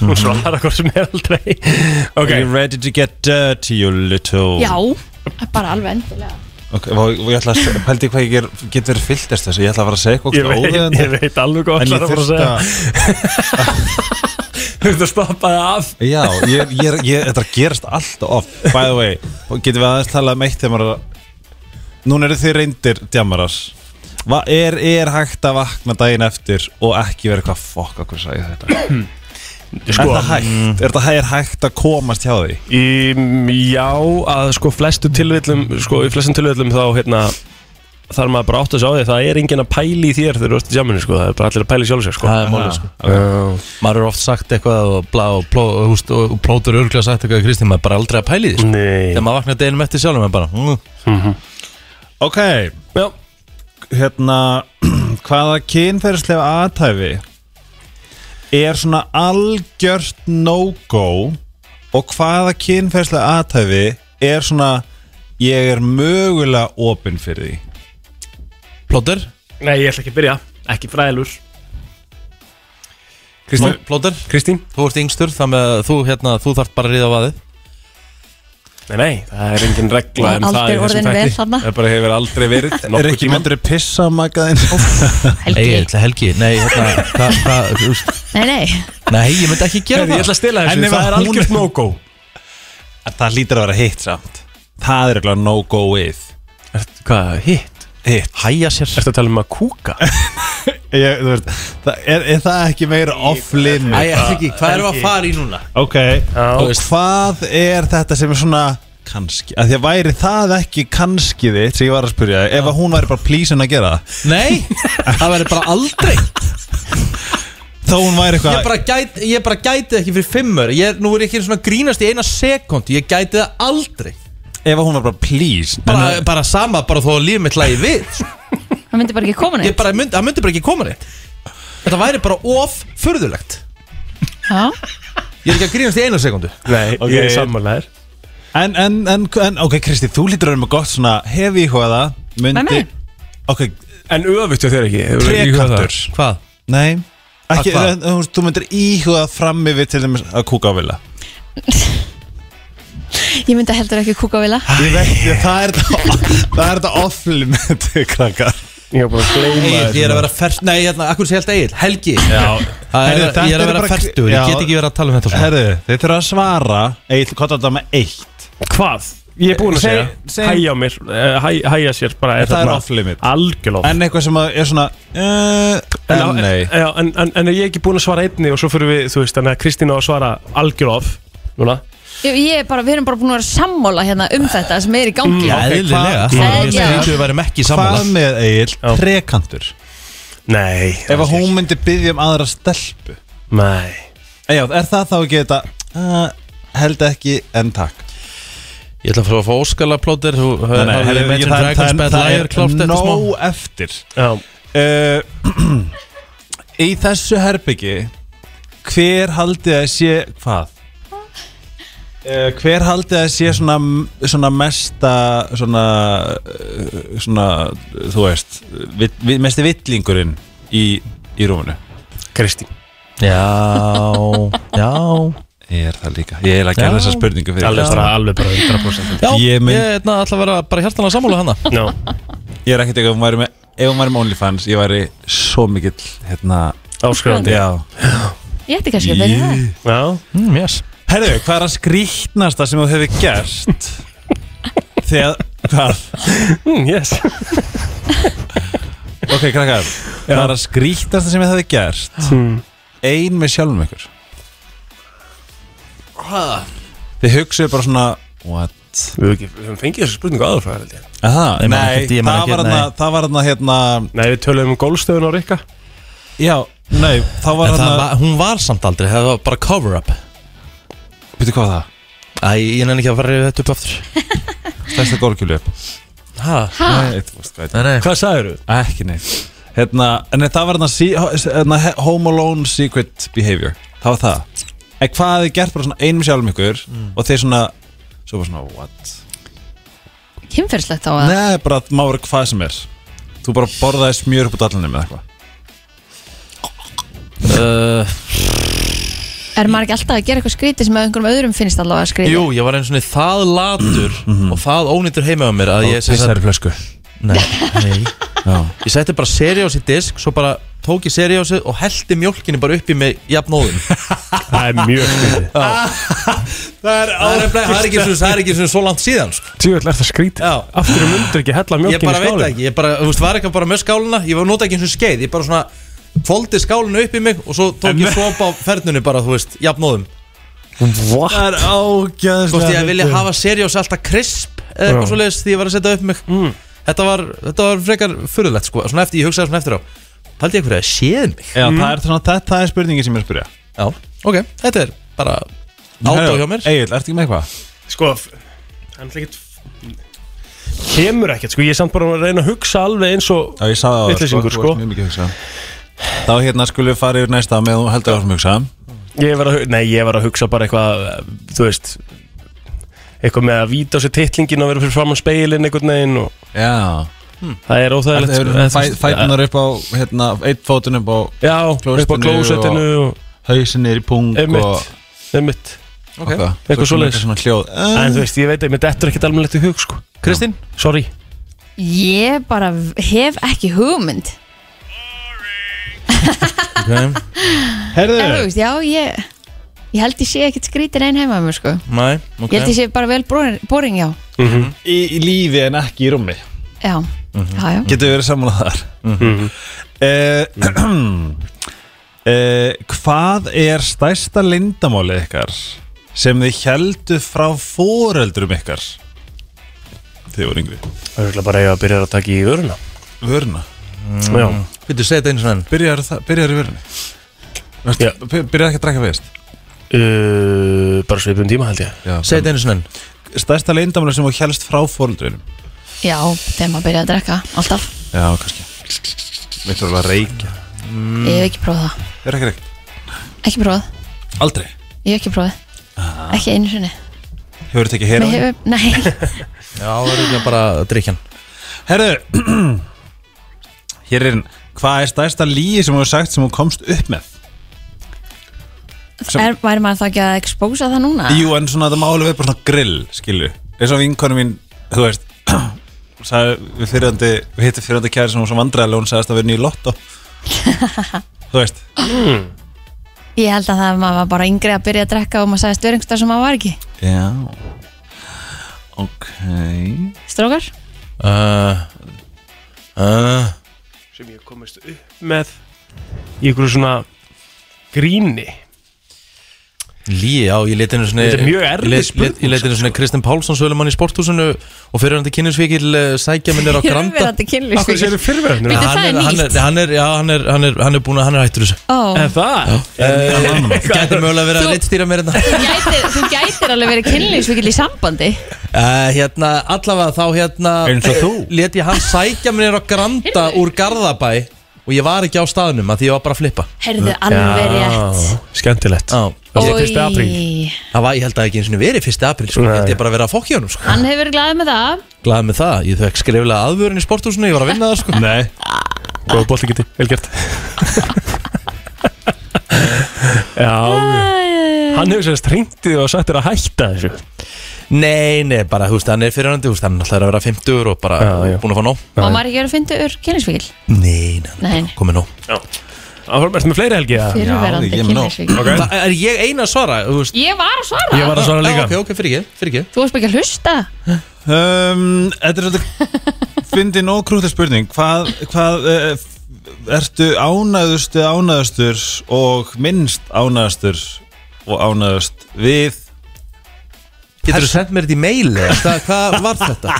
[SPEAKER 3] hún svarar hvort sem er aldrei Ok,
[SPEAKER 7] Are you ready to get dirty, you little
[SPEAKER 2] Já, bara alveg endilega
[SPEAKER 7] Ok, og, og ég ætla að se- pældi hvað ég ger, get verið fylltist þessu, ég ætla að fara að segja eitthvað
[SPEAKER 3] ég veit,
[SPEAKER 7] óþægilegt.
[SPEAKER 3] ég veit alveg hvað
[SPEAKER 7] En
[SPEAKER 3] ætlar
[SPEAKER 7] ég
[SPEAKER 3] að fara að
[SPEAKER 7] þurfti
[SPEAKER 3] segja
[SPEAKER 7] að
[SPEAKER 3] Þú ert að stoppa það af
[SPEAKER 7] Já, ég, ég, er- ég, þetta gerast alltaf oft By the way, og getum við aðeins talað um eitt þegar maður er að Núna eru þið reyndir djamaras Va, er, er hægt að vakna daginn eftir og ekki vera eitthvað fokk okkur sagði þetta
[SPEAKER 3] Sko,
[SPEAKER 7] Er það hægt? Er það er hægt að komast hjá því?
[SPEAKER 3] Í, já, að sko flestu tilvillum sko í flestum tilvillum þá hérna þarf maður bara átt að sjá því það er enginn að pæli í þér þegar þú ert í jamminu sko það er bara allir að pæli sjálf sér sko
[SPEAKER 1] það er málið sko Maður er oft sagt eitthvað og, bla, og, pló, og, húst, og og plótur örgulega sagt eitthvað að Kristín, maður er bara aldrei að pæli því sko.
[SPEAKER 3] Nei
[SPEAKER 1] Þegar maður vaknar deginum eftir sjálfum maður bara mm.
[SPEAKER 7] Ok,
[SPEAKER 3] Já,
[SPEAKER 7] hérna Hvaða kynferðislega aðtæfi er svona algjört no-go og hvaða kynferðislega aðtæfi er svona ég er mögulega opinn fyrir því
[SPEAKER 1] Plótur,
[SPEAKER 3] nei ég ætla ekki að byrja ekki fræðilur
[SPEAKER 1] Má-
[SPEAKER 3] Kristín,
[SPEAKER 1] mm, plótur,
[SPEAKER 3] Kristín
[SPEAKER 1] þú ert yngstur þannig að þú, hérna, þú þarft bara að ríða á vaðið
[SPEAKER 3] Nei, nei, það er enginn regla
[SPEAKER 2] Nei,
[SPEAKER 3] um það
[SPEAKER 2] aldrei
[SPEAKER 3] í þessum
[SPEAKER 2] orðin vel
[SPEAKER 3] þætti.
[SPEAKER 2] þarna.
[SPEAKER 3] Það bara hefur aldrei verið
[SPEAKER 7] Er
[SPEAKER 3] nokkuð
[SPEAKER 7] ekki
[SPEAKER 3] tíma
[SPEAKER 7] myndur að pissa á makaðinn?
[SPEAKER 1] Nei,
[SPEAKER 2] Helgi,
[SPEAKER 1] ég ætla Helgi, nei, hérna, hvað, hvað, þú veist
[SPEAKER 2] nei, nei
[SPEAKER 1] Nei, ég myndi ekki gera
[SPEAKER 3] Ég ætla að stila
[SPEAKER 7] En
[SPEAKER 3] þessu,
[SPEAKER 7] ef
[SPEAKER 3] það er
[SPEAKER 7] hún-
[SPEAKER 3] algjört no-go
[SPEAKER 7] Það lítur að vera hitt samt Það er eitthvað no-go with
[SPEAKER 3] Hvað, hitt?
[SPEAKER 7] Hitt
[SPEAKER 1] það Hæja sér
[SPEAKER 3] Ertu að tala um að kúka?
[SPEAKER 7] ég, þú veist, það er, er það ekki meira off-limit?
[SPEAKER 1] Æ, Helgi, hvað erum við að fara í núna?
[SPEAKER 7] Ok Og hvað er þetta sem er svona kannski, að því að væri það ekki kannski þitt sem ég var að spyrja þig, ef að hún væri bara plísin að gera það
[SPEAKER 1] Nei, það verður bara aldrei
[SPEAKER 7] þó hún væri
[SPEAKER 1] Ég
[SPEAKER 7] eitthvað
[SPEAKER 1] bara, gæti, ég bara gæti það ekki fyrir fimmur ég, er- Nú er ég ekki svona að grínast í eina sekund Ég gæti það aldrei
[SPEAKER 7] ef að hún var bara plís
[SPEAKER 1] Bara, bara sama, bara þó að líf mitt lagi við sko.
[SPEAKER 2] Það myndi bara ekki koma
[SPEAKER 1] Ég
[SPEAKER 2] neitt
[SPEAKER 1] bara, mynd, það myndi bara ekki koma neitt Þetta væri bara of furðulegt
[SPEAKER 2] Já,
[SPEAKER 1] Ég er ekki að grínast í eina sekundu
[SPEAKER 3] Nei,
[SPEAKER 7] Ok.
[SPEAKER 3] ég er sammálaðir
[SPEAKER 7] En, en, en, en ok, Kristi, þú lítur að vera með gott svona hefi íhugaða myndi,
[SPEAKER 2] Með mig?
[SPEAKER 7] Ok,
[SPEAKER 3] En öfugt hjá þér ekki hefur þú íhugað það?
[SPEAKER 7] trekantur
[SPEAKER 1] Hvað?
[SPEAKER 7] Nei ekki,
[SPEAKER 1] hvað?
[SPEAKER 7] en, þú veist, Þú myndir íhugað fram yfir til þeim að kúka á vilja
[SPEAKER 2] Ég myndi heldur ekki kúka vilja
[SPEAKER 7] Ég veit, ég, það er þetta Það er þetta off-limit, krakkar
[SPEAKER 3] Ég hef bara að gleyma
[SPEAKER 1] Egil,
[SPEAKER 3] þessu.
[SPEAKER 1] ég er að vera fært Nei, hérna, akkur sé held Egil, Helgi
[SPEAKER 7] Já,
[SPEAKER 1] Það er, ég er að vera færtur, ég get ekki verið að tala um þetta svona
[SPEAKER 7] Herðu, þeir þurfa að svara Egil, hvað er þetta með eitt?
[SPEAKER 3] Hvað? Ég er búin að
[SPEAKER 7] Seg-
[SPEAKER 3] segja
[SPEAKER 7] seg-
[SPEAKER 3] Hæja á mér, eh, hæ, hæja sér bara
[SPEAKER 7] Það
[SPEAKER 3] er
[SPEAKER 7] er
[SPEAKER 3] þarna
[SPEAKER 7] off-limit.
[SPEAKER 3] Algjörlega
[SPEAKER 7] En eitthvað sem að er svona uh, En
[SPEAKER 3] en,
[SPEAKER 7] nei
[SPEAKER 3] já, en, en, en ég er ekki búin að svara einni og svo fyrir við, þú veist, þannig að Kristín á að svara algjörlega off Núna
[SPEAKER 2] Ég, ég er bara, við erum bara búin að vera sammála hérna um þetta sem er í gangi
[SPEAKER 1] Já, eðlilega
[SPEAKER 7] hvað-
[SPEAKER 1] Mér
[SPEAKER 2] Já.
[SPEAKER 1] finnst við værum ekki
[SPEAKER 7] Hvað
[SPEAKER 1] sammála
[SPEAKER 7] með Egil, trekantur?
[SPEAKER 3] Nei
[SPEAKER 7] Ef að hún myndi byggja um aðra stelpu Eh,
[SPEAKER 3] Nei
[SPEAKER 7] Já, er það þá ekki þetta uh, Held ekki, en takk
[SPEAKER 1] Ég ætla að fara að fá óskalaplótir Þú hefur
[SPEAKER 7] heyrðu,
[SPEAKER 1] Imagine
[SPEAKER 7] það-
[SPEAKER 1] Dragons
[SPEAKER 7] það-
[SPEAKER 1] Bad
[SPEAKER 7] það
[SPEAKER 1] Liar
[SPEAKER 7] er
[SPEAKER 1] klárt eftir smá
[SPEAKER 7] Nóg eftir
[SPEAKER 3] Já,
[SPEAKER 7] uh, Í þessu herbyggi Hver haldið að sé Hvað? Uh, hver haldið að sé svona, svona mesta svona, uh, svona þú veist vi, vi, mesti villingurinn í, í rúminu
[SPEAKER 3] Kristín
[SPEAKER 7] Já,
[SPEAKER 1] Já,
[SPEAKER 7] ég er það líka Ég er að gera
[SPEAKER 1] Já.
[SPEAKER 7] þessa spurningu fyrir
[SPEAKER 3] Alveg
[SPEAKER 7] þér.
[SPEAKER 3] bara, alveg bara 100%
[SPEAKER 1] já
[SPEAKER 7] Ég
[SPEAKER 1] Ég hérna
[SPEAKER 7] mynd-
[SPEAKER 1] ætla að vera bara hjartanlega sammála hana
[SPEAKER 3] Já,
[SPEAKER 7] Ég er ekkert eitthvað, ef hún væri með, ef hún væri með OnlyFans Ég væri svo mikill hérna,
[SPEAKER 3] áskrifandi
[SPEAKER 7] Já
[SPEAKER 2] Ég ætti kannski að byrja það
[SPEAKER 3] Já,
[SPEAKER 1] Mm, yes
[SPEAKER 7] Herðu, hvað er að skrýtnasta sem þú hefur gert? Þegar, hvað?
[SPEAKER 3] mm, yes
[SPEAKER 7] Ok, krakkar Hvað er að skrýtnasta sem þú hefur gert?
[SPEAKER 3] Mm.
[SPEAKER 7] Ein með sjálfum ykkur Þið hugsuðu bara svona What?
[SPEAKER 3] Við höfum ekki- við höfum fengið þessu spurningu aður frá þér held ég.
[SPEAKER 7] Aha,
[SPEAKER 1] Ég man
[SPEAKER 7] nei,
[SPEAKER 1] ekkert, ég man
[SPEAKER 7] það
[SPEAKER 1] ekkert,
[SPEAKER 7] var
[SPEAKER 1] nei.
[SPEAKER 7] hérna Það var hérna, hérna
[SPEAKER 3] Nei, við töluðum um gólfstöðun á Rikka
[SPEAKER 7] Já, nei, það var
[SPEAKER 1] En það
[SPEAKER 7] hérna
[SPEAKER 1] var, hún var samt aldrei, það var bara cover up
[SPEAKER 7] Býttu hvað var það?
[SPEAKER 1] Æ, ég nenni ekki að fara yfir þetta upp aftur
[SPEAKER 7] Stærsta gólkjölu upp
[SPEAKER 1] Hæ?
[SPEAKER 7] Nei, þú veist hvað þetta er.
[SPEAKER 1] Nei, nei
[SPEAKER 3] Hvað sagðirðu?
[SPEAKER 7] Ekki neitt Hérna, en það var hérna sí- hérna he- Home Alone Secret Behavior Það var það En hvað hafið þið gert bara svona einum sjálfum ykkur Og þeir svona, svo bara svona what
[SPEAKER 2] Kynferðslegt þá að
[SPEAKER 7] Nei, bara að má vera hvað sem er Þú bara borðaði smjör upp á dallinu með eitthvað
[SPEAKER 1] uh,
[SPEAKER 2] Er maður ekki alltaf að gera eitthvað skrítið sem að einhverjum öðrum finnst allavega að skrítið
[SPEAKER 1] Jú, ég var einu svona það latur og það ónýttur heima á mér að ég sem sagt-
[SPEAKER 7] flösku
[SPEAKER 1] Nei, nei
[SPEAKER 7] Já.
[SPEAKER 1] Ég setti bara seriós í disk, svo bara tók ég seriósið og hellti mjólkinu bara upp í mig jafnóðum
[SPEAKER 3] Það er mjög skrítið
[SPEAKER 7] Það er
[SPEAKER 1] Það er, nefnilega- það er ekki svona, það er ekki svona svo langt síðan sko.
[SPEAKER 3] Tjóðvill er það skrítið
[SPEAKER 1] Já.
[SPEAKER 3] Af hverju myndir ekki hella
[SPEAKER 1] Ég
[SPEAKER 3] mjölkin í
[SPEAKER 1] bara veit það
[SPEAKER 3] skálinn?
[SPEAKER 1] ekki, ég bara, þú veist, var ekki bara með skáluna Ég var nota ekki eins og skeið, ég bara svona Fóldi skálinu upp í mig og svo tók ég svopa á fernunni bara, þú veist, jafnóðum
[SPEAKER 3] What?
[SPEAKER 7] Það er ágæðslega
[SPEAKER 1] Þú veist, ég vilja hafa seriós alltaf krisp eða eitthvað
[SPEAKER 3] Já. Mm.
[SPEAKER 1] svo leiðist því ég var að setja upp mig þetta, var, þetta var frekar furðulegt sko, svona eftir, ég hugsaði svona eftir á Paldi ég hverju að séð mig
[SPEAKER 7] Já, það er svona, þetta það er spurningin sem ég er að spyrja
[SPEAKER 1] Já, ok, þetta er bara átó hjá mér
[SPEAKER 7] Egil, ertu ekki með eitthvað?
[SPEAKER 3] Sko, f- hann er ekkert Kemur ekkert, sko, ég er samt bara að reyna að hugsa alveg eins og
[SPEAKER 7] Já, ég sagði það
[SPEAKER 3] Vitleysingur,
[SPEAKER 7] þú
[SPEAKER 3] sko.
[SPEAKER 7] varst mjög mikið að hugsa. Þá hérna skulum við fara yfir næsta með þú heldur áfram að hugsa
[SPEAKER 3] Ég var að, hu- nei, ég var að hugsa bara eitthvað, eh, þú veist Eitthvað með að víta á sér titlingin og vera fyrir fram á speilin einhvern veginn og
[SPEAKER 7] Já
[SPEAKER 3] það er óþægilegt
[SPEAKER 7] Hefur
[SPEAKER 3] sko, eh, þú veist,
[SPEAKER 7] fætunar upp á hérna, eitt fótun upp á
[SPEAKER 3] eh, Já, upp á
[SPEAKER 7] klósettinu
[SPEAKER 3] klósettinu og
[SPEAKER 7] hausin niður í pung og
[SPEAKER 3] einmitt, einmitt
[SPEAKER 1] Ok.
[SPEAKER 7] eitthvað
[SPEAKER 3] Eitthvað
[SPEAKER 7] Svo kemur
[SPEAKER 3] svoleiðis.
[SPEAKER 7] svona hljóð
[SPEAKER 3] En þú veist, ég veit að mér dettur ekkert almennilegt í hug, sko
[SPEAKER 1] Kristín,
[SPEAKER 3] Sorry
[SPEAKER 2] Ég bara hef ekki hugmynd
[SPEAKER 1] ok,
[SPEAKER 2] En þú veist, já, ég Ég held ég sé ekkert skrítið einn heima með mér sko
[SPEAKER 1] næ, ok
[SPEAKER 2] Ég held ég sé bara vel boring, boring já
[SPEAKER 7] í, í lífi en ekki í rúmi
[SPEAKER 2] Já, já, já
[SPEAKER 7] Getur við verið saman þar Mhm. Eh, eh, Hvað er stærsta lindamálið ykkar sem þið heldu frá foreldrum ykkar Þið voru yngri
[SPEAKER 3] Það er bara að ég að byrja að taka í vöruna
[SPEAKER 7] Vöruna
[SPEAKER 3] Já,
[SPEAKER 1] Viltu segja þetta einu svona enn?
[SPEAKER 7] Byrjar, það, byrjar í vörunni
[SPEAKER 3] Já.
[SPEAKER 7] Vertu- by- Byrjar ekki að drakka fyrst
[SPEAKER 3] uh, bara svipum tíma held ég
[SPEAKER 1] Segja þetta einu svona enn
[SPEAKER 7] Stærsta leyndamál sem þú helst frá fóruldurinn
[SPEAKER 2] Já, þegar maður byrjaði að drekka, alltaf
[SPEAKER 7] Já, kannski Mér þarf alveg að reykja
[SPEAKER 2] Ég hef ekki prófað það,
[SPEAKER 7] Er ekki reykt?
[SPEAKER 2] ekki prófað
[SPEAKER 7] Aldrei
[SPEAKER 2] Ég hef ekki prófið Ekki einu sinni
[SPEAKER 7] Hefur þetta ekki hér
[SPEAKER 2] Mér hefur, Nei,
[SPEAKER 1] Já, það er ekki bara drikjan
[SPEAKER 7] Herðu Hér er hann Hvað er stærsta líi sem þú hefur sagt sem þú komst upp með? Sem-
[SPEAKER 2] er, væri maður þá ekki að expósa það núna?
[SPEAKER 7] Jú, en svona þetta má alveg vera bara svona grill, skilju eins og vinkonu mín, þú veist sagði við fyrirandi við hittum fyrirandi kæri sem hún svo vandræðilega hún sagðist að vera nýjum lotto Þú veist,
[SPEAKER 2] Ég held að það maður var bara yngri að byrja að drekka og maður sagði stjöringstar sem maður var ekki
[SPEAKER 7] já Ok
[SPEAKER 2] Strókar?
[SPEAKER 1] uh, uh,
[SPEAKER 3] sem ég komist upp með í einhverju svona gríni
[SPEAKER 1] Lí, já, ég leti henni svona
[SPEAKER 3] Þetta er mjög erfið
[SPEAKER 1] ég lét-
[SPEAKER 3] spurning, sko.
[SPEAKER 1] lét- Ég leti henni svona Kristinn Pálsson Sölumann í sporthúsinu og fyrir hann til kynningsvíkil sækja minnir á Granda
[SPEAKER 2] Fyrirverandi
[SPEAKER 3] Akkur séu
[SPEAKER 2] kynlýsvíkil
[SPEAKER 3] fyrirverðinu
[SPEAKER 2] Bíddu, það er
[SPEAKER 1] hann
[SPEAKER 2] nýtt.
[SPEAKER 1] er, hann er, já, hann er, hann er, hann er búin að, hann er hættur þessu
[SPEAKER 2] Ó,
[SPEAKER 3] En það
[SPEAKER 1] Gæti mögulega að vera að
[SPEAKER 2] Þú-
[SPEAKER 1] litstýra mér hérna. þetta
[SPEAKER 2] þú gætir, þú gætir alveg verið kynlýsvíkil í sambandi
[SPEAKER 1] Uh, hérna, allavega þá hérna
[SPEAKER 7] Eins og þú.
[SPEAKER 1] Let ég hann sækja mér á Granda úr Garðabæ Og ég var ekki á staðnum að því ég var bara að flippa
[SPEAKER 2] Herðu alveg rétt
[SPEAKER 3] Skemmtilegt
[SPEAKER 1] Já,
[SPEAKER 3] Það sé fyrsti apríl.
[SPEAKER 2] Ói.
[SPEAKER 1] það var, ég held að ekki eins og verið fyrsti april Sko,
[SPEAKER 3] Nei.
[SPEAKER 1] held ég bara að vera að fokk í honum sko.
[SPEAKER 2] Hann hefur verið glaðið með það
[SPEAKER 1] Glaðið með það, ég þekk skriflega aðvörun í sporthúsinu Ég var að vinna það sko
[SPEAKER 7] Nei,
[SPEAKER 3] Góða bótti geti, vel gert Já Hann hefur sérst hringtið og sagt þér að hætta þessu
[SPEAKER 1] Nei, nei, bara, þú veist, hann er fyrirhandi Þú veist, hann er alltaf að vera 50 og bara
[SPEAKER 3] Já, já.
[SPEAKER 1] búin að fá nóg
[SPEAKER 2] Má maður ekki verið að fyndi ur kynlýsvíkil
[SPEAKER 1] Nei, nei,
[SPEAKER 2] Nei, nei.
[SPEAKER 1] komið nóg
[SPEAKER 3] Það var mest með fleiri helgi eða?
[SPEAKER 2] fyrirverandi
[SPEAKER 7] ég er með nóg.
[SPEAKER 2] kynlýsvíkil
[SPEAKER 3] Ok.
[SPEAKER 1] Það er ég eina að svara, þú veist
[SPEAKER 2] Ég var að svara
[SPEAKER 3] Ég var að
[SPEAKER 1] Já,
[SPEAKER 3] svara líka
[SPEAKER 1] Ok, ok, fyrir ekki, fyrir ekki
[SPEAKER 2] Þú varst bara ekki að hlusta
[SPEAKER 7] um, þetta er svolítið fyndi nóg krútið spurning hvað, hvað uh, ertu ánæðustu ánæðustur og minnst ánæðustur og ánæðust við
[SPEAKER 1] Getur þú sendt mér þetta í mail, eða? Hvað- hvað var þetta?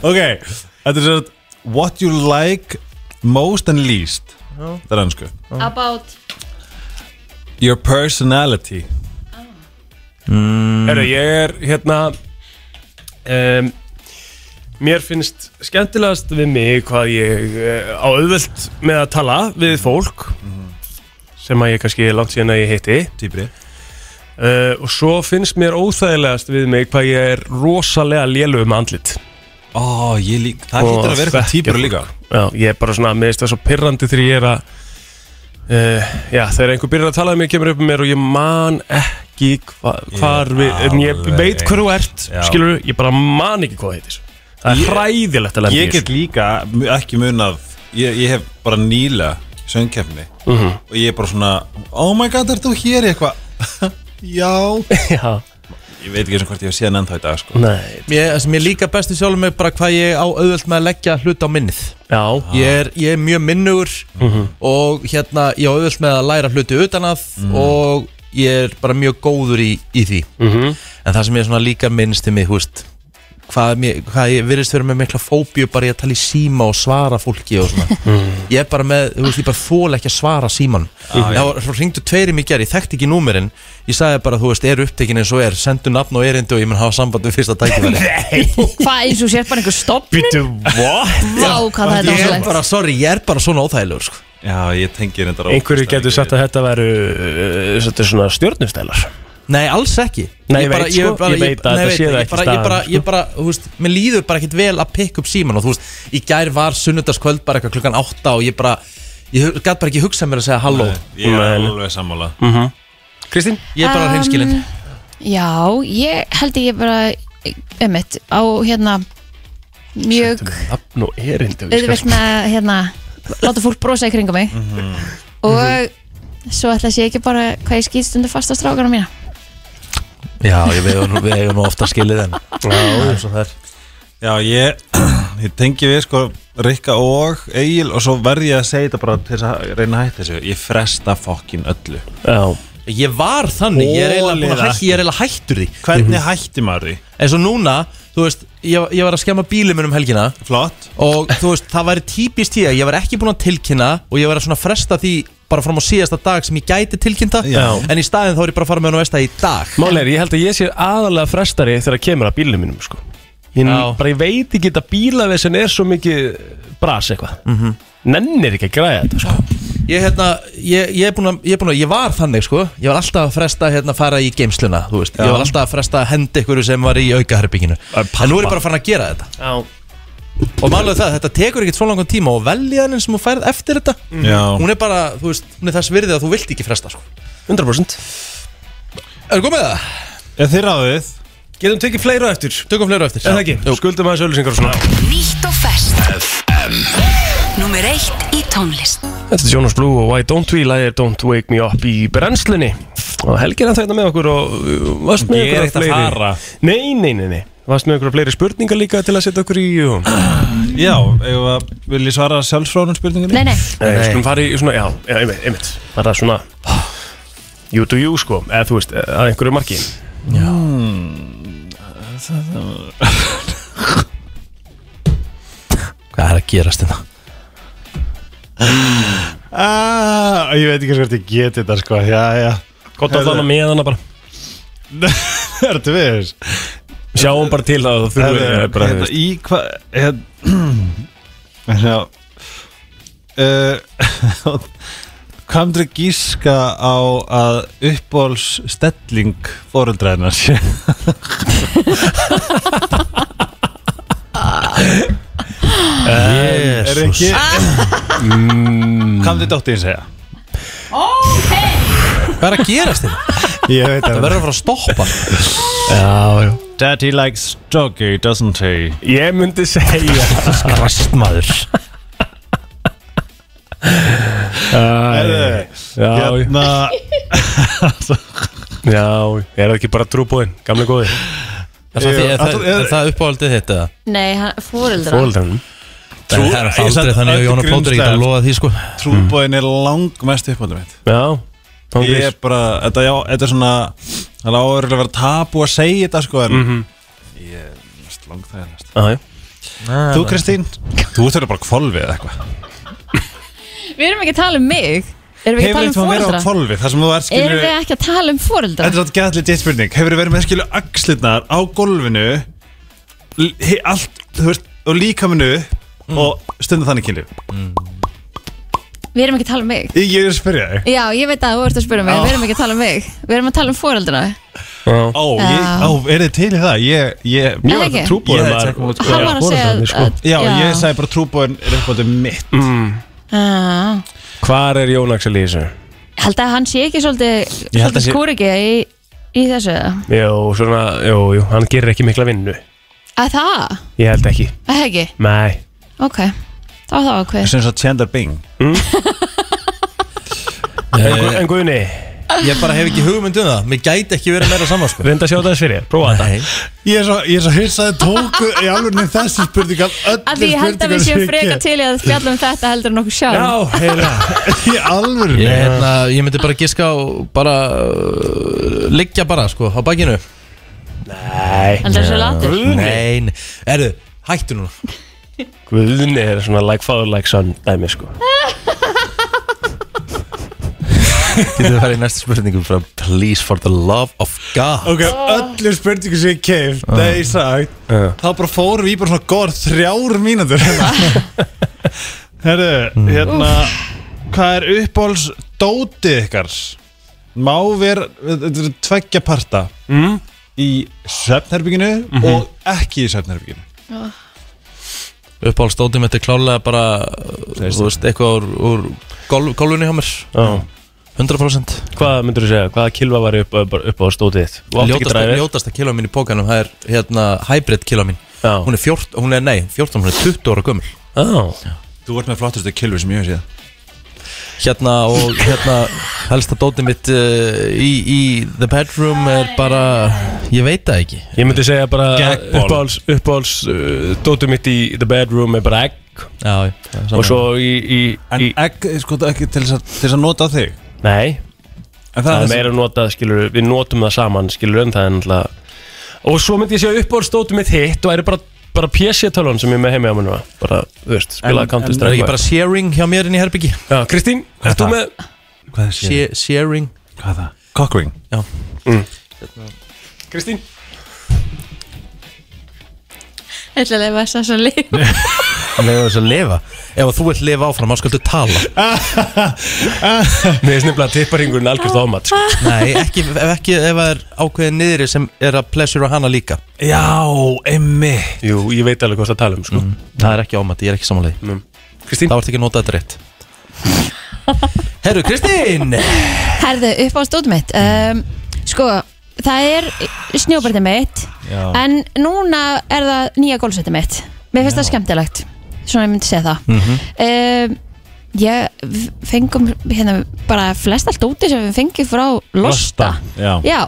[SPEAKER 7] Ok, þetta er svolítið What you like most and least Það er ennsku
[SPEAKER 2] About
[SPEAKER 7] Your personality
[SPEAKER 3] Herru, ég er hérna um, Mér finnst skemmtilegast við mig hvað ég uh, á auðvöld með að tala við fólk sem að ég kannski er langt síðan að ég heiti
[SPEAKER 7] Týpri
[SPEAKER 3] uh, og svo finnst mér óþægilegast við mig hvað ég er rosalega lélug með andlit
[SPEAKER 7] Ó, ég lík Það
[SPEAKER 3] Og
[SPEAKER 7] hlýtur að vera eitthvað
[SPEAKER 3] þekkja
[SPEAKER 7] týpur
[SPEAKER 3] fólk.
[SPEAKER 7] líka
[SPEAKER 3] Já, ég er bara svona, mér finnst það svo pirrandi þegar ég er að uh, Já, þegar einhver byrjar að tala um mig kemur upp um mér og ég man ekki hva, hvar við, en ég
[SPEAKER 7] alveg
[SPEAKER 3] veit hver þú ert
[SPEAKER 7] Já.
[SPEAKER 3] skilur, ég bara man ekki hvað það heitir Það
[SPEAKER 7] Ég-
[SPEAKER 3] er hræðilegt að lemja
[SPEAKER 7] Ég get líka mu- ekki munað Ég, ég hef bara nýla söngkefni Og ég er bara svona Oh my god, ert þú hér í eitthvað Já
[SPEAKER 3] Já,
[SPEAKER 7] Ég veit ekki eins og hvort ég hef séð hann ennþá í dag sko
[SPEAKER 3] nei,
[SPEAKER 1] Mér, það sem ég líka besti sjálfur mig bara hvað ég á auðvöld með að leggja hlut á minnið
[SPEAKER 3] já,
[SPEAKER 1] ég, er, ég er mjög minnugur og hérna ég á auðvöld með að læra hluti utan að og ég er bara mjög góður í, í því
[SPEAKER 3] Mhm.
[SPEAKER 1] en það sem ég er svona líka minnst til mig húst, hvað, mér, hvað ég virðist vera með mikla fóbíu bara í að tala í síma og svara fólki og svona ég er bara með, þú veist, ég bara þól ekki að svara síman þá svo ringdu tveiri mig gerð, ég þekkti ekki númerinn ég sagði bara, þú veist, er upptekin eins og er sendu nafn og erindi og ég mun hafa samband við fyrsta tækifæri
[SPEAKER 2] Hvað eins og sér bara einhver stopp
[SPEAKER 3] býtu, what?
[SPEAKER 2] Vá hvað það er
[SPEAKER 1] Ég er
[SPEAKER 2] dásalegt
[SPEAKER 1] bara, sorry, ég er bara svona óþægilegur sko.
[SPEAKER 7] Já, ég tengi þetta
[SPEAKER 3] Einhverju getur sagt að þetta væru uh, þetta er svona stjórnustælar
[SPEAKER 1] Nei, alls ekki
[SPEAKER 3] Nei, ég veit, sko, ég veit að
[SPEAKER 1] nei,
[SPEAKER 3] þetta sé
[SPEAKER 1] ég
[SPEAKER 3] það ekki
[SPEAKER 1] bara, ég
[SPEAKER 3] staðan,
[SPEAKER 1] bara,
[SPEAKER 3] sko.
[SPEAKER 1] ég bara, þú veist, mér líður bara ekkert vel að pikka upp síman og þú veist, í gær var sunnudagskvöld bara eitthvað klukkan átta og ég bara ég gæt bara ekki hugsað mér að segja halló
[SPEAKER 7] Ég er
[SPEAKER 3] Nei.
[SPEAKER 7] alveg sammála
[SPEAKER 3] Kristín?
[SPEAKER 1] Ég er bara
[SPEAKER 2] Um,
[SPEAKER 1] hreinskilinn
[SPEAKER 2] Já, ég held ég bara Ömmit á hérna Mjög
[SPEAKER 3] Nafn og erindi
[SPEAKER 7] sko-
[SPEAKER 2] auðvelt með að, hérna Láta fólk brosa í kringum mig
[SPEAKER 7] Mhm.
[SPEAKER 2] Og svo ætla ég ekki bara Hvað ég skýtst undir fasta strákana mína
[SPEAKER 1] Já, ég veit, nú- við eigum nú ofta skilið en Já, eins og það er
[SPEAKER 7] Já, ég, ég tengi við sko Rikka og Egil og svo verð ég að segja þetta bara til þess að reyna að hætta þessu Ég fresta fokkin öllu
[SPEAKER 3] Já,
[SPEAKER 1] Ég var þannig, ég er eiginlega búin að
[SPEAKER 3] Þolið
[SPEAKER 1] hætt- ég er eiginlega hættur því
[SPEAKER 7] Hvernig hætti maður því?
[SPEAKER 1] eins og núna, þú veist, ég, ég var að skemma bílið minn um helgina
[SPEAKER 7] Flott
[SPEAKER 1] og þú veist, það væri típist ég að ég var ekki búin að tilkynna og ég var að svona fresta því bara fram á síðasta dag sem ég gæti tilkynnta
[SPEAKER 7] Já.
[SPEAKER 1] en í staðin þá er ég bara að fara með hann og veist það í dag
[SPEAKER 3] Mál er, ég held að ég sé aðalega frestari þegar kemur að bílum mínum sko. ég,
[SPEAKER 1] Já.
[SPEAKER 3] bara, ég veit ekki Mhm. þetta bílavesin er svo mikið bras eitthvað mm -hmm. Nennir ekki að græða þetta sko.
[SPEAKER 1] Ég, hérna, ég, ég, er búinn að, ég, er búinn að, ég var þannig sko Ég var alltaf að fresta hérna að fara í geimsluna þú veist. Ég var alltaf að fresta að henda ykkur sem var í aukaherbygginu En nú er ég bara farin að gera þetta
[SPEAKER 3] Já
[SPEAKER 1] Og málega það, þetta tekur ekkert svo langan tíma Og veljaðin sem þú færð eftir þetta
[SPEAKER 3] Mm.
[SPEAKER 7] Já,
[SPEAKER 1] Hún er bara, þú veist, hún er þess virðið að þú vilt ekki fresta sko
[SPEAKER 3] 100%
[SPEAKER 1] Er komið með það?
[SPEAKER 7] ég þið ráðið
[SPEAKER 3] Getum tekið fleira á eftir
[SPEAKER 1] Tökum fleira á eftir
[SPEAKER 3] Er það ekki?
[SPEAKER 1] Jú.
[SPEAKER 3] Skuldum aðeins öllusingar og svona
[SPEAKER 8] Nýtt og ferst Númer eitt í tónlist
[SPEAKER 3] Þetta er Jonas Blue og Why Don't We Læðir Don't Wake Me Up í brennslunni Og Helgi er að þetta með okkur og uh, varst með
[SPEAKER 7] Ég
[SPEAKER 3] ykkur
[SPEAKER 7] er
[SPEAKER 3] á
[SPEAKER 7] ekkert að
[SPEAKER 3] fleiri
[SPEAKER 7] fara.
[SPEAKER 3] Nei, nei, nei, nei Varst með ykkur á fleiri spurningar líka til að setja okkur í og...
[SPEAKER 7] Já, eigum við að vil ég svara sjálfsfrónum spurningunni?
[SPEAKER 2] Nei, nei,
[SPEAKER 3] Nei, skulum fara í svona, já, já einmitt, einmitt Var það svona You do you sko, eða þú veist, að einhverju marki
[SPEAKER 7] Hmm,
[SPEAKER 1] Hvað er að gerast hérna? þetta?
[SPEAKER 7] Ah, ég veit ekki hvort ég geti þetta sko, já, já
[SPEAKER 3] Gott að þarna með hana bara
[SPEAKER 7] Ertu við þess?
[SPEAKER 3] Sjáum bara til að þú
[SPEAKER 7] Herðu,
[SPEAKER 3] þurfum bara
[SPEAKER 7] hérna, Í hvað hérna, hérna, uh, Hvað myndir að gíska á að uppbóls stelling fóruldræðinar sé? Er ekki Hvað myndir dóttir segja?
[SPEAKER 1] Hvað er að gerast hérna? þetta?
[SPEAKER 7] Ég veit
[SPEAKER 1] Það verður að fara að stoppa
[SPEAKER 3] Já, já
[SPEAKER 7] Daddy likes doggy, doesn't he?
[SPEAKER 3] Ég myndi segja
[SPEAKER 1] Skrast maður
[SPEAKER 7] Herðu,
[SPEAKER 3] Já, já
[SPEAKER 7] Hérna
[SPEAKER 3] Já, er það ekki bara trúbóðin, gamli góði
[SPEAKER 1] Er það,
[SPEAKER 7] Jú,
[SPEAKER 1] því- er það,
[SPEAKER 7] alltaf- er-
[SPEAKER 1] er það uppáhaldið þetta?
[SPEAKER 2] nei, hann- fóreldrar
[SPEAKER 3] Fólaldranum
[SPEAKER 1] Það er
[SPEAKER 7] ég satt
[SPEAKER 1] aldrei þannig að
[SPEAKER 7] öllu
[SPEAKER 1] Jónar Plóter ekki
[SPEAKER 7] grímstæðar.
[SPEAKER 1] að lofa því sko
[SPEAKER 7] Trúbóin er langmest uppbóndum mitt
[SPEAKER 3] Já,
[SPEAKER 7] Ég er
[SPEAKER 3] tóngrís
[SPEAKER 7] bara, þetta, já, þetta er svona Það er áður að vera tabu að segja þetta sko En ég er mest langt það Þú Kristín? Þú þurfir bara kvolfið eða eitthvað
[SPEAKER 2] Við erum ekki að tala um mig Erum við ekki að tala um
[SPEAKER 7] Hefur verið á
[SPEAKER 2] fóreldra?
[SPEAKER 7] kvolfið þar sem þú er
[SPEAKER 2] Erum
[SPEAKER 7] skilur
[SPEAKER 2] við ekki að tala um fóreldra?
[SPEAKER 7] Þetta er svona gæðlega ditt spurning Hefur verið með skilur axlirnar á gólfinu l- hi- Allt, þú veist, og líkaminu Og stundum þannig kynlíf
[SPEAKER 2] Við erum ekki að tala um mig
[SPEAKER 7] Ég ég er að spyrja þig
[SPEAKER 2] Já, ég veit að þú ert að spyrja mig,
[SPEAKER 7] Já.
[SPEAKER 2] við erum ekki að tala um mig Við erum að tala um fóreldrana
[SPEAKER 7] Ó, ég,
[SPEAKER 2] Já.
[SPEAKER 7] á, er þið til í það? Ég, ég
[SPEAKER 2] Mjög ekki
[SPEAKER 7] Ég-
[SPEAKER 3] Trúbóðin maður
[SPEAKER 7] Hann
[SPEAKER 3] Já,
[SPEAKER 2] Hann var að segja
[SPEAKER 3] foreldrarnir, sko.
[SPEAKER 2] að-
[SPEAKER 7] Já, ég sagði bara trúbóin er uppbóndum mitt
[SPEAKER 2] Ah.
[SPEAKER 3] Mm. Hvar er Jón Axel í þessu?
[SPEAKER 2] Held að hann sé ekki svolítið
[SPEAKER 7] Ég held að
[SPEAKER 2] svolítið
[SPEAKER 7] sé-
[SPEAKER 2] skúriki í, í þessu eða?
[SPEAKER 3] Jó, svona, jú, jú, hann gerir ekki mikla vinnu
[SPEAKER 2] Að það?
[SPEAKER 3] Ég held ekki
[SPEAKER 2] Að það ekki?
[SPEAKER 3] Nei
[SPEAKER 2] Ok, þá er það ákveð
[SPEAKER 7] sem svo Chandler Bing
[SPEAKER 3] En, Gu- en Guðni,
[SPEAKER 1] Ég bara hef ekki hugmynd um það Mér gæti ekki verið meira saman sko
[SPEAKER 3] reynda að sjá það þess fyrir þér, Prófa þetta
[SPEAKER 1] Nei.
[SPEAKER 7] Ég er svo, ég er svo hissaði tóku í alveg þessi spurning af
[SPEAKER 2] Að því
[SPEAKER 7] öllu
[SPEAKER 2] ég held að við séum freka til í að spjalla um þetta heldur en okkur sjálf
[SPEAKER 3] Já, heila
[SPEAKER 7] Í alveg
[SPEAKER 1] Ég, hérna, ég myndi bara giska og bara uh, Liggja bara sko á bakinu
[SPEAKER 3] Nei
[SPEAKER 2] Hann er svo latur
[SPEAKER 1] Nei, nei. Erðu, hættu núna
[SPEAKER 3] Guðni er svona like father like son dæmi sko
[SPEAKER 1] Getur það farið í næstu spurningum frá Please for the love of God
[SPEAKER 7] Ok, öllu spurningu sem ég
[SPEAKER 3] Ah.
[SPEAKER 7] keif Nei, ég sagt Þá bara fórum við í bara svona góðar þrjár mínútur hérna.
[SPEAKER 3] Mm.
[SPEAKER 7] Herru, hérna Hvað er uppáhalds dótið ykkar? Má vera Þetta er tveggja parta mm. Í svefnherbygginu
[SPEAKER 3] Mhm.
[SPEAKER 7] Og ekki í svefnherbygginu
[SPEAKER 1] Uppáhaldsdótið mitt er klálega bara Þú veist, eitthvað úr, úr golf, golfunni hjá mér
[SPEAKER 3] Já.
[SPEAKER 1] 100%
[SPEAKER 3] Hvað myndur þú segja, hvaða kilva var upp, upp, upp á stótið þitt? Þú átt ekki
[SPEAKER 1] Ljótasta,
[SPEAKER 3] dræfið?
[SPEAKER 1] ljótasta kila mín í pókanum Það er hérna hybrid kila mín
[SPEAKER 3] Já.
[SPEAKER 1] Hún er 14, hún er nei, 14, hún er 20 ára gömul
[SPEAKER 3] Já,
[SPEAKER 7] Þú ert með flottustu kilvi sem ég hef séð
[SPEAKER 1] Hérna og hérna Helsta dótið mitt uh, í, í The bedroom er bara Ég veit það ekki
[SPEAKER 3] ég myndi segja bara
[SPEAKER 7] Gagball.
[SPEAKER 3] uppáhalds, uppáhalds uh, dótið mitt í the bedroom er bara egg
[SPEAKER 1] Já, já,
[SPEAKER 3] og svo í, í,
[SPEAKER 7] En
[SPEAKER 3] í
[SPEAKER 7] ekki, sko, ekki til þess að, til þess að nota á þig
[SPEAKER 3] Nei,
[SPEAKER 7] En það,
[SPEAKER 3] það er
[SPEAKER 7] þessi-
[SPEAKER 3] meira notað, skilur, við notum það saman, skilur, en það er náttúrulega Og svo myndi ég segja uppáhaldsdótið mitt hitt og er bara, bara PC-tölun sem ég er með heimi á mér núna Bara, þú veist, spilaði
[SPEAKER 7] En-
[SPEAKER 3] Counter
[SPEAKER 7] en-
[SPEAKER 1] Það er
[SPEAKER 3] Strike
[SPEAKER 1] ekki bara sharing hjá mér inn í herbyggi
[SPEAKER 3] Já, Kristín,
[SPEAKER 7] er
[SPEAKER 3] ert þú
[SPEAKER 7] það?
[SPEAKER 3] með
[SPEAKER 7] Hvað er séð?
[SPEAKER 1] She, Sharing
[SPEAKER 7] Hvað er það? Cockring
[SPEAKER 3] Kristín?
[SPEAKER 2] Ætlaði að leifa þess að svo líf
[SPEAKER 1] Lefa þess að lifa Ef þú vilt lifa áfram, þá skaldu tala
[SPEAKER 3] Mér finnst nefnilega að tipparingurinn algjörst ámat sko.
[SPEAKER 1] Nei, ekki, ef ekki ef það er ákveðin niðri sem er að plessura hana líka
[SPEAKER 7] Já, emmi
[SPEAKER 3] Jú, ég veit alveg hvað það tala um sko.
[SPEAKER 7] Mm.
[SPEAKER 1] Það er ekki ámætti, ég er ekki samanlega
[SPEAKER 3] mm. Kristín,
[SPEAKER 1] Það vart ekki að nota þetta rétt Herru, Kristín
[SPEAKER 2] Herðu, upp á stóð mitt um, Sko, það er snjóbærtið mitt
[SPEAKER 7] Já.
[SPEAKER 2] En núna er það nýja gólfsettið mitt Mér finnst það skemmtilegt Svona ég myndi segja það
[SPEAKER 7] Hm.
[SPEAKER 1] Mhm.
[SPEAKER 2] um, Ég f- fengum hérna bara flest allt úti sem við fengjum frá Losta
[SPEAKER 7] Já,
[SPEAKER 2] Já,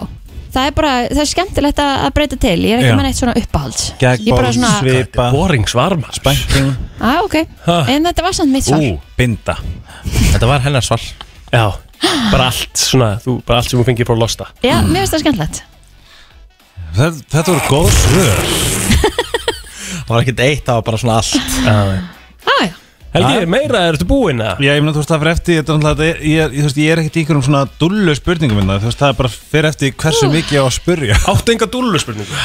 [SPEAKER 2] það er bara, það er skemmtilegt að að breyta til Ég er ekki
[SPEAKER 7] Já.
[SPEAKER 2] með neitt svona uppáhalds Ég er
[SPEAKER 7] geggbál,
[SPEAKER 2] bara svona,
[SPEAKER 7] svipa,
[SPEAKER 3] boring svarma
[SPEAKER 7] bænking
[SPEAKER 2] á ok En þetta var samt mitt svar
[SPEAKER 7] Ú, binda
[SPEAKER 1] Þetta var hennar svar
[SPEAKER 3] Já, bara allt svona, þú, bara allt sem hún fengið frá losta
[SPEAKER 2] Já, mér finnst það skemmtilegt
[SPEAKER 7] Þetta, þetta voru góð svör
[SPEAKER 1] Það var ekkert eitt, það var bara svona allt
[SPEAKER 2] Á, Ah, já,
[SPEAKER 3] Helgi, meira ertu búinn að
[SPEAKER 7] Já, ég meina, þú veist, það fyrir eftir þetta, er náttúrulega- þetta er, ég, ég, þú veist, ég er ekkert í einhverjum svona dullu spurningum minna Þú veist, það er bara fyrir eftir hversu mikið ég á að spurja
[SPEAKER 3] Áttu enga dúllu spurningu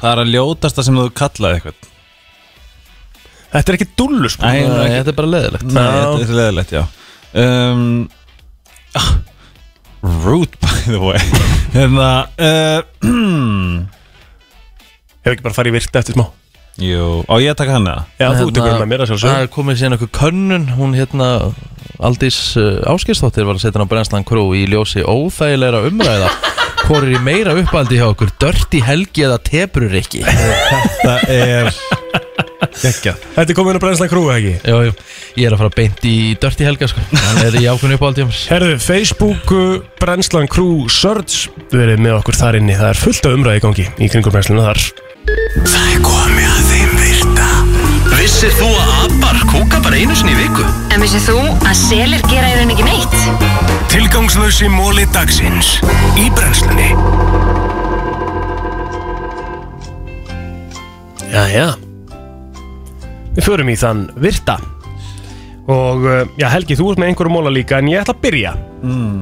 [SPEAKER 7] Hvað er að ljótasta sem þú kallaði eitthvað?
[SPEAKER 3] Þetta er ekki dúllu
[SPEAKER 7] Æ,
[SPEAKER 3] spurningu
[SPEAKER 7] það er ekki-
[SPEAKER 1] Þetta er bara leðilegt
[SPEAKER 7] Nei, þetta er leðilegt, já um, ah, Rude, by the way Hérna, uh,
[SPEAKER 3] Hefur ekki bara farið í virti eftir smá
[SPEAKER 7] jú, á ég að taka hann eða?
[SPEAKER 3] Já, þú tekur hérna meira
[SPEAKER 1] Það
[SPEAKER 3] sjálfsög
[SPEAKER 1] er komið síðan okkur könnun Hún hérna Aldís uh, Áskistóttir var að setja hann á brennslan krú í ljósi óþægilegra umræða Hvor er í meira uppaldi hjá okkur Dörti helgi eða tebrur ekki
[SPEAKER 7] Það er Gekja
[SPEAKER 3] Þetta er komin að brennsla krúi, ekki?
[SPEAKER 1] Jú, jú, ég er að fara beint í Dörti helga sko Hann er í ákveðinu uppaldi hjá mér
[SPEAKER 3] Herðu, Facebook uh, Brennslan Crew Search verið með okkur þar inni, það er fullt af umræði í gangi í kringum brennsluna þar
[SPEAKER 4] Það er komið að þeim virta Vissir þú að abar kúka bara einu sinni í viku?
[SPEAKER 8] En vissið þú að selir gera í raun ekki neitt?
[SPEAKER 4] Tilgangslösi móli dagsins Í brennslunni
[SPEAKER 3] Já, já Við förum í þann virta Og, uh, já Helgi, þú ert með einhverjum móla líka en ég ætla að byrja mm.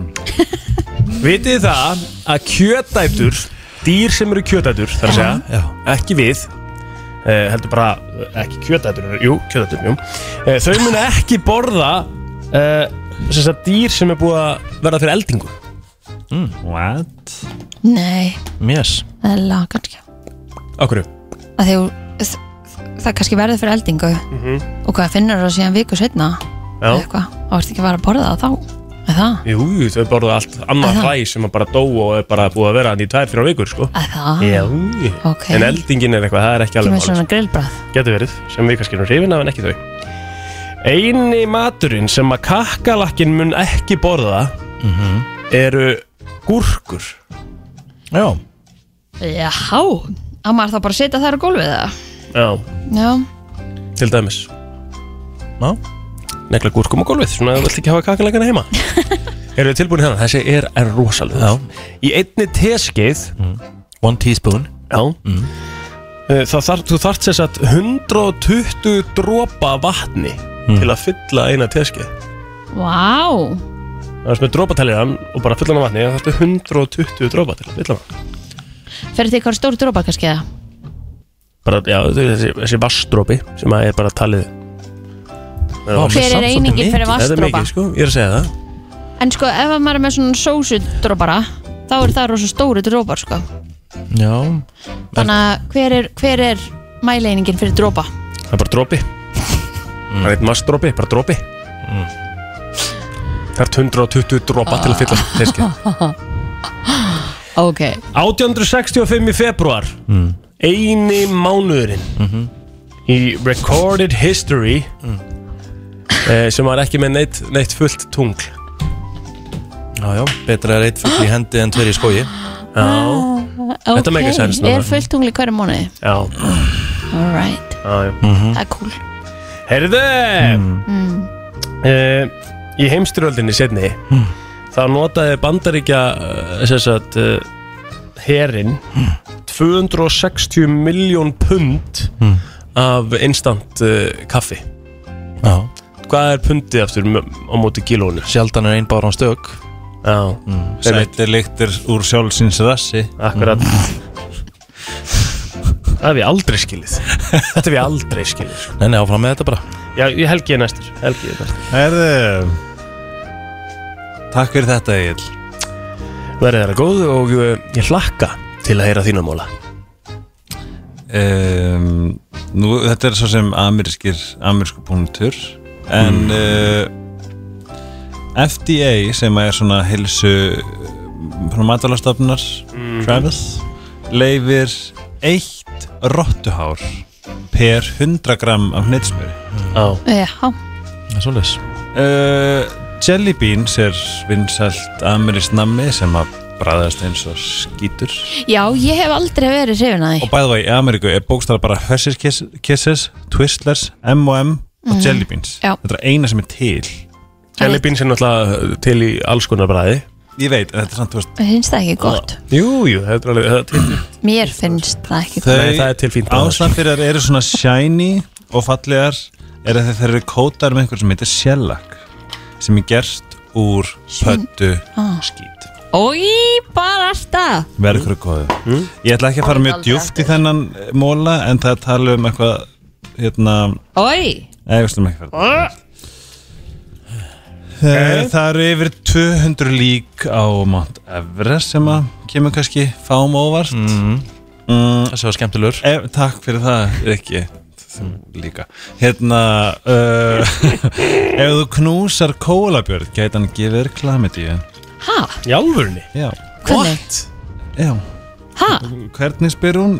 [SPEAKER 3] Vitið þið það að kjötætur dýr sem eru kjötætur, þar að segja
[SPEAKER 1] Já,
[SPEAKER 3] ekki við uh, heldur bara, eh, ekki kjötætur jú, kjötætur, jú uh, þau muna ekki borða uh, þess að dýr sem er búið að verða fyrir eldingu
[SPEAKER 7] What?
[SPEAKER 2] nei,
[SPEAKER 1] mjöss
[SPEAKER 2] það er laga kannski
[SPEAKER 3] Akkur,
[SPEAKER 2] að þegar þ- það kannski verður fyrir eldingu og hvað finnur það síðan viku setna
[SPEAKER 3] Mhm. já
[SPEAKER 2] eitthvað, þá ertu ekki að fara að borða það þá eða það,
[SPEAKER 3] Jú, jú, þau borða allt annað
[SPEAKER 2] Aha.
[SPEAKER 3] hræ sem að bara dó og er bara búið að vera hann í tvær, þrjá vikur, sko
[SPEAKER 2] eða það
[SPEAKER 3] Já,
[SPEAKER 2] ok,
[SPEAKER 3] en eldingin er eitthvað, það er ekki
[SPEAKER 2] ekki
[SPEAKER 3] alveg
[SPEAKER 2] með
[SPEAKER 3] málið,
[SPEAKER 2] svona grillbrað
[SPEAKER 3] sko. Getur verið, sem við kannski erum hrifin af en ekki þau Eini maturinn sem að kakkalakkin mun ekki borða eru gúrkur
[SPEAKER 1] Já,
[SPEAKER 2] jáhá, á maður þá bara að setja þær á gólfið það
[SPEAKER 3] Já,
[SPEAKER 2] já,
[SPEAKER 3] til dæmis
[SPEAKER 1] já
[SPEAKER 3] Nekla gúrkum á gólfið, svona þú vilt ekki hafa kakalakkana heima Eru þið tilbúin hérna? Þessi er, er rosalega
[SPEAKER 1] Já.
[SPEAKER 3] Í einni teskeið
[SPEAKER 1] One teaspoon
[SPEAKER 3] Já
[SPEAKER 2] Mm.
[SPEAKER 3] mm. Eh, Það þarf, þú þarft sér satt 120 dropa af vatni
[SPEAKER 2] Mm.
[SPEAKER 3] til að fylla eina teskeið
[SPEAKER 2] vá
[SPEAKER 3] Það er sem er dropatæljan og bara fylla hana vatni það þarftu 120 dropa til að fylla hana
[SPEAKER 2] fyrir því hvað stór drópa kannski það
[SPEAKER 3] bara, já, þau- þessi, þessi vassdropi sem að er bara talið
[SPEAKER 1] Vá,
[SPEAKER 3] Það
[SPEAKER 1] með
[SPEAKER 2] hver er
[SPEAKER 1] samt svolítið
[SPEAKER 2] einingin fyrir
[SPEAKER 3] er- Þetta er
[SPEAKER 2] vastdrópa
[SPEAKER 3] mikið, sko, ég er að segja það
[SPEAKER 2] en sko, ef að maður er með svona sósudrópara þá eru það rosa stóri drópar sko
[SPEAKER 1] mikið. Já,
[SPEAKER 2] þannig að hver er, hver er mæleiningin fyrir drópa
[SPEAKER 3] Það er bara dropi Það er eitt massdropi, bara dropi Það er 120 dropa til að fylla teski
[SPEAKER 2] ok,
[SPEAKER 3] 1865 í februar Eini mánuðurinn Í recorded history eh, Sem var ekki með neitt, neitt fullt tungl
[SPEAKER 1] já, já Betra er eitt full í hendi en tver í skói
[SPEAKER 3] Já, Þetta
[SPEAKER 2] ok,
[SPEAKER 3] make sense núna.
[SPEAKER 2] er fullt tungli hverju mánuði
[SPEAKER 3] já,
[SPEAKER 2] alright
[SPEAKER 3] já, já.
[SPEAKER 2] Það er cool
[SPEAKER 3] Heyrðu Hmm. uh, Í heimstyröldinni setni þá notaði bandaríkja uh, sem sagt uh, herin 260 miljón pund af instant uh, kaffi
[SPEAKER 1] Já
[SPEAKER 3] Hvað er pundið aftur m- á móti kílónu?
[SPEAKER 1] Sjaldan er einn báran stök
[SPEAKER 3] Já, Hmm.
[SPEAKER 7] Sættir lyktir úr sjálfsins rassi
[SPEAKER 3] akkurat Það hef ég aldrei skilið Þetta hef ég aldrei skilið sko.
[SPEAKER 1] Nei, nei, áfram með þetta bara
[SPEAKER 3] Já, ég helgi ég næstur Helgi ég næstur
[SPEAKER 7] Herðu Takk fyrir þetta Egil
[SPEAKER 3] Verði þeirra góð og uh, ég hlakka til að heyra þína móla
[SPEAKER 7] um, Nú þetta er svo sem amerískir amerísku punktur en eh, uh, FDA sem er svona hilsu svona matalastofnar Travis leifir eitt rottuhár per 100 gram af hnitsmjöri
[SPEAKER 3] Á
[SPEAKER 2] Já,
[SPEAKER 1] Það er Svoleiðis
[SPEAKER 7] Uh, Jelly Beans er vinsælt amerísk nammi sem að bræðast eins og skítur
[SPEAKER 2] já ég hef aldrei verið hrifin að
[SPEAKER 7] og
[SPEAKER 2] því
[SPEAKER 7] bæða það í Ameríku er bókstara bara Hershey's Kiss- Kisses, Twistlers, M&M og Jelly Beans
[SPEAKER 2] Já.
[SPEAKER 7] þetta er eina sem er til
[SPEAKER 3] Jelly beans er náttúrulega uh, til í alls konar bræði
[SPEAKER 7] ég veit, en þetta er samt, þú veist
[SPEAKER 2] Mér finnst það ekki gott
[SPEAKER 3] Jú, jú, það er alveg það er til
[SPEAKER 2] Mér finnst það ekki gott
[SPEAKER 3] Nei, það er til fínt að það, sko.
[SPEAKER 7] ásnappirjar eru svona shiny og fallegar er að þeir eru kótar með einhver sem heitir shellac sem er gerst úr pöttu skít
[SPEAKER 2] Ói, bara alltaf
[SPEAKER 7] verður ykkur góðu Mm. ég ætla ekki að fara mjög djúft í þennan eh, móla en það er að tala um eitthvað hérna,
[SPEAKER 2] Ói
[SPEAKER 7] Nei, við slum ekki fara okay. Það eru yfir 200 lík á Mount Everest sem að kemur kannski fám óvart mm.
[SPEAKER 1] Þessi var skemmtilegur
[SPEAKER 7] ef, Takk fyrir það, Rikki Þú líka Hérna uh, Ef þú knúsar kólabjörn gæti hann gefið þér klamidíu
[SPEAKER 2] Ha,
[SPEAKER 3] Í alvörni?
[SPEAKER 7] Já,
[SPEAKER 2] hvernig?
[SPEAKER 7] já
[SPEAKER 2] Ha,
[SPEAKER 7] Hvernig spyr hún?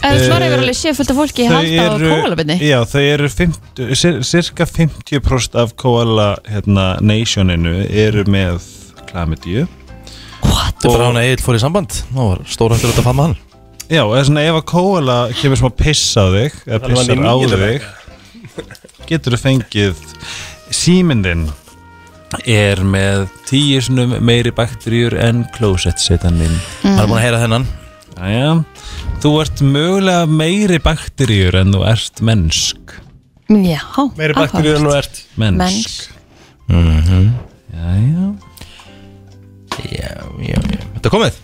[SPEAKER 2] það var yfir alveg séfullt af fólki í halda á kólabinni
[SPEAKER 7] Já, þau eru 50, sir- cirka 50% af kóala hérna, nationinu eru með klamidíu
[SPEAKER 1] Þetta er bara hann að Egil fór í samband Nú var stórhættur að fama hann
[SPEAKER 7] Já, eða svona ef að kóala kemur smá piss á þig eða
[SPEAKER 3] Þannig
[SPEAKER 7] pissar
[SPEAKER 3] að
[SPEAKER 7] á
[SPEAKER 3] hann er níu
[SPEAKER 7] þig getur þú fengið símyndin er með tíu sinum meiri bakteríur en klósett setan minn
[SPEAKER 1] Hann er búin að heyra þennan
[SPEAKER 7] Jæja, þú ert mögulega meiri bakteríur en þú ert mennsk
[SPEAKER 2] Já,
[SPEAKER 3] Meiri bakterið en þú ert
[SPEAKER 7] mennsk,
[SPEAKER 2] Mennsk.
[SPEAKER 7] Mhm. Jæja,
[SPEAKER 1] Já, já, já Þetta er komið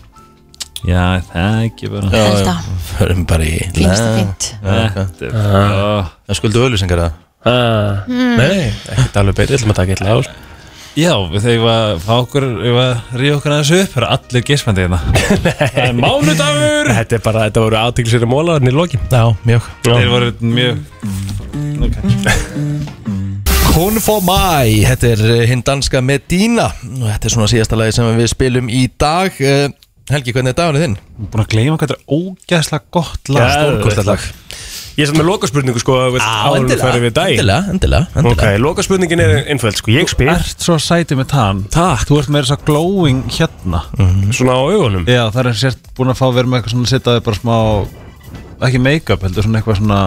[SPEAKER 7] já, það er ekki bara
[SPEAKER 2] Held að,
[SPEAKER 1] Förum bara í
[SPEAKER 2] finnst það fínt
[SPEAKER 7] Þetta er bara
[SPEAKER 1] Það skuldu öllusengar það
[SPEAKER 3] ah. Nei, ekkert alveg betur Ég ætlum að taka eitthvað á sko.
[SPEAKER 7] Já, þegar við fá okkur, við ríða okkur að þessu upp, það eru allir gismandi hérna. það er mánudagur!
[SPEAKER 3] Þetta er bara, þetta voru aðtiklisir að móla Þannig lokin
[SPEAKER 1] Já, mjög
[SPEAKER 7] Þeir voru mjög...
[SPEAKER 1] Kun for my, þetta er eh, hinn danska Medina og þetta er svona síðasta lagi sem við spilum í dag Eh, Helgi, hvernig er dagurinn þinn?
[SPEAKER 7] Búin að gleyma hvað þetta er ógæðslega gott lag.
[SPEAKER 1] Stórkostlega lag.
[SPEAKER 3] Ég er samt með lokaspurningu sko Árum við fyrir við daginn
[SPEAKER 1] endilega, endilega,
[SPEAKER 3] Ok,
[SPEAKER 1] endilega.
[SPEAKER 3] lokaspurningin er einföld sko Ég
[SPEAKER 7] Þú
[SPEAKER 3] spyr
[SPEAKER 7] ert svo sætið með tann.
[SPEAKER 3] Takk.
[SPEAKER 7] Þú ert meira svo glowing hérna.
[SPEAKER 3] svona á augunum
[SPEAKER 7] Já, það er eins og sért búin að fá verið með eitthvað svona sittaði bara smá... Ekki make-up, heldur svona eitthvað svona...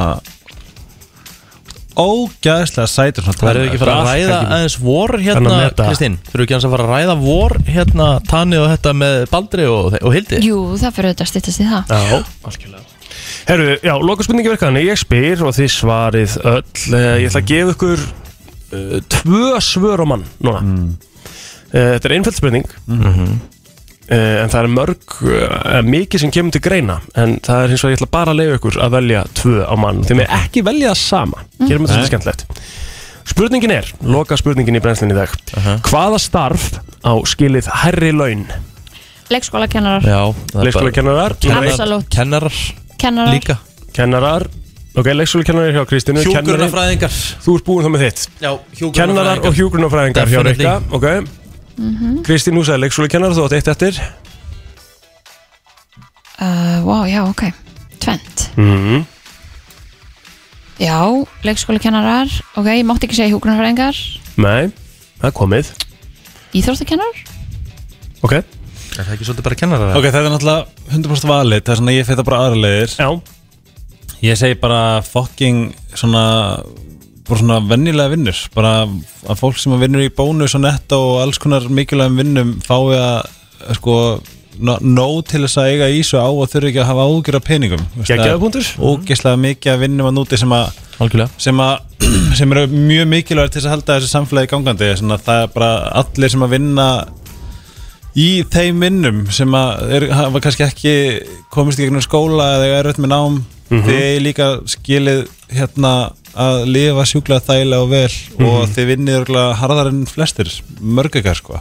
[SPEAKER 7] Ógæðslega sætið svona
[SPEAKER 1] Það eru ekki að fara að
[SPEAKER 3] Allt,
[SPEAKER 1] ræða
[SPEAKER 3] Helgi.
[SPEAKER 1] aðeins vor
[SPEAKER 3] Þannig
[SPEAKER 1] hérna,
[SPEAKER 3] að meta.
[SPEAKER 1] Kristín Þurfum ekki aðeins að fara að ræða vor hérna, Tani og þetta með Baldri og, og Hildi
[SPEAKER 2] Jú, það fyrir auðvitað að styttast í það
[SPEAKER 3] Já, algjörlega Herru, já, lokaspurningi verkaðan Ég spyr og þið svarið öll Eh, Ég ætla að gefa ykkur uh, Tvö svör á mann núna mm. Þetta er einföld spurning Eh, En það er mörg uh, Mikið sem kemur til greina En það er hins vegar, ég ætla bara að leifa ykkur Að velja tvö á mann Þeim er ekki velja það sama Gerum þetta
[SPEAKER 7] Nei.
[SPEAKER 3] svolítið skemmtilegt Spurningin er, loka spurningin í brennslinni í dag Hvaða starf á skilið herri laun?
[SPEAKER 2] Leikskóla kennarar,
[SPEAKER 1] Já, það er bara
[SPEAKER 3] Leikskólakennarar,
[SPEAKER 2] Absolutt.
[SPEAKER 1] Kennarar
[SPEAKER 2] kennarar
[SPEAKER 1] líka
[SPEAKER 3] kennarar Ok, leikskólakennarar hjá Kristínu kennari-
[SPEAKER 1] Hjúgrunafræðingar
[SPEAKER 3] Þú ert búinn þá með þitt
[SPEAKER 1] Já,
[SPEAKER 3] Kennarar og hjúgrunafræðingar hjá
[SPEAKER 1] Definitely.
[SPEAKER 3] Rikka Ok Kristín Húsa er leikskólakennar Þú átt eitt eftir
[SPEAKER 2] Uh, Vá, já, ok Tvent
[SPEAKER 3] Mhm.
[SPEAKER 2] Já, leikskóla kennarar Ok, ég mátti ekki segja hjúgrunarfræðingar
[SPEAKER 3] Nei, það er komið
[SPEAKER 2] Íþróttakennar
[SPEAKER 3] Ok
[SPEAKER 1] Er það ekki svolítið bara kennarar?
[SPEAKER 7] Ok, þetta er náttúrulega 100% valið, það er svona ég feta bara aðra leiðir.
[SPEAKER 3] Já
[SPEAKER 7] Ég segi bara fucking svona bara svona vennilega vinnur bara að fólk sem vinnur í bónus og netta og alls konar mikilvægum vinnum fái að eh, sko nó- nóg til þess að eiga í svo á og þurfi ekki að hafa ágjur af peningum
[SPEAKER 3] Geggjaður punktur.
[SPEAKER 7] Ógislega mikið að vinnum að núti sem að
[SPEAKER 1] Algjörlega
[SPEAKER 7] sem, að, sem eru mjög mikilvægt til þess að halda þessu samfélagi gangandi svona, það er bara allir sem að vinna í þeim vinnum sem að er, hafa kannski ekki komist í gegnum skóla eða eiga erfitt með nám mm -hmm. þið eigið líka skilið hérna að lifa sjúklega þægilega og vel og þið vinnið örgulega harðar en flestir mörg ykkar sko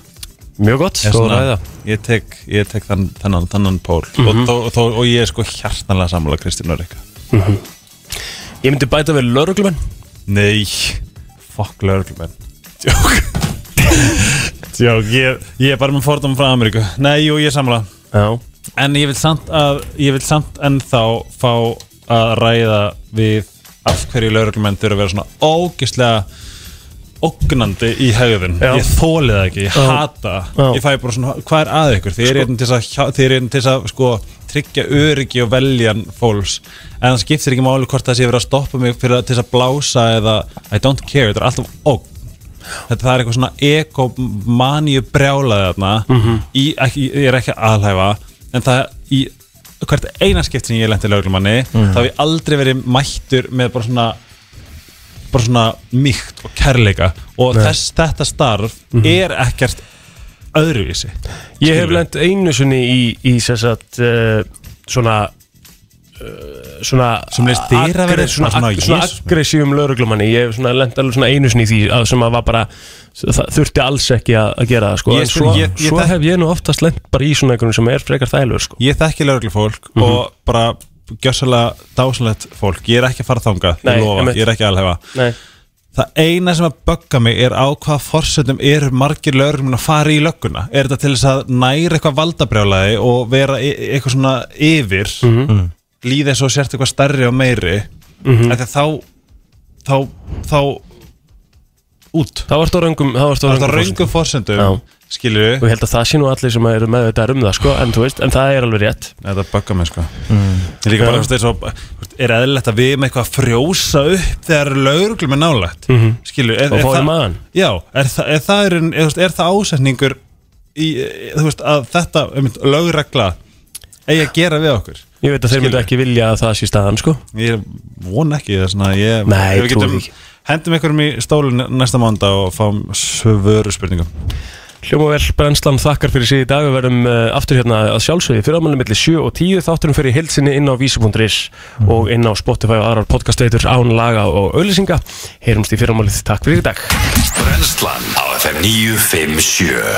[SPEAKER 3] Mjög gott,
[SPEAKER 7] Er
[SPEAKER 3] góð
[SPEAKER 7] svona-
[SPEAKER 3] ræða
[SPEAKER 7] ég tek, ég tek þann, þannan, þannan pól og, þó, þó, og ég er sko hjartanlega sammála Kristín Norika
[SPEAKER 3] Ég myndi bæta við lauruglumenn
[SPEAKER 7] nei, fokk lögreglumenn Jók ég, ég er bara með fordóma frá Ameríku Nei, jú, ég er samla
[SPEAKER 3] Já
[SPEAKER 7] En ég vil samt, að, ég vil samt ennþá fá að ræða við af hverju lauruglumenn þurfa að vera svona ógislega ógnandi í hegðun
[SPEAKER 3] Já.
[SPEAKER 7] Ég þóli það ekki, ég hata
[SPEAKER 3] Já. Sko-
[SPEAKER 7] Ég fæ bara svona, hvað er að ykkur? Þið er einn til þess að, hjá- þið er einn til þess að sko, tryggja öryggi og veljan fólks En það skiptir ekki máli hvort það sé verið að stoppa mig fyrir að til þess að blása eða I don't care, þetta er alltaf ógn þetta það er eitthvað svona ekomaníu brjálaði þarna
[SPEAKER 3] Mhm.
[SPEAKER 7] í, ekki, ég er ekki að alhæfa en það í hvert eina skipt sem ég lenti löglumanni
[SPEAKER 3] Mhm.
[SPEAKER 7] þá hef ég aldrei verið mættur með bara svona bara svona mýkt og kærleika og þess, þetta starf er ekkert öðruvísi
[SPEAKER 3] Mhm. Ég hef
[SPEAKER 7] Skilurðu?
[SPEAKER 3] lent einu sinni í, í sér sagt uh, svona uh, svona
[SPEAKER 7] Sem leist þér að vera-
[SPEAKER 3] aggre- svona,
[SPEAKER 7] svona,
[SPEAKER 3] svona, svona
[SPEAKER 7] Jesus.
[SPEAKER 3] aggressíum lauruglumanni ég hef svona lent alveg svona einu sinni í því að, sem að var bara það þurfti alls ekki að, að gera það sko.
[SPEAKER 7] Ég
[SPEAKER 3] en
[SPEAKER 7] sko-
[SPEAKER 3] svo,
[SPEAKER 7] ég- ég
[SPEAKER 3] svo
[SPEAKER 7] þekk-
[SPEAKER 3] hef ég nú oftast lent bara í svona einhvern sem er frekar þælur sko.
[SPEAKER 7] ég þekki lögreglufólk
[SPEAKER 3] Mhm.
[SPEAKER 7] og bara gjössalega dásanlegt fólk ég er ekki að fara þangað,
[SPEAKER 3] Nei,
[SPEAKER 7] ég lofa,
[SPEAKER 3] einmitt.
[SPEAKER 7] ég er ekki að alhæfa
[SPEAKER 3] Nei,
[SPEAKER 7] Það eina sem að bögga mig er á hvaða forsöndum eru margir lögurinn að fara í lögguna. Er þetta til þess að næra eitthvað valdabrjálaði og vera e- eitthvað svona yfir,
[SPEAKER 3] Mhm.
[SPEAKER 7] mm -hmm. líða eins og sért eitthvað stærri og meiri, mm
[SPEAKER 3] Mhm.
[SPEAKER 7] -hmm. þá, þá, þá út.
[SPEAKER 3] þá ertu á röngum þá ertu á
[SPEAKER 7] Það er
[SPEAKER 3] röngum
[SPEAKER 7] röngum forsöndum,
[SPEAKER 3] Já.
[SPEAKER 7] skilur
[SPEAKER 3] og ég held að það sé nú allir sem eru með þetta um það sko, en, þú veist, en það er alveg rétt
[SPEAKER 7] Þetta böggar mig sko
[SPEAKER 3] Mm.
[SPEAKER 7] Ég líka bara, þú veist, svo, þú veist, er eðlilegt að við með eitthvað að frjósa upp þegar lögreglum er nálægt mm -hmm. Skilju, er,
[SPEAKER 3] Mhm. Og fá í
[SPEAKER 7] það-
[SPEAKER 3] magann.
[SPEAKER 7] Já, er, þa er, það, er, er, er, er það ásetningur í, eh, þú veist, að þetta um, lögregla eigi að gera við okkur
[SPEAKER 3] ég veit að þeir myndu
[SPEAKER 7] Skilur.
[SPEAKER 3] ekki vilja að það sé staðan sko.
[SPEAKER 7] Ég vona ekki það svona ég,
[SPEAKER 3] Nei,
[SPEAKER 7] ef við
[SPEAKER 3] trúi
[SPEAKER 7] getum-
[SPEAKER 3] því ekki.
[SPEAKER 7] Hendum einhverjum í stólun næsta mánda og fáum svöru spurningum
[SPEAKER 3] Hljóma vel, brennslan þakkar fyrir sig í dag Við verðum uh, aftur hérna að sjálfsögði Fyrir ámælum milli 7 og 10 Þátturum fyrir hilsinni inn á vísi.is Og inn á Spotify og aðrar podcastveitur Án laga og auðlýsinga Heyrumst í fyrir ámælið, takk fyrir í dag
[SPEAKER 4] Brennslan á FM 957